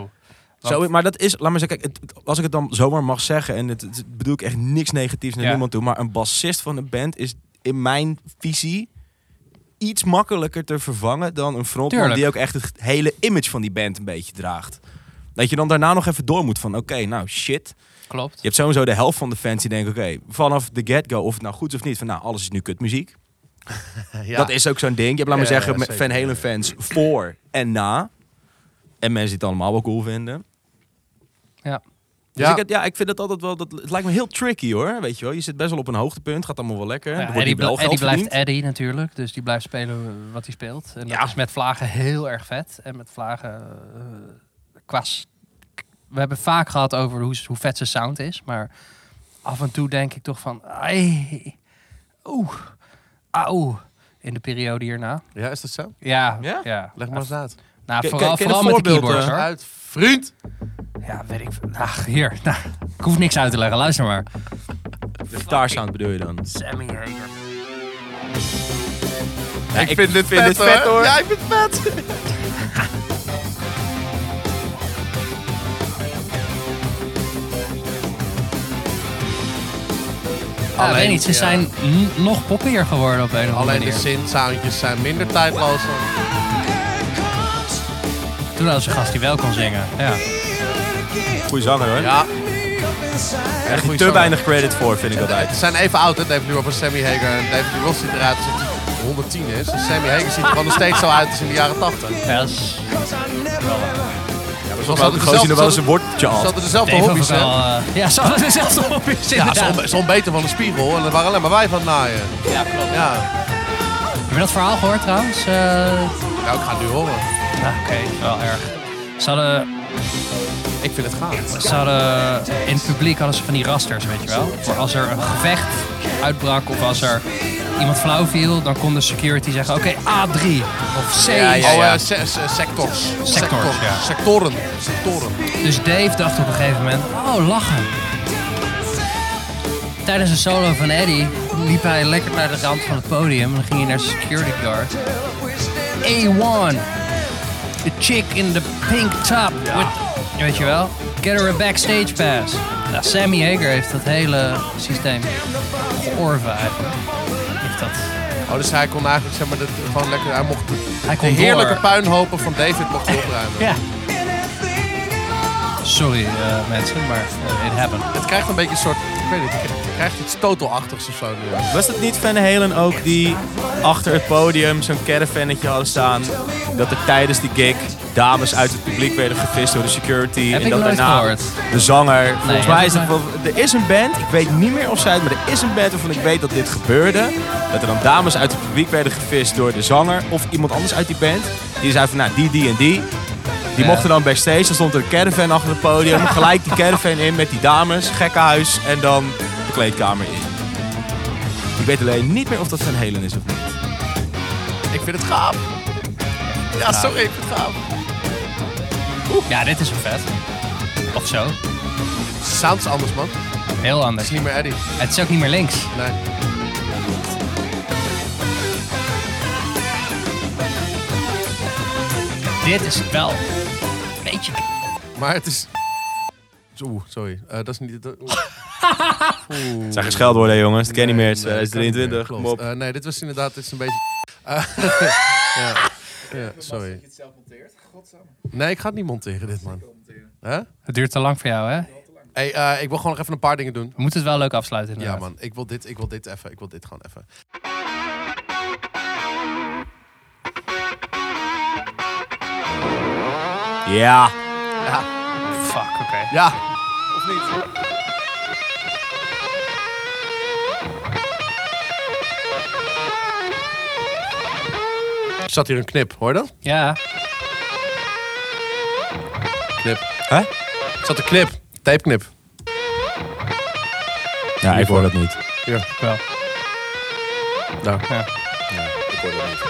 [SPEAKER 1] Want-
[SPEAKER 3] Zo, maar dat is, laat maar zeggen, kijk, het- het- als ik het dan zomaar mag zeggen, en het, het bedoel ik echt niks negatiefs naar
[SPEAKER 1] Ja.
[SPEAKER 3] niemand toe, maar een bassist van een band is in mijn visie iets makkelijker te vervangen dan een frontman
[SPEAKER 1] Tuurlijk.
[SPEAKER 3] die ook echt het hele image van die band een beetje draagt. Dat je dan daarna nog even door moet van, oké, nou shit.
[SPEAKER 1] Klopt.
[SPEAKER 3] Je hebt sowieso de helft van de fans die denken, oké, vanaf de get-go, of het nou goed is of niet, van nou, alles is nu kutmuziek. Dat is ook zo'n ding. Je hebt, laat maar
[SPEAKER 2] Ja, ja,
[SPEAKER 3] zeggen, met
[SPEAKER 2] zeker.
[SPEAKER 3] Van Halen fans voor en na. En mensen die het allemaal wel cool vinden.
[SPEAKER 1] Ja.
[SPEAKER 3] Dus
[SPEAKER 1] Ja.
[SPEAKER 3] Ik, het- ja, ik vind het altijd wel. Dat, het lijkt me heel tricky hoor. Weet je wel, je zit best wel op een hoogtepunt. Gaat allemaal wel lekker.
[SPEAKER 1] Ja,
[SPEAKER 3] Er wordt
[SPEAKER 1] Eh, Eddie,
[SPEAKER 3] wel
[SPEAKER 1] bl-
[SPEAKER 3] geld
[SPEAKER 1] Eddie blijft
[SPEAKER 3] verdiend.
[SPEAKER 1] Eddie natuurlijk, dus die blijft spelen wat hij speelt. En dat is met vlagen heel erg vet. En met vlagen eh, qua... s- We hebben het vaak gehad over hoe, s- hoe vet zijn sound is, maar af en toe denk ik toch van... Ai, oeh, auw, in de periode hierna.
[SPEAKER 2] Ja, is dat zo?
[SPEAKER 1] Ja,
[SPEAKER 2] Ja?
[SPEAKER 1] ja.
[SPEAKER 2] Leg maar eens uit.
[SPEAKER 1] Nou,
[SPEAKER 2] Ken-
[SPEAKER 1] vooral,
[SPEAKER 2] ken- ken
[SPEAKER 1] vooral
[SPEAKER 2] een
[SPEAKER 1] met de
[SPEAKER 2] voorbeeld,
[SPEAKER 1] keyboards
[SPEAKER 2] eh,
[SPEAKER 1] hoor.
[SPEAKER 2] uit, vriend!
[SPEAKER 1] Ja, weet ik veel. Ach, hier. Nou, ik hoef niks uit te leggen, luister maar.
[SPEAKER 3] De gitaar sound bedoel je dan?
[SPEAKER 1] Sammy Hager.
[SPEAKER 3] Ja, ik, vind dit vet, hoor.
[SPEAKER 5] Ja,
[SPEAKER 3] ik vind het vet.
[SPEAKER 1] Ja, ik Ah, weet niet, ze
[SPEAKER 2] ja.
[SPEAKER 1] zijn n- nog poppier geworden op een of andere
[SPEAKER 2] Alleen de
[SPEAKER 1] manier.
[SPEAKER 2] synth-soundjes zijn minder tijdloos. dan-
[SPEAKER 1] Toen hadden ze een gast die wel kon zingen. Ja.
[SPEAKER 3] Goeie zanger hoor.
[SPEAKER 2] Ja.
[SPEAKER 3] Echt
[SPEAKER 2] goeie
[SPEAKER 3] te
[SPEAKER 2] zanger.
[SPEAKER 3] weinig credit voor, vind ik
[SPEAKER 2] Ze
[SPEAKER 3] altijd.
[SPEAKER 2] zijn even oud, hè, David Dubois van Sammy Hager. En David Dubois ziet eruit als hij 110 is. En Dus Sammy Hager ziet er gewoon nog steeds zo uit als in de jaren 80.
[SPEAKER 1] Ja, dat is...
[SPEAKER 2] Ja, maar
[SPEAKER 3] Zoals elke gozer die er wel eens een worteltje
[SPEAKER 2] Ze
[SPEAKER 3] had.
[SPEAKER 2] hadden dezelfde
[SPEAKER 1] Dave
[SPEAKER 2] hobby's,
[SPEAKER 1] had
[SPEAKER 2] hè?
[SPEAKER 1] wel, eh, ja, ze hadden dezelfde hobby's,
[SPEAKER 2] Ja,
[SPEAKER 1] inderdaad.
[SPEAKER 2] ze stond beter van de spiegel. En er waren alleen maar wij van het naaien.
[SPEAKER 1] Ja, klopt.
[SPEAKER 2] Ja.
[SPEAKER 1] Heb je dat verhaal gehoord trouwens? Eh,
[SPEAKER 2] Nou, ik ga het nu horen.
[SPEAKER 1] Ja, oké, wel erg. Ze hadden,
[SPEAKER 2] Ik vind het gaaf.
[SPEAKER 1] ze hadden... eh, In het publiek hadden ze van die rasters, weet je wel? Voor als er een gevecht uitbrak of als er iemand flauw viel... dan kon de security zeggen, oké, A3 of C.
[SPEAKER 2] Ja, ja, ja. oh, eh, se- se- sectors. Sectors,
[SPEAKER 1] ja.
[SPEAKER 2] Sectoren. Sectoren.
[SPEAKER 1] Dus Dave dacht op een gegeven moment, oh lachen. Tijdens een solo van Eddie liep hij lekker naar de rand van het podium en dan ging hij naar de security guard. A1, the chick in the pink top. with- weet je wel? Get her a backstage pass. Nou, Sammy Hager heeft dat hele systeem georven eigenlijk. Heeft dat.
[SPEAKER 2] Oh, dus hij kon eigenlijk, zeg maar, dat, gewoon lekker... Hij mocht
[SPEAKER 1] Hij kon
[SPEAKER 2] de heerlijke
[SPEAKER 1] door.
[SPEAKER 2] puinhopen van David mocht hij opruimen.
[SPEAKER 1] Ja. Sorry eh, mensen, maar eh, it happened.
[SPEAKER 2] Het krijgt een beetje een soort... Ik weet niet, het krijgt iets totalachtigs of zo nu.
[SPEAKER 3] Was het niet Van Halen ook die achter het podium zo'n caravannetje hadden staan? Dat er tijdens die gig dames uit het publiek werden gevist door de security.
[SPEAKER 1] Heb
[SPEAKER 3] en
[SPEAKER 1] ik
[SPEAKER 3] dat
[SPEAKER 1] nooit
[SPEAKER 3] daarna
[SPEAKER 1] gehoord.
[SPEAKER 3] de zanger. volgens
[SPEAKER 1] heb
[SPEAKER 3] mij
[SPEAKER 1] ik
[SPEAKER 3] is het,
[SPEAKER 1] nooit-
[SPEAKER 3] wel- er is een band, ik weet niet meer of zij het, maar er is een band waarvan ik weet dat dit gebeurde. Dat er dan dames uit het publiek werden gevist door de zanger of iemand anders uit die band. Die zei van nou die, die en die. Die
[SPEAKER 14] Ja.
[SPEAKER 3] mochten dan backstage, dan stond er een caravan achter het podium. Gelijk die caravan in met die dames, gekkenhuis en dan de kleedkamer in. Ik weet alleen niet meer of dat Van Helen is of niet.
[SPEAKER 2] Ik vind het gaaf. Ja, sorry, ik vind het gaaf.
[SPEAKER 1] Ja, dit is wel vet. Of zo.
[SPEAKER 2] Sounds anders, man.
[SPEAKER 1] Heel anders.
[SPEAKER 2] Het is niet meer Eddie.
[SPEAKER 1] Het is ook niet meer links.
[SPEAKER 2] Nee.
[SPEAKER 1] Dit is het wel. Beetje.
[SPEAKER 2] Maar het is... Oeh, sorry. Eh, dat is niet... dat- oeh. Oeh.
[SPEAKER 3] Het zijn gescheld worden, jongens. Dat ken je niet meer. Het is
[SPEAKER 2] Nee, dat kan niet meer,
[SPEAKER 3] 2023.
[SPEAKER 2] klopt.
[SPEAKER 3] Kom op.
[SPEAKER 2] Eh, nee, dit was inderdaad dit is een beetje... Eh, ja. ja, sorry. Nee, ik ga het niet monteren, dit man. Hè?
[SPEAKER 1] Het duurt te lang voor jou, hè?
[SPEAKER 2] Hey, eh, ik wil gewoon nog even een paar dingen doen.
[SPEAKER 1] We moeten het wel leuk afsluiten.
[SPEAKER 2] Ja,
[SPEAKER 1] Inderdaad.
[SPEAKER 2] man. Ik wil dit, ik wil dit even. Ik wil dit gewoon even.
[SPEAKER 3] Ja.
[SPEAKER 2] Ja.
[SPEAKER 1] Fuck, oké.
[SPEAKER 2] Ja.
[SPEAKER 5] Of niet?
[SPEAKER 2] Zat hier een knip, hoor je dat?
[SPEAKER 1] Ja.
[SPEAKER 2] Knip. Hè? Zat een knip. Tapeknip.
[SPEAKER 3] Ja, ik hoor dat niet.
[SPEAKER 2] Ja.
[SPEAKER 1] Wel.
[SPEAKER 2] Nou.
[SPEAKER 1] Ja.
[SPEAKER 3] Ik hoor dat niet.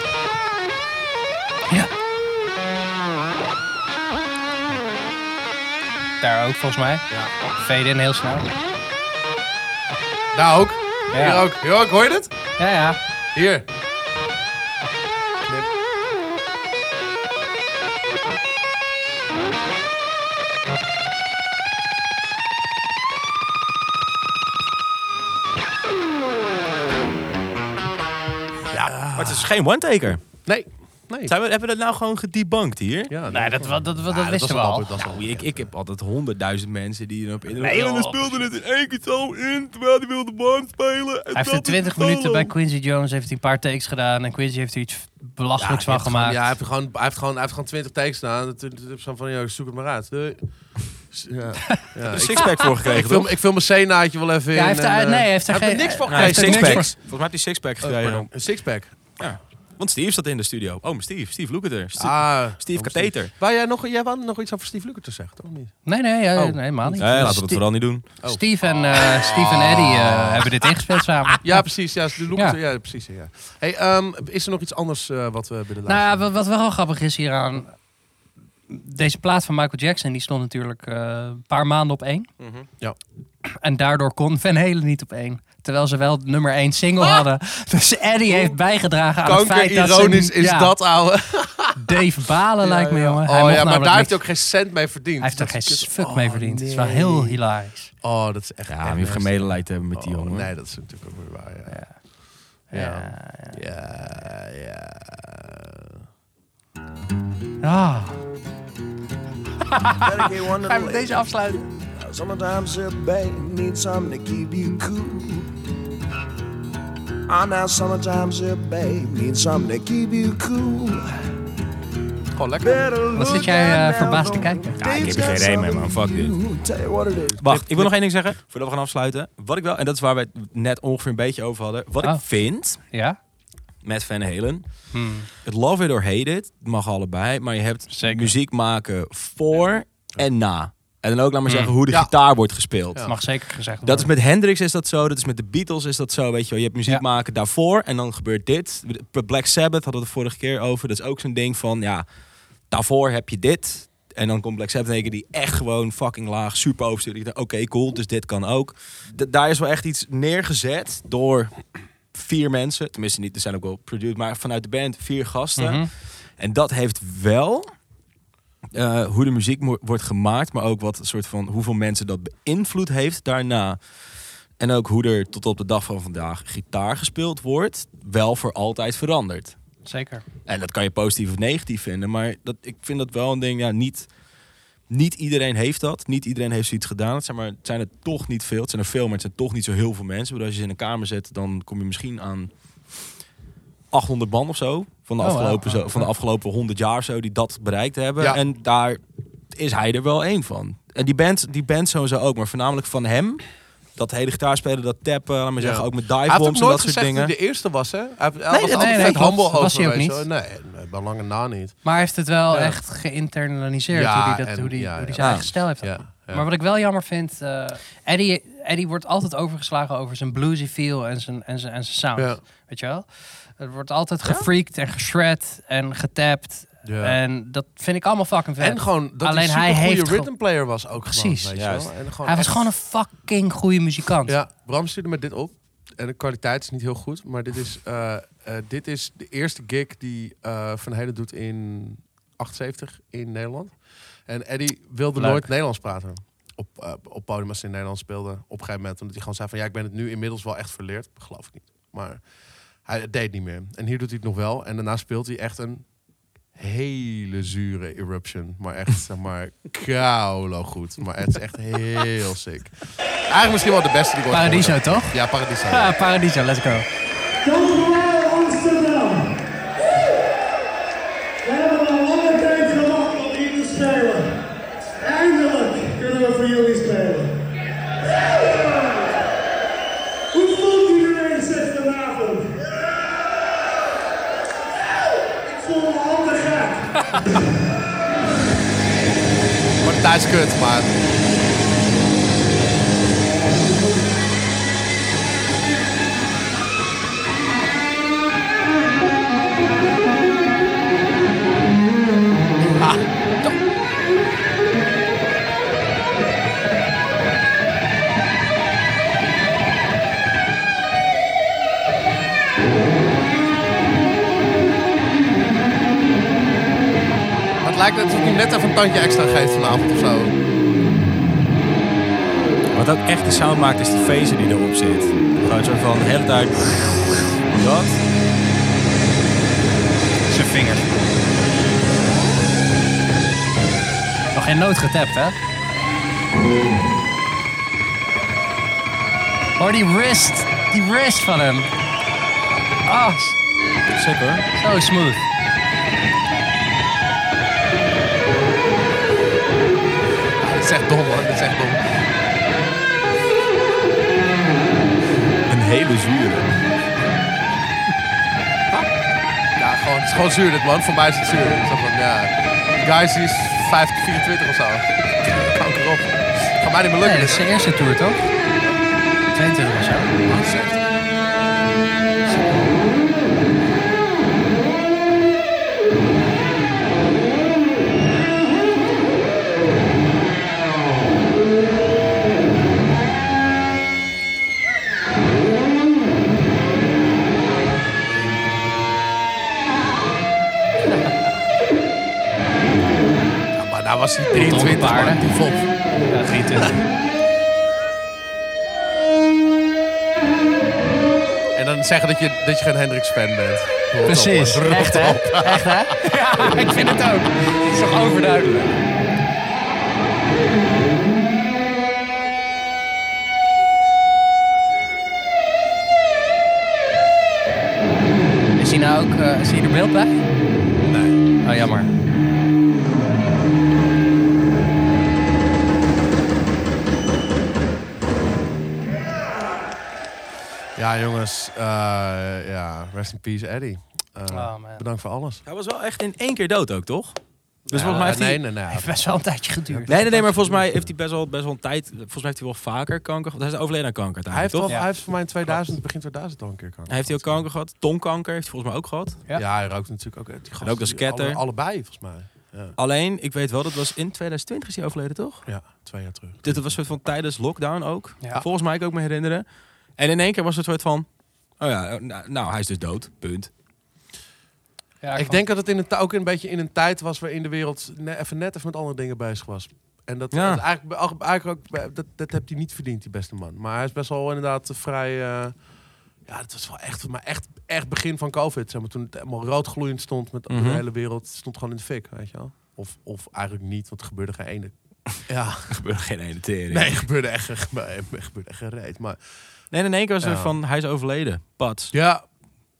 [SPEAKER 1] Daar ook, volgens mij. Ja. Veden in heel snel.
[SPEAKER 2] Daar ook.
[SPEAKER 1] Ja.
[SPEAKER 2] Hier ook. Hier ook. Hoor je dit?
[SPEAKER 1] Ja, ja.
[SPEAKER 2] Hier.
[SPEAKER 3] Ja, maar het is geen one-taker.
[SPEAKER 2] Nee. nee.
[SPEAKER 3] Zijn we, hebben we dat nou gewoon gedebunked hier?
[SPEAKER 2] Ja,
[SPEAKER 1] nee, dat, dat, dat, dat wisten we al.
[SPEAKER 3] ik, ik heb altijd honderdduizend mensen die Oh, dan op internet...
[SPEAKER 1] Nee, joh.
[SPEAKER 3] en dan speelde het in één keer zo in, terwijl die wilde band spelen. En
[SPEAKER 1] Hij heeft
[SPEAKER 3] dat
[SPEAKER 1] er
[SPEAKER 3] is
[SPEAKER 1] 20
[SPEAKER 3] solo.
[SPEAKER 1] minuten bij Quincy Jones, heeft hij een paar takes gedaan. En Quincy heeft er iets belachelijks van gemaakt.
[SPEAKER 2] Ja, hij heeft gewoon, hij heeft gewoon, hij heeft gewoon 20 takes staan. Toen toen heb ik zo van, ja, zoek het maar uit. Doei. Ja. Ja,
[SPEAKER 3] een sixpack voor gekregen,
[SPEAKER 2] Ik film,
[SPEAKER 3] toch?
[SPEAKER 2] ik film mijn scenaatje wel even
[SPEAKER 1] Ja, hij
[SPEAKER 2] in.
[SPEAKER 1] heeft er-
[SPEAKER 2] en, eh,
[SPEAKER 1] nee, hij heeft er geen-
[SPEAKER 2] niks van
[SPEAKER 1] Nee, hij heeft
[SPEAKER 2] gekregen.
[SPEAKER 1] er niks
[SPEAKER 3] Volgens mij heeft hij sixpack gekregen.
[SPEAKER 2] pardon. Een sixpack?
[SPEAKER 3] Ja. Want Steve zat in de studio. Oh, maar Steve. Steve Lukather. Steve,
[SPEAKER 2] Ah,
[SPEAKER 3] Steve
[SPEAKER 2] oh,
[SPEAKER 3] Katheter.
[SPEAKER 2] Steve. Wou jij nog, jij wou nog iets over Steve Lukather zeggen, toch? Of niet?
[SPEAKER 1] Nee, nee, ja,
[SPEAKER 2] Oh.
[SPEAKER 1] nee, helemaal niet.
[SPEAKER 3] Nee, laten we dat
[SPEAKER 1] Ste-
[SPEAKER 3] vooral niet doen.
[SPEAKER 1] Steve en, eh, Steve en Eddie eh, hebben dit ingespeeld samen.
[SPEAKER 2] Ja, precies. Ja, Steve Lukather,
[SPEAKER 1] Ja.
[SPEAKER 2] ja. precies. Ja. Hey, ehm, is er nog iets anders eh, wat we willen
[SPEAKER 1] Nou
[SPEAKER 2] laten?
[SPEAKER 1] ja, wat- wat wel grappig is hieraan. Deze plaat van Michael Jackson die stond natuurlijk eh, een paar maanden op één.
[SPEAKER 2] Ja.
[SPEAKER 1] En daardoor kon Van Halen niet op één. Terwijl ze wel nummer één single
[SPEAKER 2] Ah!
[SPEAKER 1] hadden. Dus Eddie heeft bijgedragen aan het feit dat ze...
[SPEAKER 2] Kankerironisch is
[SPEAKER 1] ja,
[SPEAKER 2] dat, ouwe.
[SPEAKER 1] Dave Balen
[SPEAKER 2] Ja,
[SPEAKER 1] lijkt me,
[SPEAKER 2] ja.
[SPEAKER 1] jongen. Hij
[SPEAKER 2] Oh
[SPEAKER 1] mocht
[SPEAKER 2] ja, maar
[SPEAKER 1] namelijk
[SPEAKER 2] daar heeft
[SPEAKER 1] niks-
[SPEAKER 2] hij ook geen cent mee verdiend.
[SPEAKER 1] Hij heeft er
[SPEAKER 2] Dat
[SPEAKER 1] geen
[SPEAKER 2] is kut. Oh,
[SPEAKER 1] fuck mee verdiend. Het is wel
[SPEAKER 2] nee.
[SPEAKER 1] heel hilarisch.
[SPEAKER 2] Oh, dat is echt...
[SPEAKER 3] Ja, maar je hoeft geen medelijden te hebben met die jongen.
[SPEAKER 2] Nee, dat is natuurlijk ook weer waar, ja. Ja. Ja, ja.
[SPEAKER 1] Ah.
[SPEAKER 5] Ga je met deze afsluiten? Sometimes a bag needs something to keep you cool. Ah, now sometimes a bag needs something to keep you cool.
[SPEAKER 2] Gewoon
[SPEAKER 5] lekker.
[SPEAKER 1] Wat zit jij eh, verbaasd te kijken?
[SPEAKER 3] Ja, ik heb er geen reden mee, man. Fuck dit.
[SPEAKER 5] Tell you what it is.
[SPEAKER 3] Wacht, ik wil nog één ding zeggen. Voordat we gaan afsluiten. Wat ik wel, en dat is waar we het net ongeveer een beetje over hadden. Wat
[SPEAKER 1] Oh.
[SPEAKER 3] ik vind
[SPEAKER 1] Ja?
[SPEAKER 3] met Van Halen. Het love it or hate it. Het mag allebei. Maar je hebt muziek maken voor en na. En dan ook, laat maar
[SPEAKER 1] Hmm.
[SPEAKER 3] zeggen, hoe de
[SPEAKER 1] Ja.
[SPEAKER 3] gitaar wordt gespeeld.
[SPEAKER 1] Dat mag zeker gezegd
[SPEAKER 3] Dat is
[SPEAKER 1] worden.
[SPEAKER 3] met Hendrix is dat zo, dat is met de Beatles is dat zo, weet je wel. Je hebt muziek maken daarvoor en dan gebeurt dit. Black Sabbath hadden we het vorige keer over. Dat is ook zo'n ding van, ja, daarvoor heb je dit. En dan komt Black Sabbath tegen die echt gewoon fucking laag, super overstuurt. Ik denk, Oké, cool, dus dit kan ook. D- daar is wel echt iets neergezet door vier mensen. Tenminste niet, er zijn ook wel produced, maar vanuit de band vier gasten.
[SPEAKER 1] Mhm.
[SPEAKER 3] En dat heeft wel eh, hoe de muziek mo- wordt gemaakt, maar ook wat soort van hoeveel mensen dat beïnvloed heeft daarna. En ook hoe er tot op de dag van vandaag gitaar gespeeld wordt, wel voor altijd veranderd.
[SPEAKER 1] Zeker.
[SPEAKER 3] En dat kan je positief of negatief vinden, maar dat, ik vind dat wel een ding, ja, niet, niet iedereen heeft dat. Niet iedereen heeft zoiets gedaan. Het zijn, maar, het zijn er toch niet veel. Het zijn er veel, maar het zijn toch niet zo heel veel mensen. Want als je ze in een kamer zet, dan kom je misschien aan 800 man of zo. van de,
[SPEAKER 15] Oh,
[SPEAKER 3] afgelopen,
[SPEAKER 15] wauw.
[SPEAKER 3] zo, van de afgelopen 100 jaar zo die dat bereikt hebben.
[SPEAKER 15] Ja.
[SPEAKER 3] En daar is hij er wel één van. En die band, die band sowieso ook, maar voornamelijk van hem. Dat hele gitaarspelen, dat tappen, laat maar
[SPEAKER 2] Ja.
[SPEAKER 3] zeggen, ook met
[SPEAKER 2] Hij
[SPEAKER 3] dive
[SPEAKER 2] heeft ook
[SPEAKER 3] bombs en
[SPEAKER 2] nooit
[SPEAKER 3] dat soort
[SPEAKER 2] gezegd
[SPEAKER 3] dingen.
[SPEAKER 2] dat hij de eerste was, hè? Hij, hij was
[SPEAKER 1] nee,
[SPEAKER 2] altijd
[SPEAKER 1] nee,
[SPEAKER 2] vet
[SPEAKER 1] klopt.
[SPEAKER 2] humble over
[SPEAKER 1] Was hij ook
[SPEAKER 2] geweest,
[SPEAKER 1] niet.
[SPEAKER 2] hoor. Nee, nee, bij lange na niet.
[SPEAKER 1] Maar hij heeft het wel
[SPEAKER 2] Ja.
[SPEAKER 1] echt geïnternaliseerd
[SPEAKER 2] Ja,
[SPEAKER 1] hoe hij, dat,
[SPEAKER 2] en-
[SPEAKER 1] hoe die,
[SPEAKER 2] ja,
[SPEAKER 1] hoe die
[SPEAKER 2] ja.
[SPEAKER 1] zijn eigen
[SPEAKER 2] Ja.
[SPEAKER 1] stijl heeft.
[SPEAKER 2] ja.
[SPEAKER 1] Maar wat ik wel jammer vind, eh, Eddie, Eddie wordt altijd overgeslagen over zijn bluesy feel en zijn, en zijn, en zijn sound.
[SPEAKER 2] Ja.
[SPEAKER 1] Weet je wel? Het wordt altijd gefreakt en geshred en getapt.
[SPEAKER 2] Ja.
[SPEAKER 1] En dat vind ik allemaal fucking vet.
[SPEAKER 2] En gewoon dat
[SPEAKER 1] Alleen hij
[SPEAKER 2] een
[SPEAKER 1] heeft
[SPEAKER 2] goede
[SPEAKER 1] ge-
[SPEAKER 2] rhythm player was ook
[SPEAKER 1] Precies.
[SPEAKER 2] Gewoon, weet je wel. En gewoon
[SPEAKER 1] hij was
[SPEAKER 2] echt-
[SPEAKER 1] gewoon een fucking goede muzikant.
[SPEAKER 2] Ja, Bram stuurde me dit op. En de kwaliteit is niet heel goed. Maar dit is, eh, eh, dit is de eerste gig die eh, Van Heden doet in 78 in Nederland. En Eddie wilde
[SPEAKER 15] Leuk.
[SPEAKER 2] nooit Nederlands praten. Op, eh, op podium als hij in Nederland speelde. Op een gegeven moment. Omdat hij gewoon zei van... Ja, ik ben het nu inmiddels wel echt verleerd. Geloof ik niet. Maar hij het deed niet meer. En hier doet hij het nog wel. En daarna speelt hij echt een hele zure eruption. Maar echt, zeg maar, kaulo goed. Maar het is echt heel sick. Eigenlijk misschien wel de beste die ik ooit
[SPEAKER 1] Paradiso,
[SPEAKER 2] gehoord heb.
[SPEAKER 1] toch?
[SPEAKER 2] Ja, Paradiso. ja.
[SPEAKER 1] Ah, Paradiso, let's go.
[SPEAKER 9] Amsterdam. We hebben al lange tijd gewacht om hier te spelen. Eindelijk kunnen we voor jullie spelen. Hoe voelt iedereen zich vanavond? Ik voel me al te gek.
[SPEAKER 2] Maar thuis kut, maar... Maar Het lijkt net alsof hij net even een tandje extra geeft vanavond of zo.
[SPEAKER 3] Wat ook echt de sound maakt, is die phaser die erop zit. Gewoon zo van de hele tijd... Dat.
[SPEAKER 15] Zijn vingers.
[SPEAKER 1] Nog geen noot getapt, hè? Hoor die wrist. Die wrist van hem. Ah.
[SPEAKER 3] Sick, hoor.
[SPEAKER 1] Zo smooth.
[SPEAKER 2] Dat is echt dom, hoor. Dat is echt dom.
[SPEAKER 3] Een hele zure.
[SPEAKER 2] Ja, gewoon, het is gewoon zuur dit, man. Voor mij is het zuur. Zo van, ja. Die Guys, die is 50, 24 of zo. Kanker erop. Gaat mij niet meer
[SPEAKER 1] Nee,
[SPEAKER 2] lukken.
[SPEAKER 1] dat is zijn eerste tour, toch? 22 of zo.
[SPEAKER 2] Ja, maar daar was hij 23, man. Die vond.
[SPEAKER 1] Ja, 23.
[SPEAKER 2] En dan zeggen dat je, dat je geen Hendrix-fan bent. Rot op,
[SPEAKER 1] Precies.
[SPEAKER 2] man. Rot
[SPEAKER 1] Echt, hè?
[SPEAKER 2] op.
[SPEAKER 1] Echt, hè? Ja, ik vind het ook. Het is toch overduidelijk. Is hij nou ook... eh, is hij er beeld bij? Nee. Oh, jammer.
[SPEAKER 2] Ja, jongens. eh, ja, rest in peace, Eddie. Eh, bedankt voor alles.
[SPEAKER 3] Hij was wel echt in één keer dood ook, toch? Dus
[SPEAKER 2] Ja,
[SPEAKER 3] volgens mij heeft
[SPEAKER 2] nee,
[SPEAKER 3] hij-
[SPEAKER 2] nee, nee.
[SPEAKER 1] Heeft best wel een tijdje geduurd.
[SPEAKER 3] Nee, nee, nee, maar volgens mij heeft hij best wel, best wel een tijd. Volgens mij heeft hij wel vaker kanker. gehad. Hij is overleden aan kanker.
[SPEAKER 2] Hij heeft,
[SPEAKER 3] toch?
[SPEAKER 2] al, hij heeft voor mij in 2000, begin 2000 al een keer kanker.
[SPEAKER 3] Hij heeft hij ook kanker gehad. Tongkanker heeft hij volgens mij ook gehad.
[SPEAKER 2] Ja, hij rookt natuurlijk ook. uit. Die
[SPEAKER 3] En ook de
[SPEAKER 2] gasten die-
[SPEAKER 3] scatter.
[SPEAKER 2] alle- allebei, volgens mij. Ja.
[SPEAKER 3] Alleen, ik weet wel, dat was in 2020 is hij overleden, toch?
[SPEAKER 2] Ja, twee jaar terug.
[SPEAKER 3] Dit was een soort van tijdens lockdown ook. Volgens mij, kan ik ook me herinneren. En in één keer was het soort van... Oh ja, nou, nou, hij is dus dood. Punt.
[SPEAKER 2] ik denk dat het in een, ti- ook een beetje in een tijd was waarin de wereld ne- even net even met andere dingen bezig was. En dat,
[SPEAKER 3] Ja.
[SPEAKER 2] dat eigenlijk, eigenlijk- eigenlijk ook, bij- dat, dat heeft hij niet verdiend, die beste man. Maar hij is best wel inderdaad vrij. eh, ja, dat was wel echt, maar echt, echt begin van COVID. Zeg maar, toen het helemaal roodgloeiend stond met
[SPEAKER 3] Mhm.
[SPEAKER 2] de hele wereld, stond gewoon in de fik, weet je wel. Of, of eigenlijk niet, want er gebeurde geen ene. Ja.
[SPEAKER 3] Er gebeurde geen ene tering.
[SPEAKER 2] Nee, er gebeurde echt, er gebeurde, er gebeurde echt geen reet. Maar
[SPEAKER 3] Nee, in één keer was het
[SPEAKER 2] Ja.
[SPEAKER 3] van... Hij is overleden. Pats.
[SPEAKER 2] Ja.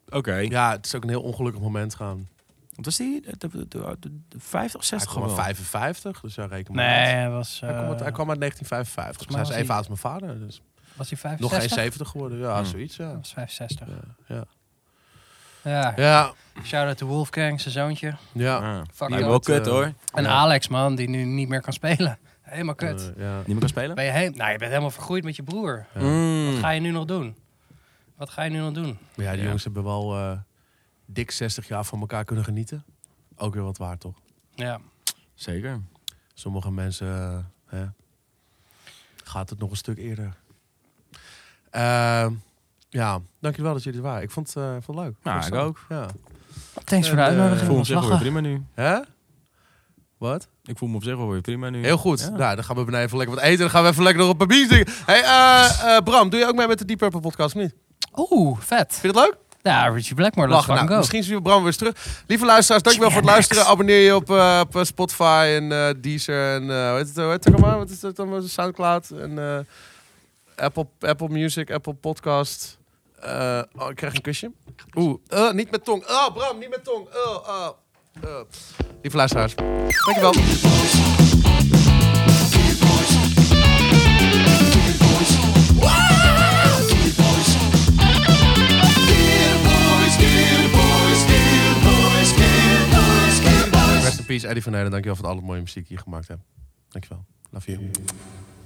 [SPEAKER 11] Oké.
[SPEAKER 2] Ja, het is ook een heel ongelukkig moment gaan.
[SPEAKER 11] Wat was die?
[SPEAKER 3] Eh,
[SPEAKER 11] De, de, de, de 50, 60
[SPEAKER 2] Hij kwam uit
[SPEAKER 11] gewoon?
[SPEAKER 2] 55, dus ja, reken
[SPEAKER 1] Nee,
[SPEAKER 2] maar uit.
[SPEAKER 1] hij was,
[SPEAKER 2] Hij kwam, uit-
[SPEAKER 1] eh,
[SPEAKER 2] hij kwam uit 1955. Dus
[SPEAKER 1] volgens mij
[SPEAKER 2] hij
[SPEAKER 1] was
[SPEAKER 2] is even
[SPEAKER 1] hij-
[SPEAKER 2] oud als mijn vader. Dus.
[SPEAKER 1] Was hij 65?
[SPEAKER 2] Nog geen 70 geworden, ja,
[SPEAKER 1] Hmm.
[SPEAKER 2] zoiets. Ja.
[SPEAKER 1] Hij was 65.
[SPEAKER 2] Ja.
[SPEAKER 1] Ja.
[SPEAKER 2] Ja.
[SPEAKER 1] Shout-out to Wolfgang, zijn zoontje.
[SPEAKER 2] Ja.
[SPEAKER 3] Ah,
[SPEAKER 2] Ja.
[SPEAKER 11] Lijkt
[SPEAKER 1] Fuck dat.
[SPEAKER 11] me wel kut,
[SPEAKER 2] eh,
[SPEAKER 11] hoor.
[SPEAKER 1] En
[SPEAKER 11] Ja.
[SPEAKER 1] Alex, man, die nu niet meer kan spelen. Helemaal kut.
[SPEAKER 2] Eh, ja. Niet
[SPEAKER 11] meer kan spelen?
[SPEAKER 1] Ben je, heem- nou, je bent helemaal vergroeid met je broer.
[SPEAKER 2] Ja. Mm.
[SPEAKER 1] Wat ga je nu nog doen? Wat ga je nu nog doen?
[SPEAKER 2] Maar ja, die jongens hebben wel eh, dik 60 jaar van elkaar kunnen genieten. Ook weer wat waard, toch?
[SPEAKER 1] Ja.
[SPEAKER 11] Zeker.
[SPEAKER 2] Sommige mensen eh, hè, gaat het nog een stuk eerder. Ehm, ja, dankjewel dat jullie er waren. Ik vond, eh, ik vond het leuk.
[SPEAKER 11] Ja,
[SPEAKER 2] Vond het
[SPEAKER 11] ik
[SPEAKER 2] leuk.
[SPEAKER 11] ook.
[SPEAKER 2] Ja.
[SPEAKER 1] Thanks
[SPEAKER 2] Eh,
[SPEAKER 1] voor de uitnodiging.
[SPEAKER 11] Ik voel me op
[SPEAKER 1] Was
[SPEAKER 11] zich wel weer
[SPEAKER 1] lachen.
[SPEAKER 11] prima nu.
[SPEAKER 2] Hè? Wat?
[SPEAKER 11] Ik voel me op zich wel weer prima nu.
[SPEAKER 2] Heel goed. Nou, dan gaan we beneden even lekker wat eten. Dan gaan we even lekker nog een paar biertjes drinken. Hey, eh, eh, Bram, doe je ook mee met de Deep Purple podcast of niet?
[SPEAKER 1] Oeh, vet. Vind
[SPEAKER 2] je het leuk?
[SPEAKER 1] Ja, Richie Blackmore, let's
[SPEAKER 2] Lachen.
[SPEAKER 1] fucking
[SPEAKER 2] Nou,
[SPEAKER 1] go.
[SPEAKER 2] Misschien zien we Bram weer eens terug. Lieve luisteraars, dankjewel voor het luisteren. Abonneer je op, eh, op eh, Spotify en eh, Deezer en eh, hoe heet het, hoe heet het allemaal? Wat is dat allemaal? Soundcloud en eh, Apple, Apple Music, Apple Podcast. Eh, oh, ik krijg een kusje. Oeh, eh, niet met tong. Oh, Bram, niet met tong. Oh, oh, eh. Lieve luisteraars, dankjewel. Rest in peace, Eddie van Heijden. Dankjewel voor alle mooie muziek die je gemaakt hebt. Dankjewel. Love you.